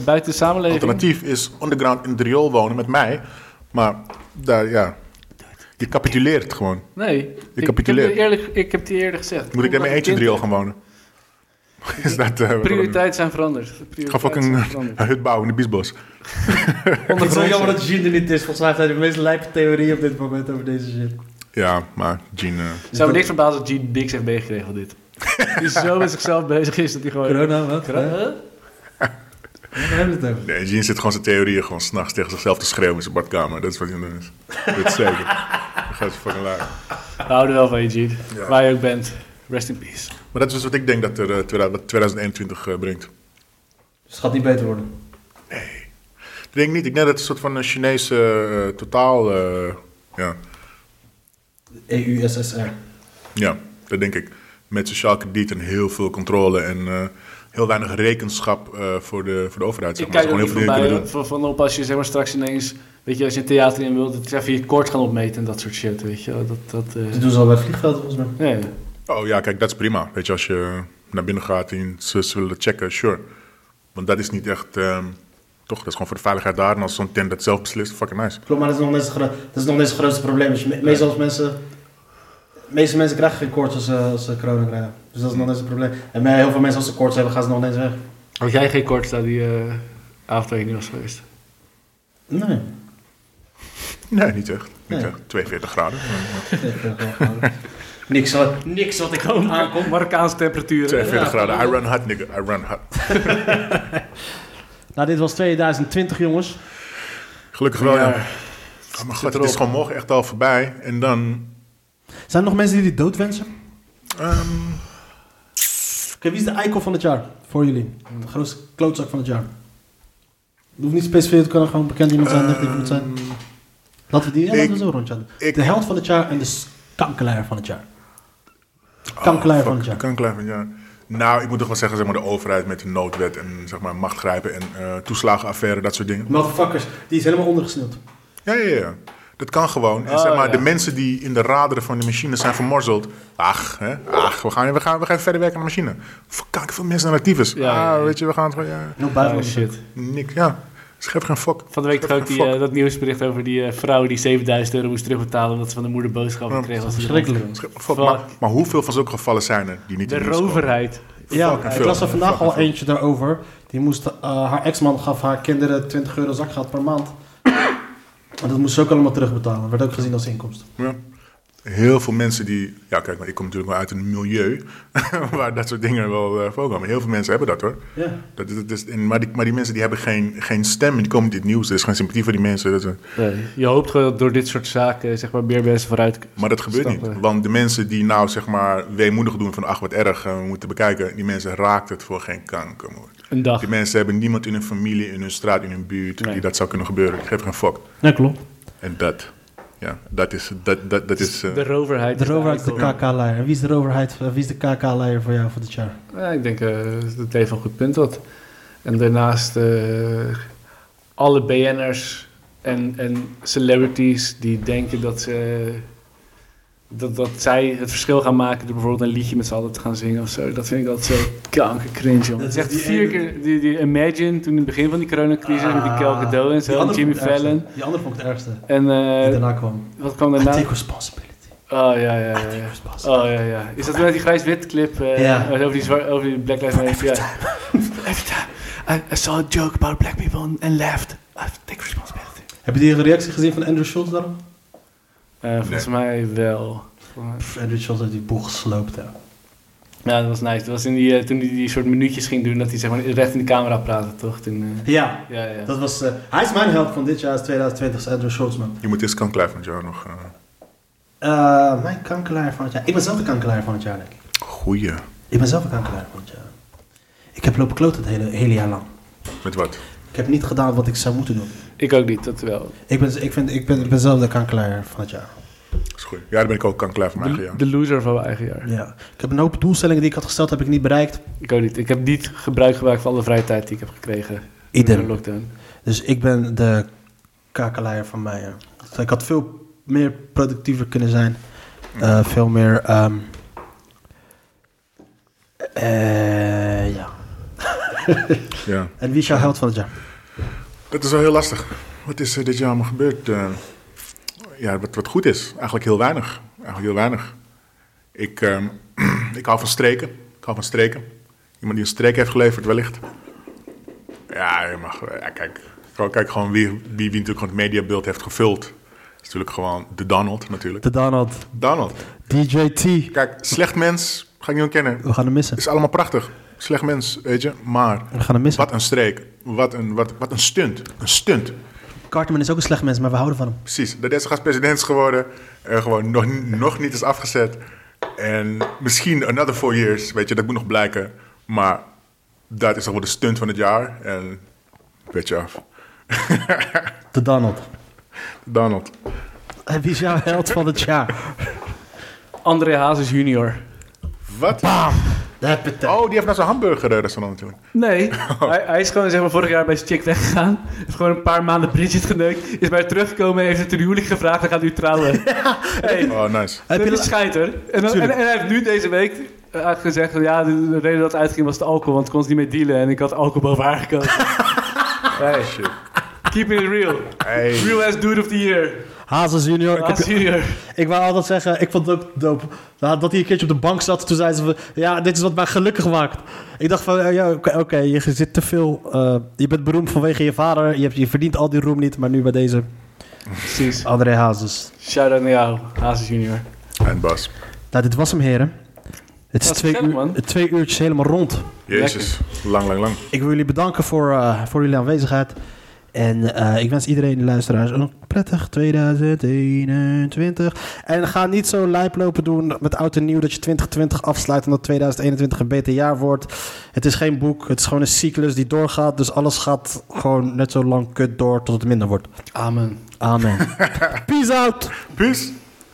[SPEAKER 4] buiten de samenleving?
[SPEAKER 3] Alternatief is underground in het riool wonen met mij. Maar daar, ja... Je capituleert gewoon.
[SPEAKER 4] Nee. Ik, ik, heb
[SPEAKER 3] capituleert.
[SPEAKER 4] het eerlijk, ik heb het je eerder gezegd.
[SPEAKER 3] Moet ik daarmee eentje in het riool gaan wonen? Is dat... eh,
[SPEAKER 4] Prioriteiten zijn veranderd.
[SPEAKER 3] Ik ga
[SPEAKER 4] Prioriteiten
[SPEAKER 3] fucking
[SPEAKER 4] zijn
[SPEAKER 3] een
[SPEAKER 4] veranderd.
[SPEAKER 3] hut bouwen in de biesbos.
[SPEAKER 2] het is
[SPEAKER 4] Ondergrondse.
[SPEAKER 2] zo jammer dat Jean er niet is. Volgens mij heeft hij de meest lijpe theorie op dit moment over deze shit.
[SPEAKER 3] Ja, maar Gene... eh,
[SPEAKER 4] Zou me niks verbazen dat Gene niks heeft meegekregen van dit. Die zo met zichzelf bezig is dat hij gewoon...
[SPEAKER 2] Corona, wat?
[SPEAKER 4] Corona?
[SPEAKER 2] Hè?
[SPEAKER 4] Huh?
[SPEAKER 2] Waar hebben we het over?
[SPEAKER 3] Nee, Jean zit gewoon zijn theorieën gewoon s'nachts tegen zichzelf te schreeuwen in zijn badkamer. Dat is wat hij aan het doen is. Dat is zeker. Dat gaat ze fucking laag.
[SPEAKER 4] We houden wel van je, Gene.
[SPEAKER 3] Ja.
[SPEAKER 4] Waar je ook bent. Rest in peace.
[SPEAKER 3] Maar dat is dus wat ik denk dat er eh, 2000 wat 2021 eh, brengt.
[SPEAKER 2] Dus het gaat niet beter worden.
[SPEAKER 3] Ik denk niet. Ik denk dat het een soort van een Chinese eh, totaal... eh, ja.
[SPEAKER 2] E EU-SSR.
[SPEAKER 3] ja, dat denk ik. Met sociaal krediet en heel veel controle en eh, heel weinig rekenschap eh, voor, de, voor de overheid. Zeg
[SPEAKER 4] Ik
[SPEAKER 3] maar.
[SPEAKER 4] kijk
[SPEAKER 3] Ze
[SPEAKER 4] er ook
[SPEAKER 3] gewoon
[SPEAKER 4] niet
[SPEAKER 3] heel veel dingen kunnen
[SPEAKER 4] voorbij van,
[SPEAKER 3] doen.
[SPEAKER 4] van op als je zeg maar, straks ineens... Weet je, als je een theater in wilt, dat ze even je koord gaan opmeten en dat soort shit, weet je. wel. Dat, dat, eh,
[SPEAKER 2] Dat doen ze al bij het vliegveld volgens mij.
[SPEAKER 4] nee.
[SPEAKER 3] Oh ja, kijk, dat is prima. Weet je, als je naar binnen gaat en ze, ze willen checken, sure. Want dat is niet echt... ehm, toch, dat is gewoon voor de veiligheid daar. En als zo'n tent dat zelf beslist, fucking nice.
[SPEAKER 2] Klopt, maar dat is nog net het, gro- dat is nog net het grootste probleem. Dus me- meestal als mensen... De meeste mensen krijgen geen koorts als, ze- als ze corona krijgen. Dus dat is nog net het probleem. En bij heel veel mensen als ze koorts hebben, gaan ze nog net weg.
[SPEAKER 4] Had jij geen koorts na die eh avond waar je niet was geweest?
[SPEAKER 2] Nee.
[SPEAKER 3] Nee, niet echt. Niet
[SPEAKER 2] Nee.
[SPEAKER 3] echt. 42 graden.
[SPEAKER 2] Ik ben gewoon gehouden. niks, wat, niks wat ik ook aankom.
[SPEAKER 4] Marokkaanse temperaturen.
[SPEAKER 3] 42 graden. I run hot, nigga. I run hot.
[SPEAKER 2] Nou, dit was 2020, jongens.
[SPEAKER 3] Gelukkig wel, ja.
[SPEAKER 4] Ja.
[SPEAKER 3] Oh mijn god, het is gewoon morgen echt al voorbij. En dan...
[SPEAKER 2] Zijn er nog mensen die dit dood wensen?
[SPEAKER 3] ehm,
[SPEAKER 2] wie is de icon van het jaar voor jullie? De grootste klootzak van het jaar. Het hoeft niet specifiek, het kan gewoon bekend iemand zijn, echt iemand zijn. Laten we die, ja, laten we
[SPEAKER 3] Ehm. ik-
[SPEAKER 2] zo een rondje doen.
[SPEAKER 3] ik-
[SPEAKER 2] de held van het jaar en de s- kankelaar van het jaar.
[SPEAKER 3] Ah,
[SPEAKER 2] Kankelaar van het jaar.
[SPEAKER 3] Kankelaar van het jaar. Nou, ik moet toch wel zeggen, zeg maar, de overheid met de noodwet en zeg maar, machtgrijpen en eh, toeslagenaffaire, dat soort dingen.
[SPEAKER 2] Motherfuckers, die is helemaal ondergesneeld.
[SPEAKER 3] Ja, ja, ja. Dat kan gewoon. En
[SPEAKER 4] Oh,
[SPEAKER 3] zeg maar,
[SPEAKER 4] ja.
[SPEAKER 3] de mensen die in de raderen van de machine zijn vermorzeld. Ach, hè, ach we, gaan, we, gaan, we gaan verder werken aan de machine. Verkak veel mensen naar actief is.
[SPEAKER 4] Ja, ja, ja.
[SPEAKER 3] Ah, weet je, we gaan het gewoon. Ja,
[SPEAKER 2] En ook
[SPEAKER 4] Oh
[SPEAKER 2] buitenlanders.
[SPEAKER 4] shit.
[SPEAKER 3] niks, ja. Schep geen fok.
[SPEAKER 4] Van de week
[SPEAKER 3] Schep
[SPEAKER 4] toch ook
[SPEAKER 3] geen
[SPEAKER 4] die,
[SPEAKER 3] fok.
[SPEAKER 4] eh, dat nieuwsbericht over die eh, vrouw die 7000 euro moest terugbetalen omdat ze van de moeder boodschappen
[SPEAKER 3] Ja,
[SPEAKER 4] kreeg. als ze
[SPEAKER 2] verschrikkelijk.
[SPEAKER 4] dat-
[SPEAKER 3] Schep geen fok. Maar, maar hoeveel van zulke gevallen zijn er die niet
[SPEAKER 4] De
[SPEAKER 3] in nieuws komen?
[SPEAKER 4] roverheid.
[SPEAKER 2] Ja,
[SPEAKER 3] Fucking
[SPEAKER 2] ik las er
[SPEAKER 3] veel.
[SPEAKER 2] vandaag al
[SPEAKER 3] Fucking veel.
[SPEAKER 2] eentje daarover. Die moest, eh, haar ex-man gaf haar kinderen 20 euro zakgeld per maand. En dat moest ze ook allemaal terugbetalen. Werd ook gezien als inkomsten.
[SPEAKER 3] Ja. Heel veel mensen die. Ja, kijk, maar ik kom natuurlijk wel uit een milieu. waar dat soort dingen wel eh voorkomen. Heel veel mensen hebben dat hoor.
[SPEAKER 2] Ja.
[SPEAKER 3] Dat, dat, dat is, en, maar, die, maar die mensen die hebben geen, geen stem en die komen in dit nieuws. Er is geen sympathie voor die mensen. Dat, is-
[SPEAKER 4] Nee, je hoopt gewoon dat door dit soort zaken zeg maar, meer mensen vooruit
[SPEAKER 3] Maar dat gebeurt
[SPEAKER 4] Stappen.
[SPEAKER 3] niet. Want de mensen die nou zeg maar weemoedig doen van ach wat erg, eh, we moeten bekijken. Die mensen raakt het voor geen kanker. man.
[SPEAKER 4] een dag.
[SPEAKER 3] Die mensen hebben niemand in hun familie, in hun straat, in hun buurt
[SPEAKER 4] Nee.
[SPEAKER 3] die dat zou kunnen gebeuren. Ik geef geen fuck.
[SPEAKER 2] Ja, klopt.
[SPEAKER 3] En dat, ja, dat is, dat, dat, dat is eh,
[SPEAKER 4] Dus De roverheid.
[SPEAKER 2] De
[SPEAKER 4] is
[SPEAKER 2] overheid de
[SPEAKER 4] eigenlijk al-
[SPEAKER 2] KK-leider. En Wie is de overheid, eh, wie is de KK-leider voor jou voor dit jaar?
[SPEAKER 4] Ja, ik denk eh, dat heeft een goed punt wat. En daarnaast eh, alle BN'ers en, en celebrities die denken dat ze... Dat, dat zij het verschil gaan maken door bijvoorbeeld een liedje met z'n allen te gaan zingen of zo. Dat vind ik altijd zo kanker cringe, jongen.
[SPEAKER 2] Dat
[SPEAKER 4] Dat is
[SPEAKER 2] is
[SPEAKER 4] echt
[SPEAKER 2] die
[SPEAKER 4] vier
[SPEAKER 2] ene- Ah.
[SPEAKER 4] keer die, die Imagine toen in het begin van die coronacrisis met die Kel Gadot en
[SPEAKER 2] Die
[SPEAKER 4] zo,
[SPEAKER 2] andere
[SPEAKER 4] Jimmy
[SPEAKER 2] vond ik het
[SPEAKER 4] Fallon.
[SPEAKER 2] ergste. Die andere vond ik het ergste.
[SPEAKER 4] En
[SPEAKER 2] die
[SPEAKER 4] eh,
[SPEAKER 2] daarna kwam.
[SPEAKER 4] wat kwam
[SPEAKER 2] I
[SPEAKER 4] daarna?
[SPEAKER 2] take responsibility.
[SPEAKER 4] Oh ja, ja, ja.
[SPEAKER 2] I take
[SPEAKER 4] ja.
[SPEAKER 2] responsibility.
[SPEAKER 4] Oh ja, ja. Is dat wel die grijs-wit clip eh,
[SPEAKER 2] Ja.
[SPEAKER 4] over, die zwar- over die Black Lives Matter? Ja. Every time I, I saw a joke about black people and- and laughed, I take responsibility.
[SPEAKER 2] Heb je die reactie gezien van Andrew Schultz daarom?
[SPEAKER 4] Eh, volgens mij wel. Volgens mij-
[SPEAKER 2] Pff, Andrew Schultz heeft die boel gesloopt, ja.
[SPEAKER 4] Ja, dat was nice. Dat was in die, eh, toen hij die soort minuutjes ging doen, dat hij zeg maar recht in de camera praatte, toch? Toen, eh,
[SPEAKER 2] Ja,
[SPEAKER 4] ja, ja.
[SPEAKER 2] dat was... eh, hij is mijn held van dit jaar, is 2020, is Andrew Schultz, man.
[SPEAKER 3] je moet eerst kan van jou nog. eh
[SPEAKER 2] Eh, mijn kankelaar van het jaar. Ik ben zelf de kankelaar van het jaar, denk ik.
[SPEAKER 3] goeie.
[SPEAKER 2] Ik ben zelf de kankelaar van het jaar. Ik heb lopen kloten het hele, hele jaar lang.
[SPEAKER 3] Met wat?
[SPEAKER 2] Ik heb niet gedaan wat ik zou moeten doen.
[SPEAKER 4] Ik ook niet, dat wel.
[SPEAKER 2] Ik ben, ik vind, ik ben, ik ben zelf de kankelaar van het jaar.
[SPEAKER 3] Dat is goed. Ja, daar ben ik ook kan van mij.
[SPEAKER 4] De,
[SPEAKER 3] Ja.
[SPEAKER 4] de loser van mijn eigen jaar.
[SPEAKER 2] Ja. Ik heb een hoop doelstellingen die ik had gesteld, heb ik niet bereikt.
[SPEAKER 4] Ik ook niet. Ik heb niet gebruik gemaakt van alle vrije tijd die ik heb gekregen. in
[SPEAKER 2] Idem.
[SPEAKER 4] de lockdown.
[SPEAKER 2] Dus ik ben de kakelaar van mij. ja. Dus ik had veel meer productiever kunnen zijn. Eh, veel meer... ehm, eh, ja.
[SPEAKER 3] Ja.
[SPEAKER 2] En wie is jouw held van het jaar?
[SPEAKER 3] Dat is wel heel lastig. Wat is er dit jaar allemaal gebeurd? Eh, ja, wat, wat goed is. Eigenlijk heel weinig. Eigenlijk heel weinig. Ik, ehm, ik hou van streken. Ik hou van streken. Iemand die een streek heeft geleverd, wellicht. Ja, je mag, eh, ja kijk, gewoon- kijk gewoon wie, wie, wie natuurlijk gewoon het mediabeeld heeft gevuld. Dat is natuurlijk gewoon de Donald, natuurlijk.
[SPEAKER 2] De Donald.
[SPEAKER 3] Donald.
[SPEAKER 2] DJT.
[SPEAKER 3] Kijk, slecht mens, ga ik niet ontkennen.
[SPEAKER 2] We gaan hem missen.
[SPEAKER 3] Het is allemaal prachtig. Slecht mens, weet je. Maar
[SPEAKER 2] We gaan hem missen.
[SPEAKER 3] wat een streek. Wat een, wat, wat een stunt. Een stunt.
[SPEAKER 2] Cartman is ook een slecht mens, maar we houden van hem.
[SPEAKER 3] Precies, de is president is geworden. eh, gewoon nog, nog niet is afgezet. En misschien another four years, weet je, dat moet nog blijken. Maar dat is toch wel de stunt van het jaar. En weet je af.
[SPEAKER 2] De Donald.
[SPEAKER 3] Donald.
[SPEAKER 2] En wie is jouw held van het jaar?
[SPEAKER 4] André Hazes junior.
[SPEAKER 3] Wat?
[SPEAKER 2] Dat
[SPEAKER 3] Oh, die heeft naar zijn hamburgerrestaurant natuurlijk.
[SPEAKER 4] Nee, hij, hij is gewoon zeg maar, vorig jaar bij zijn chick weggegaan. Heeft gewoon een paar maanden Bridget geneukt. Is bij haar teruggekomen en heeft het ten huwelijk gevraagd. Dan gaat nu trouwen. hey,
[SPEAKER 3] Oh, nice.
[SPEAKER 2] heb
[SPEAKER 4] dit
[SPEAKER 2] je
[SPEAKER 4] is scheiter. En, dan- en,
[SPEAKER 2] Tuurlijk.
[SPEAKER 4] en hij heeft nu deze week eh, gezegd... Ja, de, de reden dat het uitging was de alcohol. Want ik kon ze niet meer dealen. En ik had alcohol boven haar gekozen. hey,
[SPEAKER 3] Shit.
[SPEAKER 4] keep it real.
[SPEAKER 3] Hey.
[SPEAKER 4] Real ass dude of the year.
[SPEAKER 2] Hazes junior. Ik, heb-
[SPEAKER 4] Haas junior.
[SPEAKER 2] ik wou altijd zeggen, ik vond het ook dope. Nou, Dat hij een keertje op de bank zat, toen zei ze van... Ja, dit is wat mij gelukkig maakt. Ik dacht van, eh, ja, oké, oké, je zit te veel... eh, je bent beroemd vanwege je vader. Je, hebt, je verdient al die roem niet, maar nu bij deze
[SPEAKER 4] Precies.
[SPEAKER 2] André Hazes.
[SPEAKER 4] Shout-out naar jou, Hazes junior.
[SPEAKER 3] En Bas.
[SPEAKER 2] Nou, dit was hem, heren. Het is
[SPEAKER 4] Dat is
[SPEAKER 2] twee,
[SPEAKER 4] gezellig,
[SPEAKER 2] uur,
[SPEAKER 4] man.
[SPEAKER 2] het twee uurtjes helemaal rond.
[SPEAKER 3] Jezus. Lang, lang, lang.
[SPEAKER 2] Ik wil jullie bedanken voor, eh, voor jullie aanwezigheid. En eh, ik wens iedereen, de luisteraars, een prettig 2021. En ga niet zo lijp lopen doen met oud en nieuw dat je 2020 afsluit en dat 2021 een beter jaar wordt. Het is geen boek, het is gewoon een cyclus die doorgaat. Dus alles gaat gewoon net zo lang kut door tot het minder wordt.
[SPEAKER 4] Amen.
[SPEAKER 2] Amen. Peace out!
[SPEAKER 3] Peace.